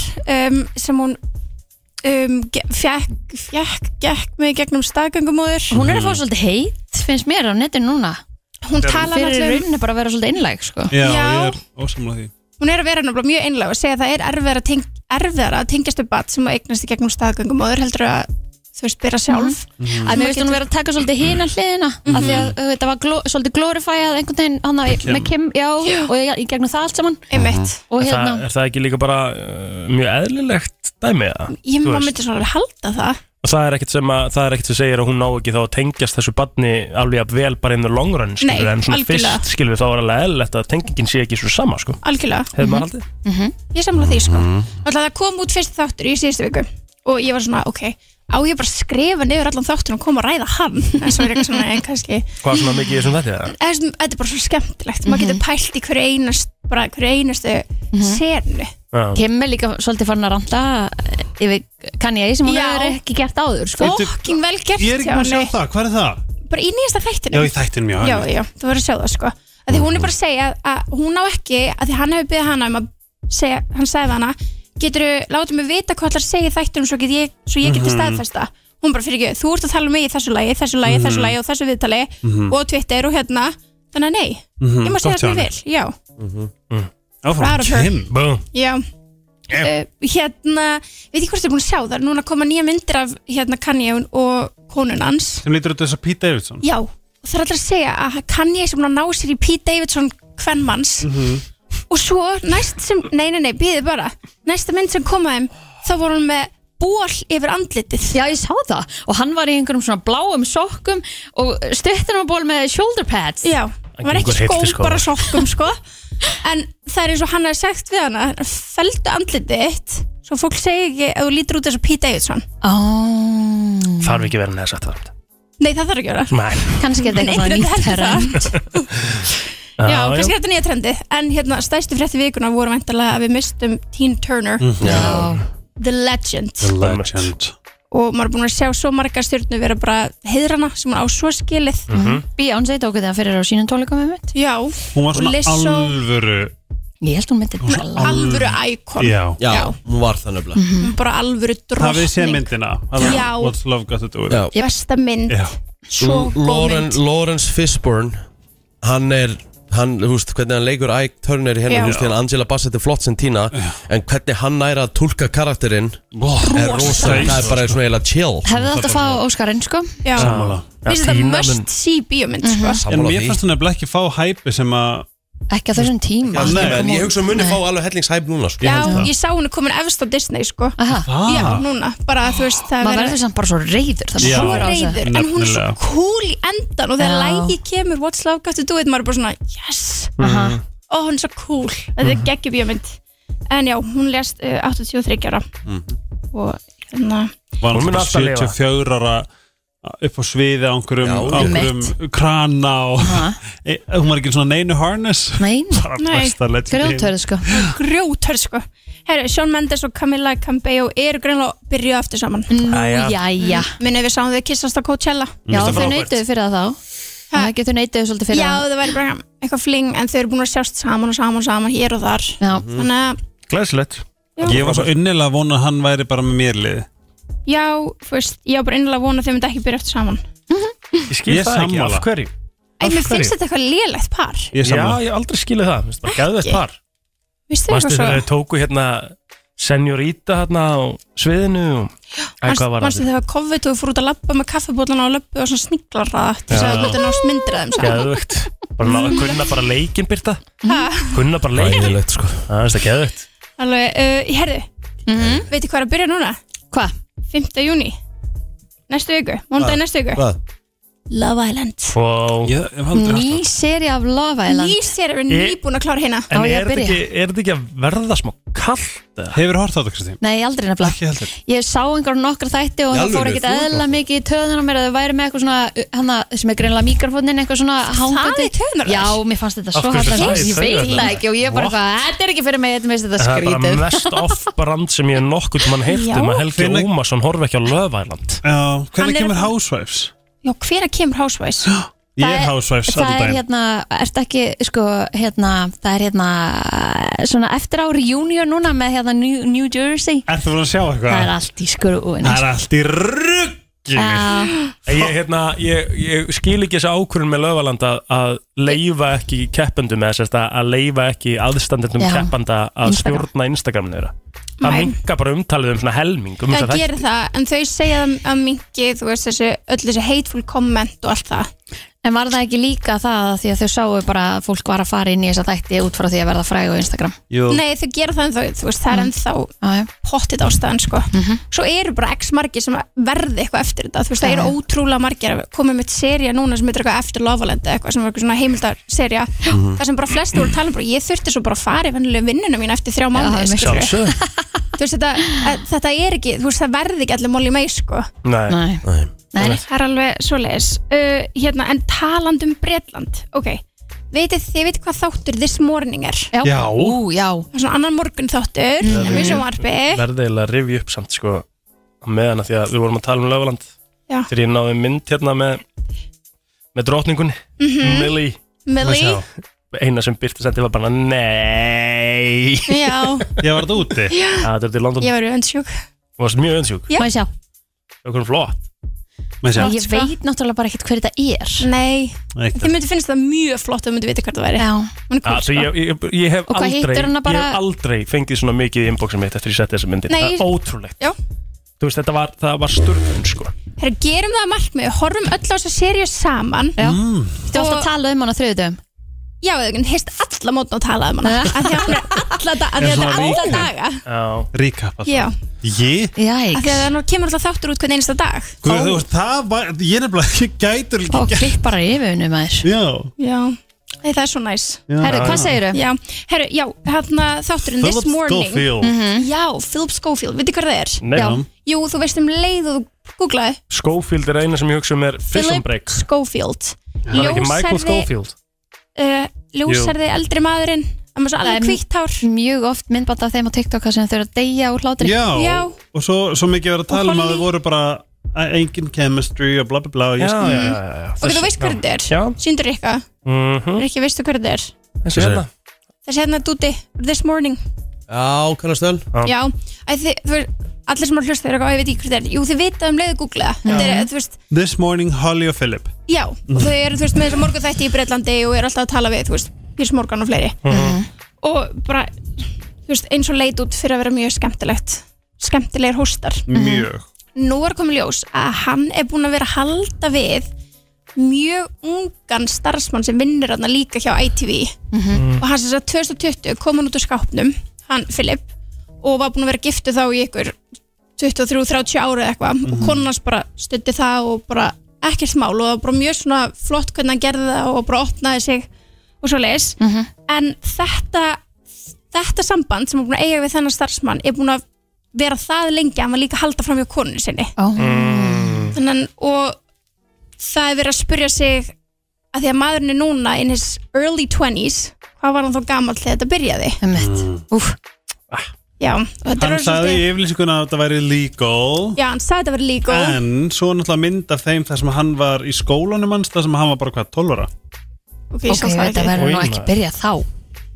I: um, sem hún um, ge- fjekk, fjekk, gekk með gegnum staðgöngumóður
C: Hún er að fá
E: Mhm.
C: svolítið heit, finnst mér á netinu núna
I: hún talar
C: Fyrir
I: náttúrulega um
C: rauninni bara að vera svolítið innlæg
E: Mm.
C: sko.
F: Já,
I: Já.
F: ég er ósamlega því
I: hún er að vera náttúrulega mjög einlega og segja að það er erfiðara að, teng, erfiðara að tengjast upp bat sem að eignast í gegnum staðgöngumóður heldur að þú veist, byrja sjálf
C: að mér veist hún vera að taka svolítið hina
E: Mm.
C: hliðina af því
E: Mhm.
C: að uh, þetta var gló, svolítið glorifæjað einhvern veginn hana, með Kim já, og ég, ég gegnum það allt saman
I: einmitt
C: og
E: Er
C: hérna,
E: það, er það ekki líka bara uh, mjög eðlilegt dæmi eða?
I: ég
E: Þú
I: maður
E: veist.
I: myndi svona alveg halda það
E: Og það er ekkert sem, að, það er ekkert sem segir að hún ná ekki þá að tengjast þessu badni alveg að vel bara in the long run skilur,
I: Nei,
E: en svona
I: algjörlega.
E: fyrst skilur þá er alveg eðlilegt að tengingin sé ekki svo sama sko.
I: algjörlega,
E: hefur maður haldið
I: ég samla því sko
F: Mhm.
I: alltaf það kom út fyrst þáttur í síðustu viku og ég var svona, ok, á ég bara að skrifa niður allan þáttur og koma að ræða hann [laughs] en svo er eitthvað svona, en kannski
E: hvað er svona mikið í þessum þetta eða?
I: eða svona, þetta er bara svo skemmtilegt, maður getur pælt í hverju einast, bara hverju einastu senu,
E: Já.
C: Kim er líka svolítið farin að ranta eh, yfir Kanye sem hún
I: Já.
C: hefur ekki gert áður sko.
F: Bíddu,
I: fokking vel gert
F: Ég er ekki
I: hjá
F: búin að sjá
I: henni.
F: það, hvað er það?
I: bara í nýjasta þættinu
F: Já, í þættinum, já
I: já, já, þú verður að sjá það sko að því hún er bara að segja að hún á ekki að því hann hefur byggðið hana um að segja, hann sagði við hana, getur þú látið mig vita hvað allar segja í þættinum svo, get ég, svo ég
F: Mhm.
I: geti staðfesta hún bara fyrir ekki, þú ert að tala um mig í þessu lagi þessu lagi,
F: Mhm.
I: þessu lagi og þessu viðtali og Twitter og hérna, þannig að nei ég má
F: Mhm,
I: segja
F: gott hjá
I: það
F: henni. Mhm.
I: ég vil, já, Proud
F: Áfram,
I: of her.
F: Kim
E: Bú.
I: já Uh, hérna, veit ég hvort þið er búin að sjá það núna koma nýja myndir af hérna Kanye og konun hans
F: sem lítur út þess að Pete Davidson
I: Já, og það er alltaf að segja að Kanye sem búin að ná sér í Pete Davidson kvennmanns og svo næst sem, nei, nei, nei, býðið bara næsta mynd sem kom að þeim þá voru hann með ból yfir andlitið
C: já, ég sá það og hann var í einhverjum svona bláum sokkum og stuttunaból með shoulder pads
I: Já, hann var ekki
E: gengur
I: skó,
E: heiftir skó.
I: bara sokkum, sko en það er eins og hann hefði sagt við hana feldu andlitið þitt svo fólk segir ekki að þú lítur út þess að Pete Davidson
C: oh.
E: þarf ekki verið neða satt það
I: Nei, það þarf ekki að vera
E: Nei.
C: kannski er þetta eitthvað
I: Nei,
C: svona
I: þetta
C: nýtt
I: heldur
C: herra
I: það. Já,
E: Já,
I: kannski
E: já.
I: er þetta nýja trendi En hérna, stæstu frétti vikuna voru væntalega að við mistum Teen Turner
C: Já.
I: The Legend
F: Legend
I: og maður er búin að sjá svo marga stjórnu vera bara heiðrana sem hún á svo skilið
C: Beyoncé tóku það fyrir á sínum tólikum með mitt
I: já,
F: Hún var svona
I: Lizzo.
F: alvöru
C: Ég held hún myndi
I: Hún er alvöru ækon
F: Já.
D: Já, hún var það nefnilega
I: Hún er bara alvöru drottning
F: Hafið þið séð myndina? Hana,
I: Já.
F: What's love got to do with
D: Já.
F: it?
I: Besta mynd
F: Já.
I: Svo góð
D: Lauren,
I: mynd
D: Lawrence Fishburne hann er hann, þú veist, hvernig hann leikur Ike Turner í hérna,
I: Já.
D: þú veist, hérna Angela Bassett er flott sem Tina en hvernig hann næra að túlka karakterinn er rosa, það er bara svona eiginlega chill
C: Hefði þetta að fá Óskarinn sko
I: Já
F: Sammála.
I: Mér finnst þetta must see bíómynd sko.
F: En
D: Sammála
F: mér
D: því.
F: fannst hún nefnilega ekki fá hæpi sem að
C: Ekki að þessum tíma
D: Allt í lagi, en
C: Nei.
D: ég hugsa að muni fá alveg hellingshæp núna sko.
I: Já,
F: það. Ah.
I: ég sá hún er komin efst á Disney sko.
C: Aha,
I: Já, núna, bara þú veist það
C: maður
I: verður-
C: verður samt bara svo reyður
F: Já.
C: Það er
I: svo
C: svo reyður
I: reyður, en hún er svo
F: Nefnilega.
I: cool í endan og þegar
C: Já.
I: lægi kemur What's Love Got To Do It, maður er bara svona yes, og hún er svo cool þetta
E: Mhm.
I: er geggjum bíómynd en já, hún lest uh, 83 ára
E: Mhm.
I: og hérna
F: var hún
E: Hún mun
F: bara
E: alltaf lifa.
F: 74 ára upp á sviði á einhverjum,
D: Já,
F: á einhverjum krana og [laughs] e, hún var ekki í svona neinu harness [laughs]
C: Nei, nei,
F: bara
I: Nei,
F: besta legend í heimi.
C: grjótörð sko
I: grjótör sko herru, Sean Mendes og Camilla Campbell eru greinlega að byrja aftur saman
C: Nú, Mm, jæja
I: minni Mm. við sáum þau kissast á Coachella
F: finnst
C: Já,
F: það
C: þau
F: frábært.
C: neytuðu fyrir það þá Það getur neytuðu svolítið fyrir
I: já,
C: það
I: það væri bara eitthvað fling en þau eru búin að sjást saman og saman og saman hér og þar
C: Já,
E: Mm.
I: þannig að,
E: Glæsilegt
F: ég var svo unnilega að vona að hann væri bara með mér liði
I: já, þú veist ég á bara einlega að vona að þau myndi ekki byrja aftur saman
E: Ég skil
F: Ég
E: það ekki,
F: sammála.
E: af hverju?
I: Æ,
E: Af
I: mér
E: hverju?
I: finnst þetta eitthvað lélegt par
F: ég er
E: Já,
F: saman
E: ég hef aldrei skilið það, minnst bara geðveitt par
I: Vistu
E: Manstu
I: eitthvað
E: þegar þau
I: svo?
E: tóku hérna Senjorita hérna á sviðinu og... Æ, hvað var
I: Manstu
E: það?
I: þegar COVID og þú fór út að labba með kaffibólan og labba og svona sníklar það til þess að
E: Já.
I: þú myndir nást myndir af þeim sko. saman.
E: Geðveikt Bara ná,
I: [laughs]
E: kunna bara leikinn byrta
I: Ha,
E: Kunna bara leikinn
D: Ægilegt, sko.
E: Það finnst það geðveikt
I: Alveg, uh, ég herðu Veitir hvað er að byrja núna?
C: hvað?
I: 5. júni Næstu viku, móndagi næstu viku
D: Hvað?
I: Love Island
E: Wow.
F: ég hef aldrei
C: Ný seri af Love Island
I: Ný sér er
E: Ég-
I: nýbúin að klára hérna
E: En
C: ég að
E: er þetta
C: byrja?
E: ekki, er þetta ekki að verða smá kallt? eða?
F: hefur hort á þetta Kristín
C: Nei, aldrei nefnilega
F: ekki heldur
C: Ég sá einhverjum nokkra þætti og
D: Í
C: það fór
D: alvöru,
C: ekkert
D: þú ert
C: eðla mikið í töðunar mér að þau væri með eitthvað svona uh, hana, sem er greinlega mikrofónin, eitthvað svona hangandi
I: í töðurnar
C: Já,
I: þess?
C: mér fannst þetta svo
E: hverju
C: harta
E: það er í
C: Ég veit
E: töðurnar?
C: það ekki og ég er bara
E: What?
C: eitthvað, þetta er ekki fyrir mig, þetta minnst þetta
E: Það er bara
C: skrítið
E: mest off-brand sem ég nokkuð mann heyrt um
I: Já.
E: að Helgi
F: Hvenær-
E: Ómarsson horfi ekki á löfæland
F: já,
I: Hann
F: hvernig
I: er-
F: kemur Housewives
I: Já, hver að kemur Housewives?
F: ég
C: Það
F: er
C: er-
F: Housewives
C: Það
F: alltaf
C: er
F: daginn
C: hérna, ertu ekki, sko, hérna, það er hérna, svona eftir á reunion núna með hérna New, New Jersey
F: er það að sjá
C: Það er
F: eitthvað
C: allt í Ah. skrúin
F: það er allt í rugginu
E: Ég, hérna, ég, ég skil ekki þessa ákvörðun með löfaland að, að leifa ekki keppendum eða sérst að, að leifa ekki aðstandendum
C: Já.
E: keppanda að
C: Instagram.
E: stjórna Instagraminu þeirra Það
I: Nei.
E: minka bara umtalið um svona helming um
I: Það
E: þessa
I: gerir
E: þætti.
I: það, en þau segja það að mingi, þú veist þessi, öll þessi hateful comment og allt það.
C: En var það ekki líka það að því að þau sáu bara að fólk var að fara inn í þessa þætti út frá því að verða fræg á Instagram
F: jú
I: Nei, þau gera það en þau, þú veist, það er ennþá
C: Já, já.
I: pottit ástæðan sko svo eru bara x margir sem verði eitthvað eftir þetta þú veist það
C: Já,
I: eru
C: já.
I: ótrúlega margir komið með seria núna sem heitir eitthvað eftir Lovaland eða eitthvað sem var eitthvað svona heimildarseria það sem bara flesti voru að tala um bara ég þurfti svo bara að fara í vennilegu vinnuna mín eftir þrjá
C: það
I: mánuði
C: er
I: skilurðu.
C: mikilvægt.
I: þú veist þetta, að- þetta er ekki þú veist það verði ekki allir móli mei sko
E: Nei.
C: Nei,
D: Nei.
C: nei, nei.
I: það er alveg svoleiðis uh, hérna en taland um Bretland ok, veitir þið veitir hvað þáttur this morning er
C: Já,
F: Já.
C: Ú, já.
I: það er svona annan morgun þáttur mm. við sjónvarpi
E: Verði eiginlega að rifja upp samt sko á meðan að því að við vorum að tala um löfaland
I: Já.
E: þegar ég náði mynd hérna með með drotningun
I: Mhm.
E: Millie
I: Millie,
E: eina sem Byrti sendi var bara nei
I: [laughs] já,
F: ég var þetta úti
E: Það er þetta í London
I: ég var önsjúk
E: Þú varst mjög önsjúk,
I: Já.
C: Má ég sjá?
E: okkur flott
F: Með sjá.
C: Nei, Ég
I: sko.
C: veit náttúrulega bara ekkert hver þetta er
I: Nei,
F: Eitt.
I: þið myndi finnst það mjög flott ef þið myndi vita hvað það væri
C: Já,
I: Hún er cool,
E: Ah,
I: sko.
E: sko. ég, ég, ég hef
C: Og hvað
E: aldrei,
C: hittir hana bara-
E: ég hef aldrei fengið svona mikið í inboxum mitt eftir ég setti þessa myndi
I: Nei,
E: það
I: ég-
E: er ótrúlegt
I: Já.
E: þú veist þetta var, það var sturgun sko
I: Herra, gerum það að markmið, horfum öll á þess að serja saman
C: já Þú varst að tala um hann á þriðutum
I: Já, þau getum hist alla mótna og talað um hana Af því að hún er alla,
F: Er
I: da að að þetta er
F: svona
I: alla
F: rík.
I: daga
E: Já.
F: recap alltaf
I: Já,
F: ég
I: af því að
C: Jæks
I: það nú kemur alltaf þáttur út hvern einasta dag
F: Guð, þú veist, það var, ég nefnilega, ég gætur
C: Ó,
F: líka gert-
C: klipp bara yfir hennu maður
F: Já,
I: Já, Nei, það er svo næs
C: Herru, hvað segiru?
I: Já, herru, já, hérna þátturinn This
F: Philip
I: Morning
F: Schofield
I: Já, Philip Schofield, veitir hvað það er?
E: Nei,
C: Já.
I: Jú, þú veist um leið og þú googlaði
E: Schofield er eina sem ég hugsa um er Prison
I: Philip
E: Break
I: Schofield
E: það er ekki Michael Schofield
I: uh, ljósarði eldri maðurinn það var svo
C: Það er
I: alveg hvítt hár
C: Mjög oft myndband af þeim á TikTok þar sem þau eru að deyja úr hlátri
F: Já,
I: Já.
F: og svo, svo mikið verið að tala um að
I: Holly.
F: þau voru bara að engin chemistry og bla bla bla og ég skil
E: já, já, já.
I: ok, þú Mm. veist hvað þetta er
E: Já.
I: síndur eitthvað,
E: Mhm.
I: er ekki veistu hvað þetta er
E: þessi hérna
I: þessi hérna dúti this morning
D: Já, kannastöðan
I: Já, að þið, þú veist, allir sem eru að hlusta þeir og ég veit ekki hvað það er, jú þið vita um leið að googla það Þetta er, þú veist,
F: This morning Holly og Philip
I: já, og þau eru, þú veist, með þess að morgun þætti í Breitlandi og eru alltaf að tala við, þú veist, Piers Morgan og fleiri
E: Mhm.
I: Mhm. og bara, þú veist, eins og leit út fyrir að vera mjög skemmtilegt skemmtilegir hóstar
F: Mjög
I: Nú er komið ljós að hann er búin að vera að halda við mjög ungan starfsmann sem vinnur hann líka hjá ITV og hann sem sagt 2020 kom hann út úr skápnum hann Filip og var búin að vera giftu þá í ykkur 23-30 ára eða eitthvað og konan hans bara stundi það og bara ekkert mál og það var bara mjög svona flott hvernig hann gerði það og bara opnaði sig og svo leis en þetta þetta samband sem er búin að eiga við þennan starfsmann er búin að vera það lengi að hann var líka að halda fram hjá konunni sinni
C: Ó.
E: Mm.
I: þannig og það er verið að spyrja sig að því að maðurinn er núna in his early 20s hvað var hann þá gamall þegar þetta byrjaði
C: Einmitt. Úf,
I: já, og þetta
F: Hann
I: er
F: sagði í yfirlýsinguna að þetta væri legal
I: já, hann sagði þetta verið líka en,
F: En svo er náttúrulega mynd af þeim þar sem hann var í skólanum hans þar sem hann var bara hvað, 12 ára
I: ok,
C: ok, þetta verður nú
E: Oj,
C: ekki
E: maður.
C: byrjað þá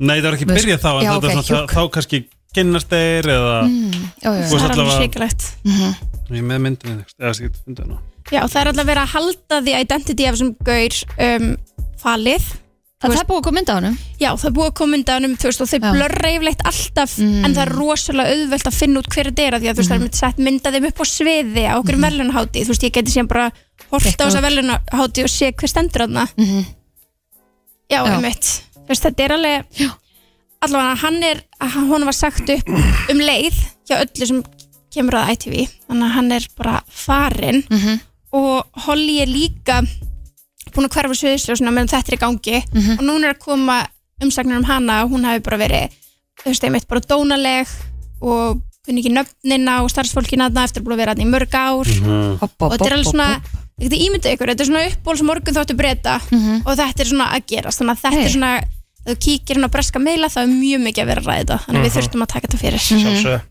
F: Nei, það var ekki
C: Við-
F: byrjað þá en
C: Já,
F: þetta
C: ok, Mhm.
F: er svona,
C: hjúk.
F: þá, þá kannski kynnast þeir eða
C: Jú, jú, jú.
F: Þú
I: það
F: veist
I: er alveg
F: allavega-
I: sikilegt
C: Mm-hmm.
F: Ég er með myndinni next, eða ég get fundið hana
I: já, það er alltaf verið að halda því identity af þessum gaur um, falið
C: Það það er búið að koma mynd á honum
I: já, það er búið að koma undan um, þú veist, og þeir
C: Já.
I: blörra yfirleitt allaf en það er rosalega auðvelt að finna út hver þetta er af því að þú veist, það er mynd sett mynda þeim upp á sviði á okkur mm þú veist, ég geti síðan bara horta á
C: Dekka
I: þessa
C: út.
I: verðlunahátti og sé hver stendur þarna -hmm. já,
C: Já.
I: já, einmitt þú veist, þetta er alveg allavega, hann er, hún var sagt upp um leið hjá öllu sem kemur að ITV, þannig að hann er bara farinn og Holly er líka búin að hverfa söðisljósuna meðan þetta er í gangi og núna er að koma umsagnir um hana og hún hafi bara verið þú veist, einmitt bara dónaleg og kunni ekki nöfnina og starfsfólkina þarna eftir að búin að vera þarna í mörg ár
C: hopp, hopp,
I: og þetta er alveg
C: hopp,
I: svona
C: hopp.
I: ég geti ímyndað ykkur, þetta er svona uppból sem morgun þáttu breyta og þetta er svona að gerast þannig að þetta
C: Hey.
I: er svona, ef þú kíkir hann á breska meila þá er mjög mikið að vera að ræða þetta þannig að við þurftum að taka þetta fyrir
E: Sjálfsög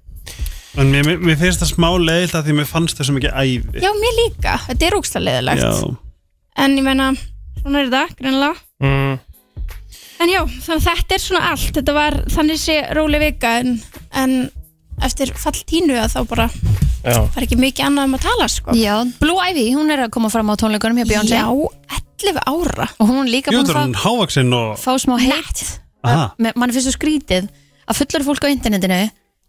F: En mér, mér- mér finnst það smá leiðilt að því mér fannst það svo mikið ævi
I: Já, mér líka, þetta er ógsta leðilegt en ég meina, svona er þetta, greinlega
E: mm.
I: En já, þannig að þetta er svona allt Þetta var þannig sé róli vika en, en eftir fall tínu að þá bara
E: Já,
I: var ekki mikið annað um að tala sko.
C: Já, Blue Ivy, hún er að koma fram á tónleikunum hjá Beyoncé
I: Já, 11 ára
C: og hún er líka
F: Jú,
C: búin
F: það er
C: að
F: hann hávaksinn
C: fá,
F: og
C: fá smá heitt
F: Aha,
C: Me- mann finnst svo skrítið að fullur fólk á internetinu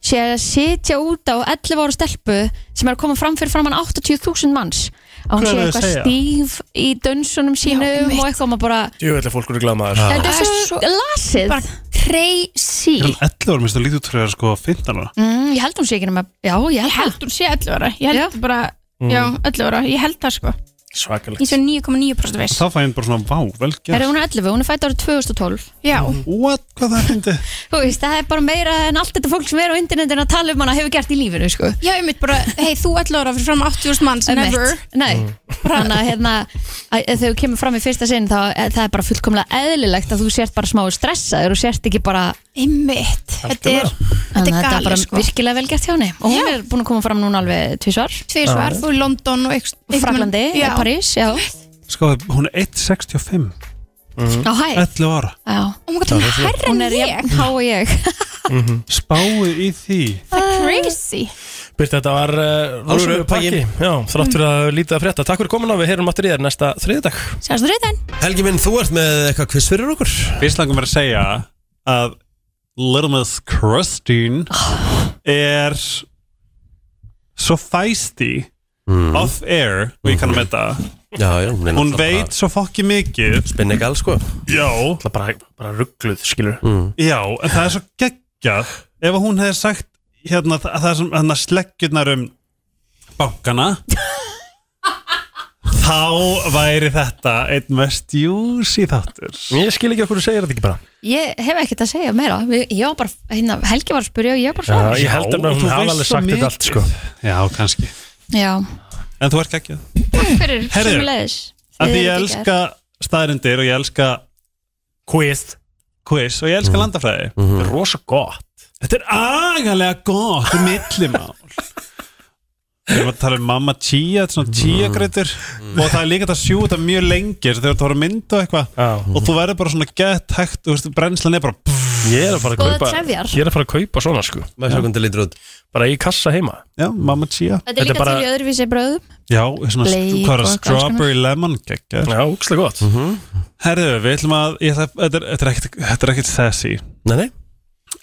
C: sé að sitja út á 11 ára stelpu sem er að koma fram fyrir framann 80.000 manns að hún
F: Hvað
C: sé
F: er það að
C: eitthvað
F: segja?
C: stíf í dönsunum
I: Já,
C: sínum
I: einmitt.
C: og eitthvað og maður bara,
E: djúvill er fólk úr glæmaður
C: þetta er
I: Það
C: svo,
I: er svo-
C: lasið
I: Bara crazy
F: er hann 11 ára, minnst það lítið út fyrir að vera sko 15 ára
C: mm, ég held hún sé ekki nema, já, ég
I: Ég
C: held það
I: held hún sé 11 ára Ég held bara, já, 11 ára Ég held það sko
E: Svakalegt
I: Ég sé 9,9%
F: Og
I: viss
F: Þá fæ ég bara svona, vá, vel
C: er
F: gert
C: hún er 11, hún er fætt árið 2012
I: Já,
F: What, hvað það fyndi?
C: Þú veist, það er bara meira en allt þetta fólk sem er á internetinu að tala um hana hefur gert í lífinu, sko
I: já, ég mitt bara Hei, þú 11 ára fyrir fram 80.000 manns Never
C: Einmitt. um Nei,
F: Mm.
C: þannig að hérna að ef þau kemur fram í fyrsta sinn þá e, það er bara fullkomlega eðlilegt að þú sért bara smá stressaður og sért ekki bara
I: Einmitt, þetta er,
C: Þannig
I: þetta
C: að
I: er
C: þetta er
I: gali
C: bara
I: sko
C: virkilega vel gert hjá henni og hún er búin að koma fram núna alveg tvísvar
I: Tvísvar, þú í London og einhvern- einhvern-
C: Fraklandi,
I: Já.
C: París, já
F: Sko, hún er 1.65
C: á hæ,
F: 11 ára
C: já
I: Oh my god, hún er hærra
C: hún
I: en
C: er
I: ég
C: jafn há og ég
F: Spáið í því
I: Það er crazy
E: Byrst þetta var uh, rosalega
D: upptakki.
E: pakki Já, þrátt fyrir að lítið að frétta Takk fyrir komin á, við heyrum áttur í þér næsta þriðdag
I: Sjástu reyðan
D: Helgi minn, þú ert með eitthvað quiz fyrir okkur
F: Fyrst langum er að segja að Little Miss Christine er svo fæsti off air, og ég kannum þetta
D: Já, já, hún, er
F: hún
D: náttúrulega
F: veit svo fokki mikið
D: bara Spinnegal, sko
F: já,
E: Það bara, bara ruggluð, skilur
F: Já, en það er svo geggjað ef hún hefði sagt hérna, þa- það sem hérna, sleggjurnar um bankana þá væri þetta einn mest júsi þáttur
E: Ég skil ekki okkur að segja þetta ekki bara
C: ég hef ekkert að segja meira Ég- ég var bara, hérna, Helgi var að spyrja og ég var bara
E: Já,
C: svara
E: ég held að
F: og
E: hún
F: þú
E: hafa
F: veist
E: alveg
F: svo
E: sagt
F: mikið.
E: þetta allt sko
F: Já, kannski
C: já,
F: En þú ert geggjað
C: takk fyrir
F: Herðu,
C: sömuleiðis
F: Af
C: Þið
F: því ég
C: eruð geggjað.
F: elska staðrindir og ég elska
E: Quiz
F: quiz og ég elska landafræði
E: Þetta er rosa gott
F: Þetta er agalega gott millimál Við erum að tala um mamma chia, þetta er svona chia greitur og það er líka þetta sjú þetta mjög lengi þegar þú ert að horfa á mynd og eitthvað
E: Já
F: og þú verður bara svona gett hægt og veist, brennslan er bara pff,
E: Ég er að fara að
C: Góða
E: kaupa
C: trefjar.
E: Ég er að fara að kaupa svona sko
D: Með svo hvernig lítur út
E: Bara í kassa heima
F: Já, mamma tía
C: Þetta er
E: Þetta
C: líka
E: er bara-
C: til í öðruvísi bröðum
F: Já, svona,
C: Bleik
F: hvað er
C: og
F: það,
C: alls konar.
F: strawberry lemon kekja
E: Já, úkslega gott
F: Herðu, við ætlum að, ég, ætla- þetta er- þetta er ekkert- þetta er ekkert þessi
D: Nei, nei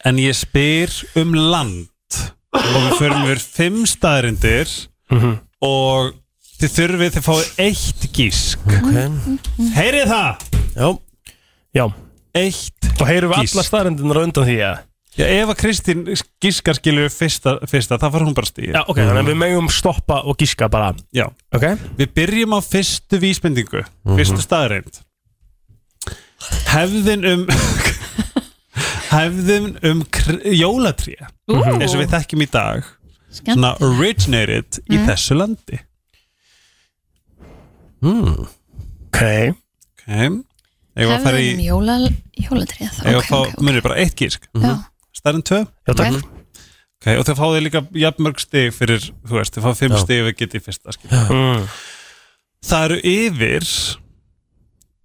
F: En ég spyr um land Og við förum við fimm staðrindir Og þið þurfið þið fáið eitt gísk
D: Ok
F: Heyrið það?
D: Já
E: Já,
F: Eitt
E: og heyrum við
F: Gísk.
E: alla staðrendunar undan því að
F: Já, ef að Kristín gískar skilur fyrsta, fyrsta Það fara hún bara stíð
E: Já, ok, þannig að við megum stoppa og gíska bara
F: Já.
E: Mm. Ok
F: Við byrjum á fyrstu vísbendingu Fyrstu staðreind Hefðin um [laughs] Hefðin um kr- jólatré eins og við þekkjum í dag svona originated í þessu landi
E: Ok
F: okay. Ef að fara í
C: Hefðum jóla, jólatrið
F: Ef
C: þá Ok,
F: að fá,
C: ok, Mhm. ok
F: munið bara eitt gísk
C: Já,
F: Stærn tvö
E: Já, takk
C: Ok.
F: okay, Og þau fáðu líka jafnmörg stig fyrir Þú veist, þau fáðu fimm
D: Já.
F: stig við getið í fyrsta skil
E: mm.
F: Það eru yfir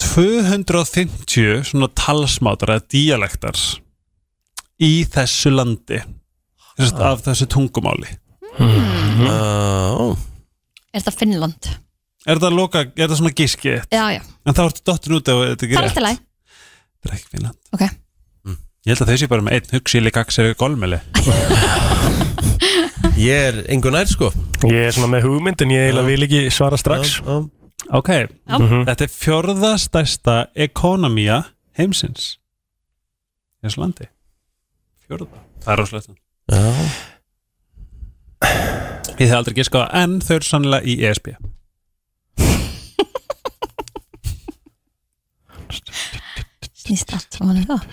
F: 250 svona talsmátar eða díalektar í þessu landi Sest, af þessu tungumáli
E: Mm.
D: Ó,
C: Er það Finnland?
F: Er það, loka, er það svona gíski?
C: Já, já,
F: En þá ertu dottin út ef þetta
C: það
F: ekki
C: er
F: rétt.
C: alltaf læg
F: Það er ekki Finnland
C: Ok.
F: Ég held að þessi bara með einn hugsíli gagseri golmeli
D: ég er engu nær sko
E: Ég er svona með hugmynd en ég eiginlega vil ekki svara strax Mhm.
D: Já, já.
F: Ok, þetta er fjörða stærsta ekonomía heimsins í þessu landi Fjörða, það er rosalega
D: Já.
F: Ég þið aldrei giska á það, en þau eru sannlega í E ESB
C: Snýst allt saman um það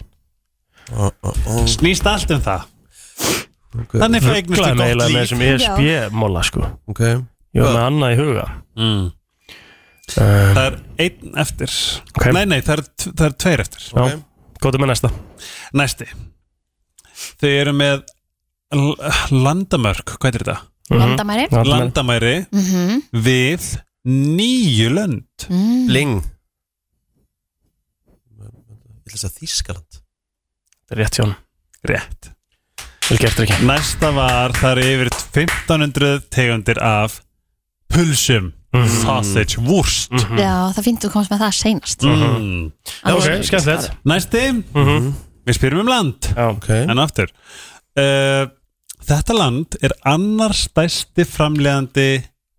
D: Ó, ó, ó.
F: Snýst allt um það
D: Ok.
F: Þannig fægnist
E: Glæðum
F: þið
E: eiginlega
F: gott
E: með
F: líf
E: þessum E ESB-móla sko
D: Ok
E: Ég var með annað í huga
F: mm.
E: um,
F: Það er einn eftir
E: Ok.
F: Nei, nei, það er, t- það er tveir eftir
E: Já, gotum með næsta
F: Næsti Þau eru með l- landamörk, hvað er þetta?
E: Mhm.
C: Landamæri
E: Já, gotum með-
F: Landamæri
C: Mhm.
F: við nýju lönd
C: Mm.
D: Bling Ég ætla að segja Þískaland
E: Þetta er rétt hjá hann
F: Rétt
E: Vel gert ekki
F: Næsta var þar eru yfir 1500 tegundir af pulsum
E: Mhm.
F: sausage wurst
C: Já, það finnst þú komast með það seinast
F: mm.
E: Já, ok, skemmtilegt
F: Næsti,
E: Mhm.
F: við spyrum um land
E: Já,
D: Ok
F: en aftur uh, Þetta land er annar stærsti framleiðandi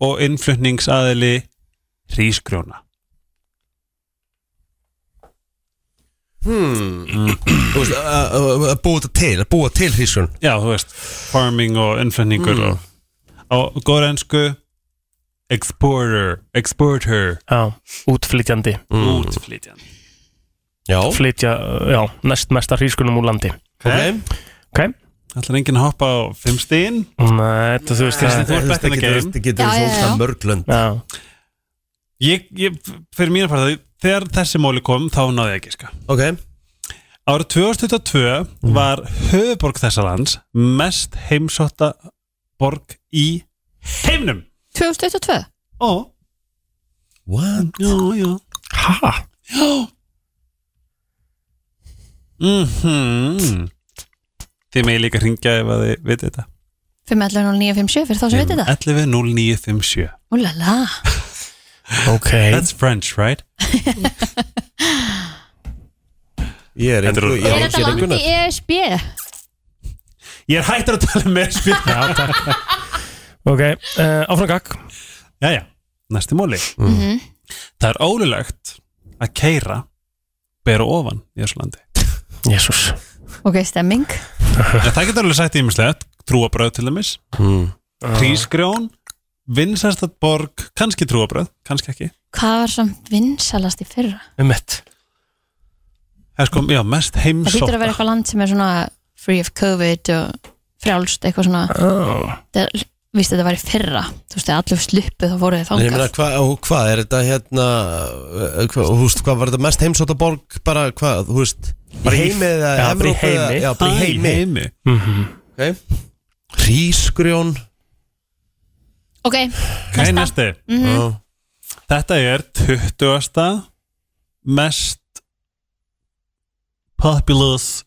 F: og innflutningsaðili hrísgrjóna
D: Þú veist, að- að að búa þetta til Að búa til hrísun
F: Já, þú veist, farming og innflutningur
D: Mm.
F: og, og góður ensku exporter, exporter
E: já, útflytjandi
D: Mm.
F: útflytjan
D: Já
E: Flytja, uh, já, næst mesta hrískunum úr landi
D: Ok
E: Ok,
F: Ætlar enginn að hoppa á fimm stíðin
E: Nei, Mm, uh, þetta þú veist
F: Kristín,
E: það
F: þú ert back in the
D: Þetta getur-
F: game
D: þetta getur
C: Já, já,
D: svona
C: já.
D: mörglönd
E: Já,
F: ég, ég, Fyrir mína farið Þegar þessi móli kom þá náði ég ekki sko
D: Ok
F: Árið 2022 var höfuborg þessa lands mest heimsóta borg í heimnum
C: 2022
F: Ó,
D: What?
F: já, já
E: ha,
F: Mhm. Þið megið líka hringja ef að þið vitið þetta
C: 511 0957 fyrir þá sem veitir það
F: 11.0957
C: Úlala
E: ok
F: That's French, right?
D: [laughs] Ég er
F: Þetta
D: engu
F: eru-
D: ég
C: Er
D: er-
C: þetta
D: ég er engu
C: land í
D: nær.
C: ESB?
F: Ég er hættur að tala um með spil
E: Já, takk Ok, uh, áfram gag
F: Jæja, næsti móli
C: Mhm.
F: Það er ólulegt að keira bera ofan í þessu landi
E: Jésús
C: Ok, stemming
F: En það getur alveg sagt ímislegt trúabröð til dæmis,
D: Mm.
F: hrísgrjón vinsast að borg, kannski trúabröð kannski ekki,
C: Hvað var samt vinsalast í fyrra?
E: Um mitt
F: það er sko, já, mest
C: Það hýtur að vera
F: heimsóta
C: eitthvað land sem er svona free of COVID og frjálst eitthvað svona
E: oh.
C: það, Víst þetta var í fyrra Þú veist, þegar allir sluppu þá voru þið
D: En Ég meina,
C: fangað
D: hvað, og hvað er þetta hérna uh, hva, Þú veist, hvað var þetta mest heimsóta borg Bara hvað, þú veist Bara í
E: Í-
D: heimi eða
E: Já, bara í
D: Evrópu eða-
E: heimi.
D: Já, bara í heimi
F: heimi.
E: Mhm.
D: okay. Rísgrjón
C: Ok,
F: Ok, næsti
C: Mhm.
D: Já.
F: Þetta er 20. mest populous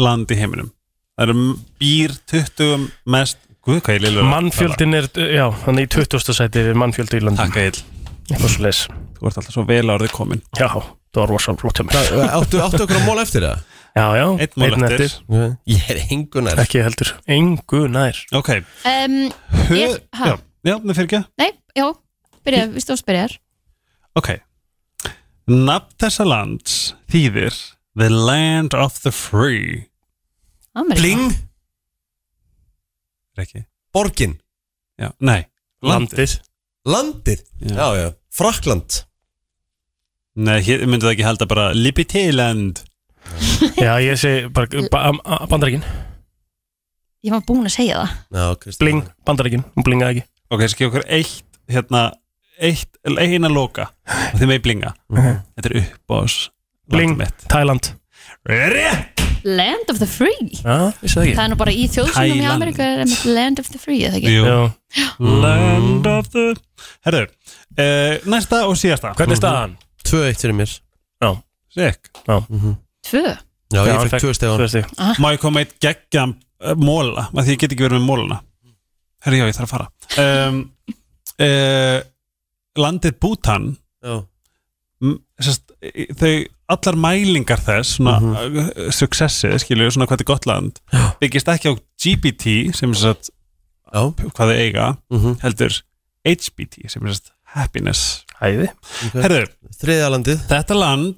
F: land í heiminum það eru m- býr 20 mest guð hvað ég lillur
E: Mannfjöldin er, uh, já, hann er í 20. sæti við mannfjöldi í landin
F: Takk Egil
E: Eitthvað svo leis
F: Þú ert alltaf svo vel árið komin
E: Já, það var rosa flott hjá mér
D: Það- Áttu, áttu okkur á mól eftir það?
E: Já, já,
F: Einn mál eftir.
E: eftir.
D: Ég er engunar
E: Ekki heldur, engu nær
F: Ok
C: um, Ég, ha?
F: Já, já, með fyrir ekki
C: Nei, já, byrja, við stóðum spyrjar
F: Ok Nafn þessa lands þýðir The land of the free
C: Ameríka.
D: Bling,
F: Reki
D: borgin,
F: Já, nei
E: Landið
D: landið
F: Já.
D: Já, já, Frakland
F: Nei, hér myndi það ekki halda bara Libertyland
E: Já, ég segi bara uh, ba a- Bandaríkin,
C: Ég var búin að segja það
D: Já, Kristín.
E: bling, bandaríkin, hún blingaði ekki
F: Ok, þessi ekki okkur eitt hérna, eitt, eina loka og þið megi blinga Þetta er upp á oss
E: Mhm. Bling, Thailand
F: Rétt
C: Land of the free
E: Já, vissi það
C: Það
E: ekki
C: er nú bara í þjóðsynum í
F: Tæland.
C: Ameríku er einmitt Land of the free, eða ekki?
F: Jú.
E: Já,
F: Land of the Herru, uh, næsta og síðasta
E: hvernig er staðan?
D: 2-1 fyrir mér
F: Sikk
C: Tvö
D: Já,
E: Já,
D: ég
E: hann
D: fekk tvö stefan
E: Tvö stig
F: Má ég koma eitt geggja móla af því ég get ekki verið með móluna Herri, já, ég þarf að fara um, uh, Landið Bhutan
D: Já,
F: m- sest, í- þau allar mælingar þess svona mm -hmm. successið, skilur, svona hvað er gott land byggist ekki á GPT sem er satt,
D: já,
F: hvað þau eiga
D: Mhm.
F: heldur HBT sem er satt, happiness
E: Æði
D: ok
F: Herðu,
D: Þriðja landið
F: þetta land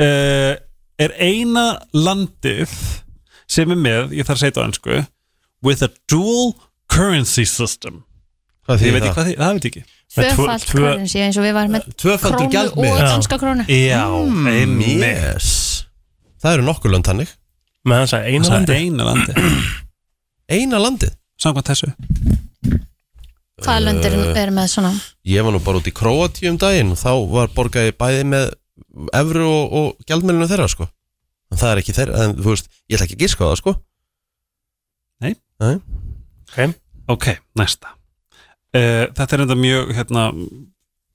F: uh, er eina landið sem er með, ég þarf að segja þetta á ennsku with a dual currency system
D: Hvað
F: ég
D: þýðir
F: veit ekki
D: það?
F: hvað því, það veit ég ekki
E: Með tvö-
C: Tvöfald
E: tvö-
C: currency eins og við varum með
D: Tvöfaldur
C: krónu og
D: gjaldmiðl
C: danska krónu
F: Já,
D: Mm, Yes Það eru nokkur lönd hannig
E: Með hann sagði eina
F: Það er
E: landi
F: eina landið,
D: Eina landið
F: samkvæmt þessu
C: Hvaða löndir
E: Eh.
C: er með svona
D: Ég var nú bara út í Kroatíu um daginn og Þá var borgaði bæði með Evru og, og gjaldmiðlunum þeirra sko En það er ekki þeirra En þú veist, ég ætla ekki að gíska á það sko
F: Ok, næsta uh, Þetta er enda mjög hérna,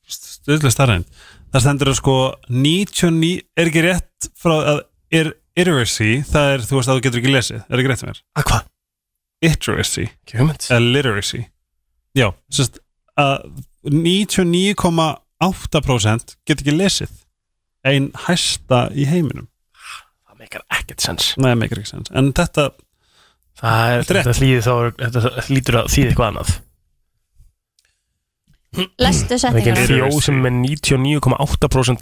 F: stöðlega starrend Það stendur að sko 99 er ekki rétt frá að er literacy, það er þú veist að þú getur ekki lesið er ekki rétt hjá mér?
E: Að "Ah, hvað?
F: Literacy,
E: Ekki hugmynd
F: eða literacy Já, sérst að 99,8% getur ekki lesið ein hæsta í heiminum
E: Það meikar ekkert sens
F: Nei, það meikir ekki sens En þetta,
E: Það er,
F: Þetta er rétt.
E: þetta hlýðir þá Þetta hlýtur að þýði eitthvað annað
C: Lestu
E: Það er ekki
C: setningar
E: einn þjó sem er 99,8%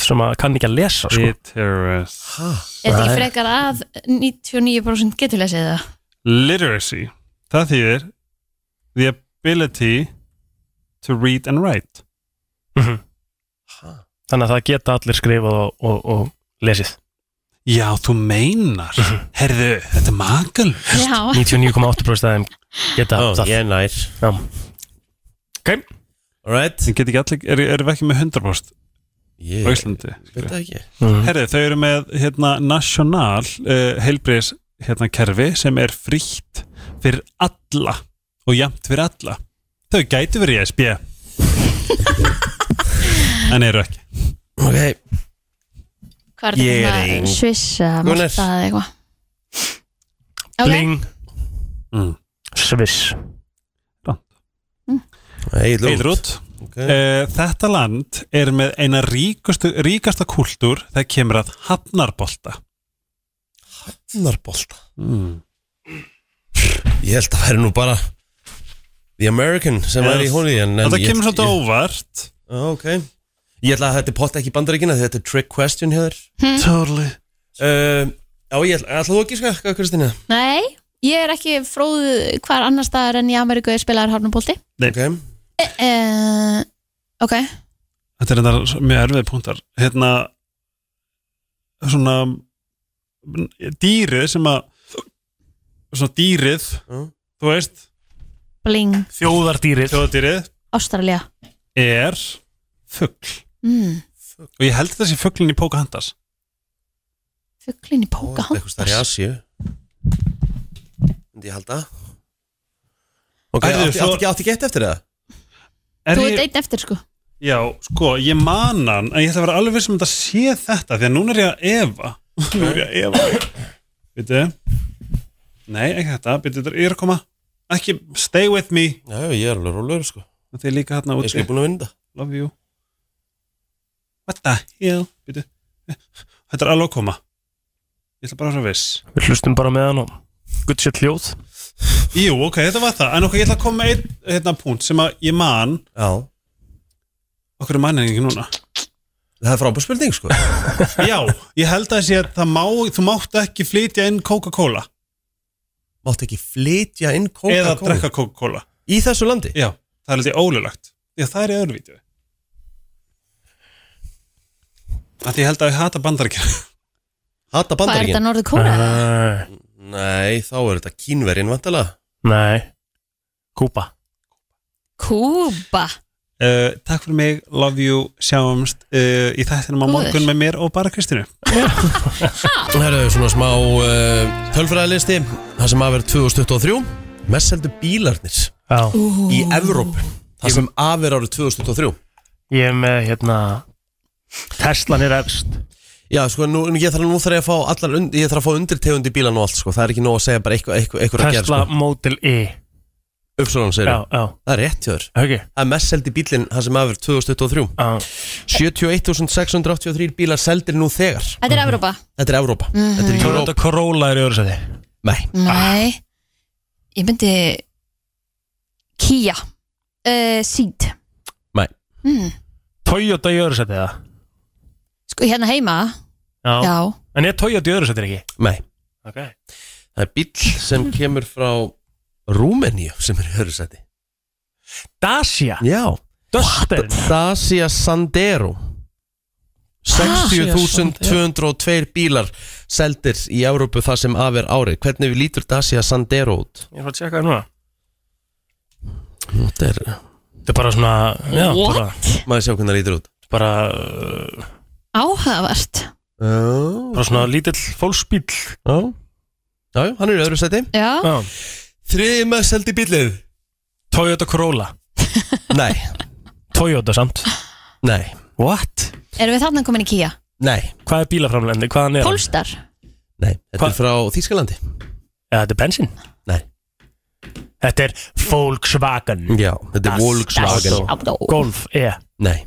E: sem að kann ekki að lesa sko.
F: literacy
C: Er þetta ekki frekar að 99% getur lesið það?
F: Literacy Það þýðir The ability to read and write
E: Mhm. Þannig að það geta allir skrifað og, og, og lesið
F: Já, þú [laughs] meinar Herðu, þetta er magal
C: Já,
E: 99,8% af þeim geta það
D: ég er nær
E: Já.
F: Ok.
D: Alright
F: Sem get ekki allir, er, erum við ekki með 100% á
D: Ég
F: Íslandi
D: veit það ekki
E: mm.
F: Herðu, þau eru með hérna national uh, heilbriðis hérna kerfi sem er frítt fyrir alla og jafnt fyrir alla Þau gætu verið í SB En eru ekki
D: Ok,
C: hvað er
D: Ég er
C: þetta? hérna?
D: ein.
C: Sviss, eh,
D: Gunnar.
C: Malta eða eitthvað Ok,
E: Bling
F: mm.
E: Sviss
D: Egil Rút
F: Eilrút Eh, Þetta land er með eina ríkustu, ríkasta kultúr þegar kemur að hafnarbolta
D: Hafnarbolta Hmm.
F: mm.
D: Ég held að það væri nú bara The American sem
F: Já,
D: er í húnni en, en
F: Þetta
D: ég-
F: kemur svolítið
D: ég-
F: óvart
D: Já, ok Ég ætla að þetta er pott ekki bandaríkina því þetta er trick question hjá þér
C: Mm.
F: Totally
D: uh, Já, ég ætla, ætla þú ekki sko, hvað Kristina?
C: nei Ég er ekki fróð hvar annar staðar en í Ameríku er spilaðar hafnabólti
D: Ok
C: uh, Ok,
F: Þetta er þetta mjög erfið punktar Hérna svona dýrið sem að svona dýrið
D: Mm.
F: þú veist,
C: bling,
E: Þjóðardýrið
F: þjóðdýrið
C: Ástralja
F: er fugl
C: mm.
F: og ég held þessi fuglin í Pocahontas
C: Fugglin í
D: Ó,
C: póka
D: Þetta er eitthvað starf í Asíu Myndi ég halda Ok,
F: Herðu,
D: átti,
F: svo-
D: átti, átti gett eftir það?
F: Er
C: Þú
F: ég-
C: ert einn eftir sko
F: Já, sko, ég man hann en ég ætla að vera alveg viss um að þetta sé þetta því að núna er ég að efa núna er ég að efa Veitu, Nei, ekki þetta, byrju þetta, ég er að koma Ekki, stay with me
D: Já, ég er alveg rólegur sko
F: Þið er líka hérna
D: Ég er
F: úti
D: sko búin að vinna þetta.
F: Love you What the hell byrju. Þetta er alveg að koma Ég ætla bara að vera viss
E: Við hlustum bara með hann og gutt sér hljóð
F: Jú, ok, þetta var það En ok, ég ætla að koma með einn hérna, punkt sem að ég man
D: Já,
F: Okkur er manningi
D: [laughs]
F: núna
D: það er frábær spurning sko
F: Já, ég held að sé að það má Þú mátt ekki flytja inn Coca-Cola
D: Máttu ekki flytja inn
F: Eða
D: Coca-Cola
F: drekka Coca-Cola
D: Í þessu landi?
F: Já, það er litið ólulegt Já, það er í öðru vídeo Þannig ég held að ég hata bandaríkjana
D: Hata
C: Hvað er þetta
D: bandaríkin?
C: Norður Kóra?
E: Ah. Nei,
D: Nei, þá er þetta kínverjinn vantilega
E: Nei Kúpa
C: Kúba
F: uh, Takk fyrir mig, love you, sjáumst uh, Í þættinum á
C: Guður.
F: morgun með mér og bara Kristínu
D: Það eru svona smá uh, tölfræðalisti Það sem af er 2023 Mest heldur bílarnir
E: Já
D: í Evrópu Það sem af er árið 2023
E: Ég er með hérna Teslan er efst
D: Já, sko, nú, ég þarf nú þarf ég að fá allar und, Ég þarf að fá undirtegund í bílan og allt, sko Það er ekki nóg að segja bara eitthvað eitthva, eitthva að gera,
E: Tesla
D: sko
E: Model E
D: Uppsvölan segir
E: Já,
D: það
E: já,
D: er rétt hjá þér
E: höggi
D: Það er mest seldi bílinn það sem af er 2023 71.683 bílar seldir nú þegar
C: Þetta er Evrópa Mhm.
D: Þetta er Evrópa Þetta er Europa
E: Toyota Corolla er í öðru sæti
D: Nei,
C: Nei Ég myndi Kia uh, Seed
D: Nei.
C: mm.
E: Toyota í öðru sæti eða?
C: Sko hérna heima
E: Já.
C: Já
E: En er Toyota í öðru sæti ekki?
D: nei
E: Ok
D: Það er bíl sem kemur frá Rúmeníu sem er í öðru sæti
E: Dacia
D: Já
E: Duster
D: Dacia Sandero 60.202 bílar seldir í Európu það sem af er árið Hvernig við lítur Dacia Sandero út?
E: Ég fór að tjekka það núna
D: Þetta er,
E: Þetta er bara svona já,
C: What?
E: bara,
D: maður sjá hvernig það lítur út
E: bara, uh,
C: Áhugavert
D: Já,
E: bara svona lítill fólksbíl
D: já Já, já, hann er í öðru sæti
C: Já
E: Já.
D: Þriði með seldi bílið
E: Toyota Corolla
D: Nei,
E: Toyota samt
D: nei,
E: What?
C: Erum við þarna komin í Kia?
D: nei
E: Hvað er bílaframlendi? Hvaðan er hann?
C: Polestar
D: Nei, þetta
E: Hva-
D: er frá Þýskalandi
E: Já, þetta er bensin
D: Nei.
E: Þetta er Volkswagen
D: Já, þetta er Volkswagen
C: Auto.
E: Golf E
D: Nei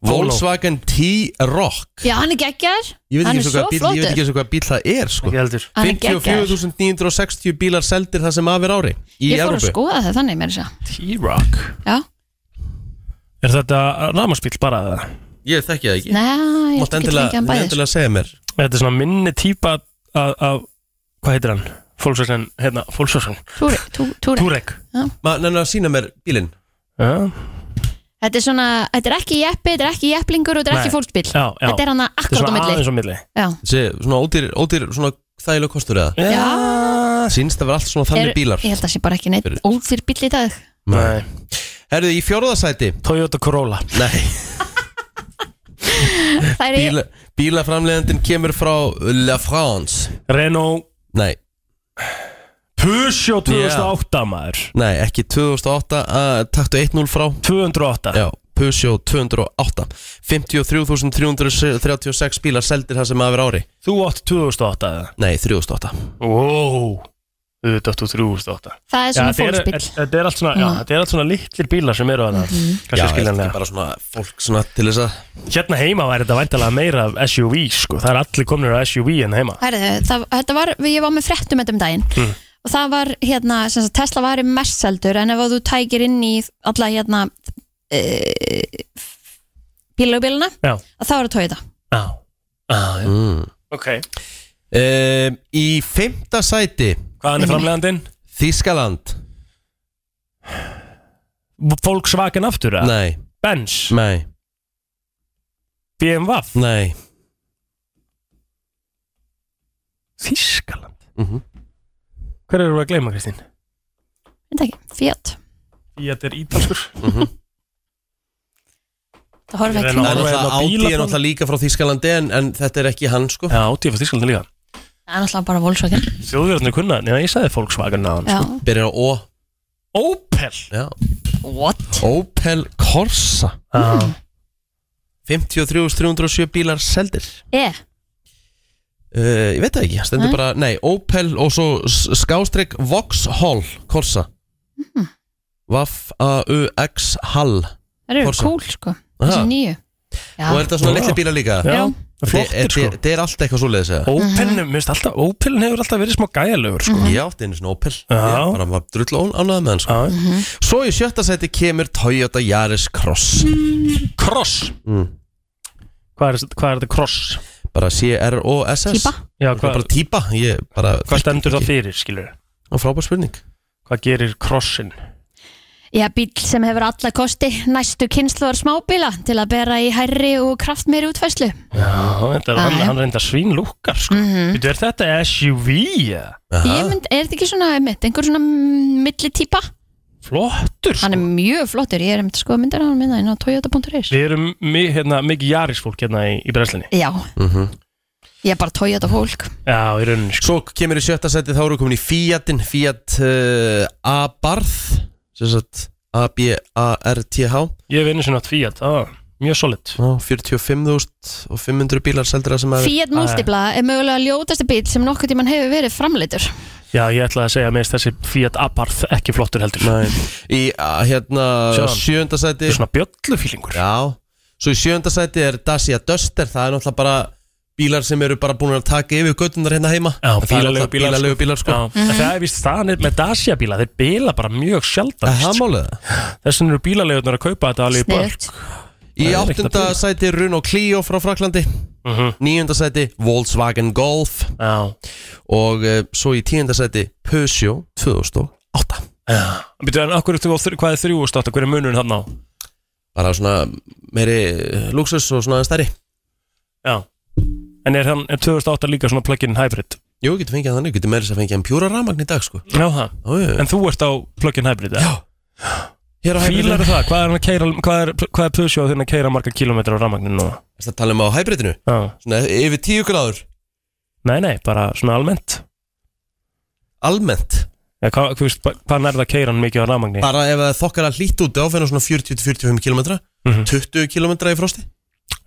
E: Polo.
D: Volkswagen T-Rock
C: Já, hann er geggjar
D: Ég veit
C: Hann
D: ekki
C: er
D: eins og
C: svo
D: hvað bíl, ég veit
C: flottur.
D: ekki eins og hvað bíl það er sko.
E: Ekki heldur
C: Hann er geggjar
D: 54.960 bílar seldir það sem af er ári Í
C: Ég fór að sko-
D: Európu
C: skoða það þannig mér þess að
E: T-Rock
C: Já
E: Er þetta ramaspíl bara það?
D: Ég þekki það ekki
C: Nei,
D: Mátt
C: ég get
D: endilega,
C: ekki hann bæðir
D: endilega segja mér
E: Þetta er svona minni típa af, af Hvað heitir hann? Volkswagen, hérna, Volkswagen
C: Túrek, tú- túrek.
E: Turek
D: Maður nennar að sína mér bílinn
E: Já,
C: Þetta er svona, þetta er ekki jeppi, þetta er ekki jepplingur og þetta er
E: Nei.
C: ekki fólksbíl
E: já, já
C: Þetta er hann að
E: Þetta er
C: akkurat á
E: svona
C: milli
E: aðeins á milli
C: Já,
D: Þessi svona ódýr, ódýr svona þægilega kostur eða
C: Já.
D: Sýnst það vera allt svona
C: er,
D: þannig bílar
C: Ég held að það sé bara ekki neitt
D: Fyrir-
C: óþýr bíl í dag
E: Nei.
D: Herðu, í fjórðasæti
E: Toyota Corolla
D: Nei,
C: Það er
D: bíla, bílaframleðandinn kemur frá La France
E: Renault
D: Nei,
E: Peugeot 2008 maður
D: nei, ekki 2008 uh, Taktu 1-0 frá
E: 208
D: Já, Peugeot 208 53.336 bílar seldir það sem aðver ári
E: Þú átt 2008 eða?
D: Nei, 308
E: Wow Þetta áttu 3008
C: Það er svona
E: þetta, er,
C: fólksbíll Mhm.
E: þetta, er allt svona, já,
C: Mm.
E: þetta er allt svona litlir bílar sem eru þarna
D: Já,
E: Kannski
D: er þetta ekki
E: skiljanlega
D: bara svona fólk svona til þess að
E: Hérna heima væri þetta væntalega meira af SUV sko. Það er allir komnir á SUV en hérna heima
C: Herðu, það, þetta var, ég var með fréttum þetta um daginn
E: Mm.
C: og það var, hérna, sem sagt, Tesla var í messeldur en ef að þú tækir inn í alla, hérna e, bílaugbílana
E: Já,
C: þá er það tóið það
E: já, já, já.
D: mm.
E: Ok
D: um, Í fimmta sæti
E: Hvaðan er framlegandinn?
D: Þískaland
E: Volkswagen aftur eða?
D: Nei,
E: Benz
D: nei,
E: BMW
D: nei
E: Þískaland
D: Mhm.
E: Hver eru að gleyma Kristín?
C: Þetta ekki, Fiat
E: Fiat er ítalskur
C: Það
E: Ég er
C: horfum við ekki
D: Það er
E: Norræna
D: náttúrulega Audi
E: hérna bílafram-
D: er náttúrulega líka frá Þískalandi en, en þetta er ekki hann sko
E: Já, átti ég fyrir Þískaland líka
C: Það er náttúrulega bara Volkswagen
E: Þjóðverðinu kunna, neina ég sagði Volkswagen á hann
C: Já,
D: Byrjar á O
E: Opel
D: Já.
C: what?
D: Opel Corsa
E: Já,
D: 53.307 bílar seldir
C: E,
D: Uh, ég veit það ekki, stendur
C: Nei.
D: bara, nei, Opel og svo s- skástrik Vauxhall Corsa Hmm. V-A-U-X-Hall
C: Það eru
D: Corsa.
C: cool sko,
D: Aha.
C: þessi nýju Já.
D: Og er þetta svona litli bíla líka?
E: Já.
D: Þetta
E: Flottir, sko.
D: þetta er allt eitthvað svoleiðis eða?
E: Opelin, mér finnst alltaf, Opelin hefur alltaf verið smá gæjalögur sko.
D: Ég átti einu svona Opel Ég bara var drull ánægð með hann sko. Svo í sjötta seti kemur Toyota Yaris Cross Cross? Mm.
E: hvað, er, hvað er þetta cross?
D: Bara C-R-O-S-S
E: Típa. Já,
D: Þetta er
E: hvað-
D: Bara típa Ég bara
E: Hvað stendur það fyrir, skilur?
D: Og frábær spurning
E: Hvað gerir crossin?
C: Já, bíl sem hefur alla kosti næstu kynsluar smábíla til að bera í hærri og kraftmeiri útfæslu
E: Já, þetta er,
C: Já,
E: hann,
C: já.
E: hann reynda svínlúkar sko. mm Er þetta SUV? eða?
C: Ég mynd, er þetta ekki svona, einmitt, einhver svona milli típa?
E: Flottur sko.
C: Hann er mjög flottur, ég er einmitt að skoða myndir á hann minna inn á toyota.is
E: Við erum mi, hérna, mikið jarisfólk hérna í, í brenslinni
C: Já,
D: Mhm.
C: ég er bara Toyota fólk
E: Já, í rauninni
D: sko. Svo kemur í sjötta seti þá eru komin í Fiatin Fiat uh, A-Barth sem sagt A-B-A-R-T-H
E: Ég hef einu sinna átt Fiat, á, mjög solid
D: 45.500 bílar seldur það sem að
C: Fiat Multipla er mögulega ljótasti bíl sem nokkuð tíman hefur verið framleitur
E: Já, ég ætlaði að segja meðist þessi Fiat Abarth ekki flottur heldur
D: Nei. Í að, hérna
E: Sjáum.
D: sjönda sæti
E: Þetta er svona bjöllufílingur
D: Já, svo í sjönda sæti er Dacia Duster, það er náttúrulega bara bílar sem eru bara búin að taka yfir göttunar hérna heima
E: Já,
D: Það er
E: bílalegu
D: náttúrulega
E: bílar
D: bílalegu bílar sko
E: Já, en Það er vist staðan er með Dacia bíla Þeir bila bara mjög sjaldan
D: Það er málið
E: Þess vegna eru bílalegunar að kaupa þetta alveg í börk Það er
D: Í
E: ekkert að
D: áttunda
E: bíla.
D: sæti Renault Clio frá Fraklandi
E: Mhm.
D: Níunda sæti Volkswagen Golf
E: Já.
D: Og uh, svo í tíunda sæti Peugeot 2008
E: Býtu en akkur eftir hvað er þrjú og státt Hver er munurinn þarna á?
D: Bara svona meiri eh, luxus og svona stærri
E: Já En er, hann, er 2008 líka svona plug-in hybrid?
D: Jú, getur fengið hann, getur meira þess að fengið hann pjúra ramagn í dag sko
E: Já, það
D: Ó, jú.
E: En þú ert á plug-in hybrid, eða? Já
D: Hér á hybridinu.
E: Fílar það, hvað er hann að keira Hvað er, hvað er Peugeot þinn að keira marga kilometra á rafmagninu núna?
D: Það tala um á hybridinu?
E: Já
D: Svona yfir tíu gráður
E: Nei, nei, bara svona almennt
D: Almennt?
E: Já, hvað, hvað, veist, hvað nærða að keira hann mikið á rafmagni?
D: Bara ef það þokkar að hlýtt út á fyrir svona 40-45 km
E: Mhm.
D: 20 km í frosti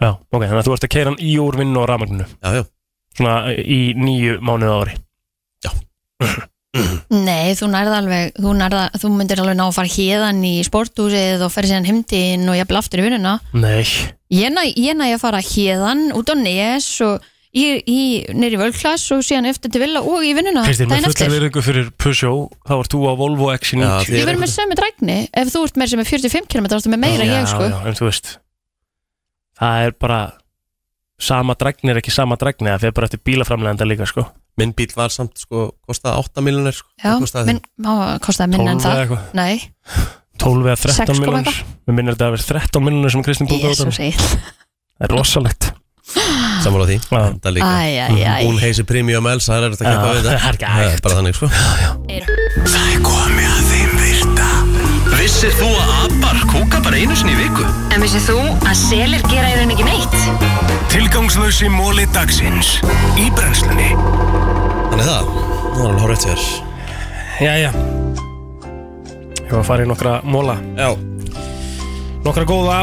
E: Já, ok, þannig að þú ert að keira hann í úr vinnu á rafmagninu
D: Já, já
E: Svona í nýju mánuð á ári
C: Nei, þú nærða alveg, þú, nærða, þú myndir alveg ná að fara hérðan í sporthúsið og ferð síðan heimdinn og jafnvel aftur í vinnuna
E: Nei
C: Ég næ, ég næ að fara hérðan út á nes og í, í, nýri völklass og síðan eftir til villa og í vinnuna
E: Kristín,
C: daginn
E: með fulla
C: Ah, eftir.
E: virðingu fyrir Peugeot Þá ert þú á Volvo
D: Já,
E: XC90
D: þið
C: Ég verður með sömu drækni ef þú ert með sem er 45 km þá ertu með meira en
E: já,
C: ég sko
E: Já, en þú veist Það er bara Sama drægni er ekki sama drægni Það fer bara eftir bílaframlegenda líka sko
D: Minn bíl var samt sko kostaði 8 miljonir sko.
C: Já,
D: Hvað kostaði
C: minn, á, kostaði minna en
E: 12 eða
C: það
E: eitthvað.
C: Nei,
E: 12 eða 13
C: Sex koma
E: miljonir Mér minnir þetta að vera 13 miljonir sem Kristín búið
C: Jesús egill.
E: Það er rosalegt
D: Sammála því Það líka Mhm.
C: Æ, æ, æ.
D: Hún heisi premium els Það er þetta að keppa
E: Já,
D: við
E: það er ekki
D: þetta
E: hægt.
D: bara þannig sko
J: Það er komið að þeim virta Vissir þú að abar kúka bara einu sinni í viku?
K: En vissið þú að selir gera í raun ekki neitt?
J: Tilgangslösi móli dagsins Í brennslunni
D: Þannig það Nú var hann hár rétt hér
E: Jæja Ég var að fara í nokkra móla
D: Já
E: Nokkra góða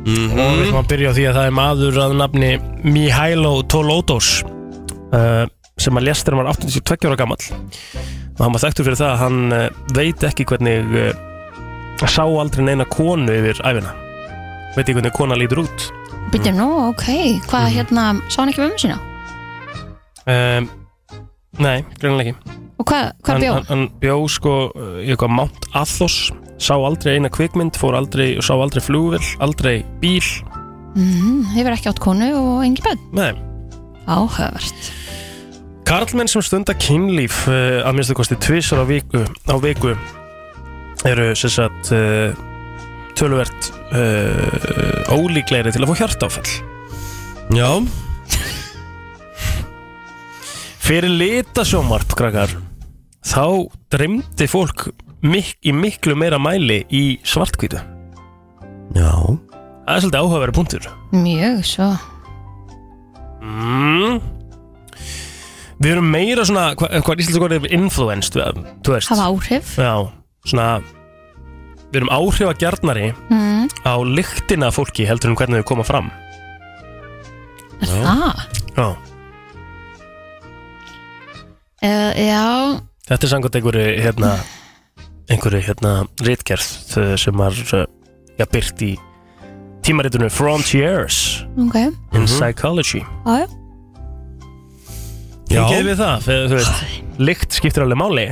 D: Mhm.
E: Og við ætlum að byrja á því að það er maður að nafni Mihailo Tolotos uh, Sem að léstir hann var 82 ára gamall Og hann var þekktur fyrir það að hann uh, veit ekki hvernig uh, Sá aldrei neina konu yfir æfina Veit ekki hvernig kona lítur út
C: Býttu nú, ok Hvað
E: Mhm.
C: hérna, sá hann ekki mömmu sína?
E: um, Nei, greinlega ekki
C: Og hvað, hvað bjó?
E: Hann, hann bjó sko uh, í eitthvað Mount Athos Sá aldrei eina kvikmynd, fór aldrei Sá aldrei flugvill, aldrei bíl
C: Mm, hefur ekki átt konu og engi bönn
E: Nei
C: Áhugavert
E: Karlmenn sem stunda kynlíf uh, að minnstu kosti tvisar á viku, á viku eru sem sagt uh, töluvert uh, ólíklegri til að fá hjartáfall
D: Já
E: Fyrir litasjómarp, krakkar þá dreymdi fólk mik í miklu meira mæli í svartkvítu
D: Já
E: Það er svolítið áhugaveri punktur
C: Mjög svo
E: mm. Við erum meira svona hva- hvað er íslensku orðið er influenced við- þú veist
C: Hafa áhrif
E: Já, svona Við erum áhrifa gjarnari
C: mm,
E: á lyktina af fólki heldur en hvernig þau koma fram
C: Er það?
E: Já
C: Uh, já,
E: Þetta er samkvæmt einhverju hérna, einhverju hérna rítgerð uh, sem var uh, já, byrt í tímaritinu Frontiers
C: ok,
E: in Psychology
C: ájá
E: Já Ég við það, þegar, þú veist, lykt skiptir alveg máli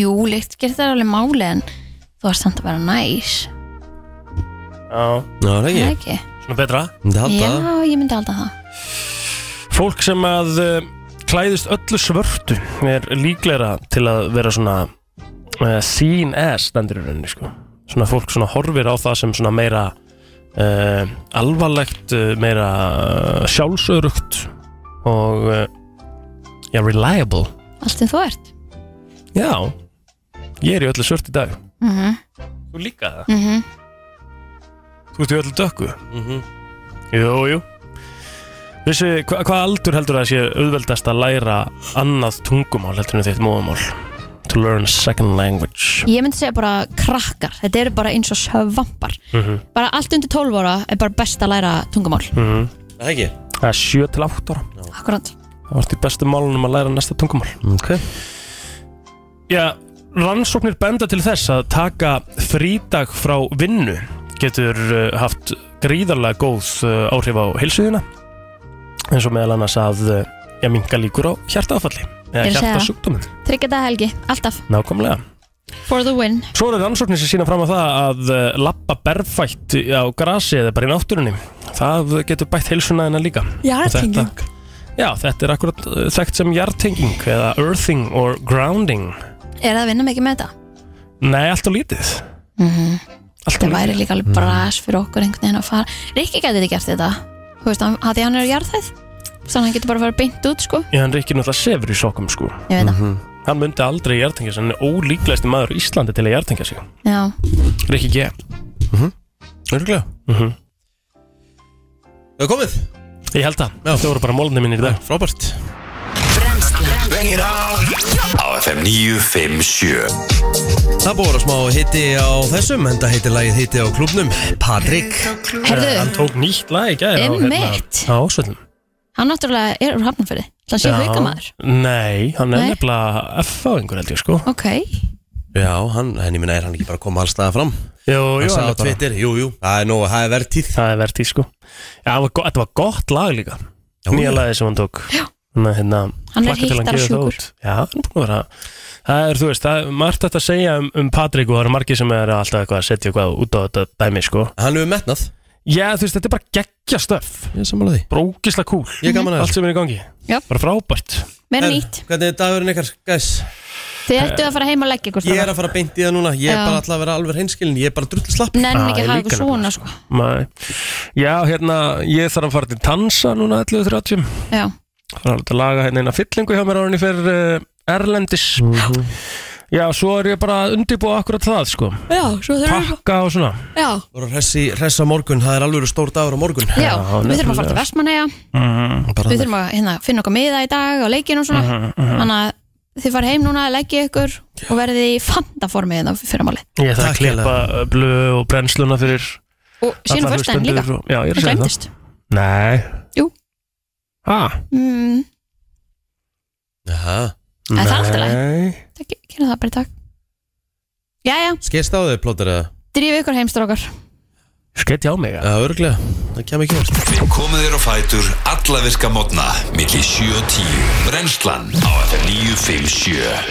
C: Jú, líkt, gerir það alveg máli en þú varst samt að vera næs
E: Já,
D: Já, það er
C: er
D: ekki
C: það ekki?
E: svona betra
D: Myndi halda
C: Já,
D: það.
C: ég myndi halda það
E: Fólk sem að uh, klæðist öllu svörtu er líklegra til að vera svona uh, seen as stendur í rauninni sko. Svona fólk svona horfir á það sem svona meira uh, alvarlegt, uh, meira uh, sjálfsörugt og uh, já, reliable.
C: Allt sem þú ert
E: Já, ég er í öllu svörtu í dag.
C: mm -hmm.
E: Þú líka það?
C: Mm
E: Þú ert í öllu dökku? Jú, jú Vissu, hva, hvað aldur heldur það sé auðveldast að læra annað tungumál heldur en þitt móðumál? To learn a second language
C: Ég myndi segja bara krakkar Þetta eru bara eins og svampar
E: Mhm.
C: Bara allt undir 12 ára er bara best að læra tungumál
E: Mhm.
D: Það er ekki
E: Það er 7 til 8 ára
C: Akkurat
E: Það varst í bestu málunum að læra næsta tungumál
D: Ok
E: Já, rannsóknir benda til þess að taka frídag frá vinnu getur uh, haft gríðarlega góð uh, áhrif á heilsuðina eins og meðal annars að uh, ég minka líkur á hjartaafalli eða
C: Ég er að segja það.
E: hjartasjúkdómum,
C: Tryggja það helgi, alltaf
E: nákvæmlega
C: For the win
E: Svo eru rannsóknir sem sína fram á það að eh, labba berfætt á grasi eða bara í náttúrunni. Það getur bætt heilsuna hennar líka. Jartenging. Já, þetta er akkurat eh, þekkt sem jartenging eða earthing or grounding.
C: Er það að vinna mikið með þetta?
E: Nei, allt og lítið.
C: Mm
E: Mhm. Allt
C: Það væri líka
D: Mm.
C: alveg bras fyrir okkur einhvern veginn að fara Rikki gæti þetta gert þetta Þú veist, hann, að því hann er jarðhæð Þannig að hann getur bara að fara beint út, sko
E: Já, hann reykir náttúrulega sefur í sokkum sko.
C: Ég veit það,
D: Mhm.
E: Hann myndi aldrei jartengja sig, hann er ólíklegasti maður í Íslandi til að jartengja sig.
C: já
E: Rikki G.
D: Örgulega
E: Mhm.
D: Það er komið
E: Ég held það. Þetta voru bara mólunni mínir í dag.
D: Frábært
A: Á FM 957
D: Það er búið að vera smá hitti á þessum Enda heitir lagið hitti á klubnum Patrik
E: Eh, Hann
C: Herðu,
E: tók nýtt lag í hérna, gæði.
C: Einmitt.
E: Á Ásvöldum.
C: hann náttúrulega er úr hafnumfyrði Það sé haukamæður
E: Nei, hann er
C: Nei.
E: nefnilega F-fáingur held ég sko.
C: Ok,
D: Já, hann, en ég minna er hann ekki bara að koma alls staða fram
E: Jú,
D: Hann
E: jú,
D: sagði
E: alveg
D: á
E: bara.
D: Twitter, jú, jú, það er nóg, það er vertíð
E: Það er verðt í sko Já, það var go- þetta var gott lag líka
D: Já,
E: Nýja
D: já.
E: lagið sem hann tók Þannig að hérna
C: Hann er
E: hlakka til að
C: hittara
E: gefi það
C: sjúkur.
E: út. Já, hann er búin að vera Það er, þú veist, það er margt þetta að segja um, um Patrik og það eru margir sem er alltaf eitthvað að setja eitthvað út á þetta dæmi sko
D: Hann hefur metnað
E: Já, þú veist, þetta er bara geggja stöf
D: Ég sammála því
E: Brókisla kúl
D: Ég er gaman að
E: Allt sem er í gangi
C: Já.
E: Bara frábært
D: En,
C: meira nýtt
D: Hvernig er dagurinn ykkar, guys?
C: Þið ættu að fara heim að leggja ykkur
D: Ég er að fara beint í það núna Ég er
C: Já.
D: bara alltaf að vera alveg hreinskilin Ég er bara drull slapp
C: Nenni ekki
E: Ah, ég
C: að hafa ykkur
E: líka
C: svona,
E: nefnilega,
C: sko
E: Nei. Já, hérna, ég þarf að fara til Tansa núna 11.30
C: Já,
E: Það er alveg að laga hérna eina fyllingu hjá mér árinni fyrir uh, Erlendis Já, svo er ég bara að undirbúa akkurat það sko
C: já svo þurfum
E: Pakka og svona
C: við Já,
D: Bara hressi, hressa morgun Það er alveg stór dagur á morgun
C: já við þurfum
E: nefnilega.
C: að fara til Vestmanneja
E: Mhm.
D: Bara
C: Við
D: þannig.
C: þurfum að hérna, finna okkur miða í dag og leikin og svona
E: Mhm.
C: Þannig að þið fara heim núna, leggja ykkur og verðið í fandaformið þannig fyrir máli
E: Ég þarf
D: Takk
E: að klippa uh, blöð og brennsluna fyrir
C: Og síðan
E: alla
C: fyrstæðin
E: hlustendur
C: líka,
E: og- Já, ég er að segja það
C: það glemdist
E: Nei Ah.
C: Jú.
E: Ha?
C: mm,
D: Jaha,
C: En það er allt í lagi.
E: Nei
C: Kynna það bara í dag Jæja,
D: skeist á þau plótar eða?
C: drífu ykkur heimstrókar
E: Skeitt hjá mig
D: Já, örgulega Það kemur ekki vorst
A: Komið þér á fætur alla virka mótna milli 7 og 10 Brennslan á FM 957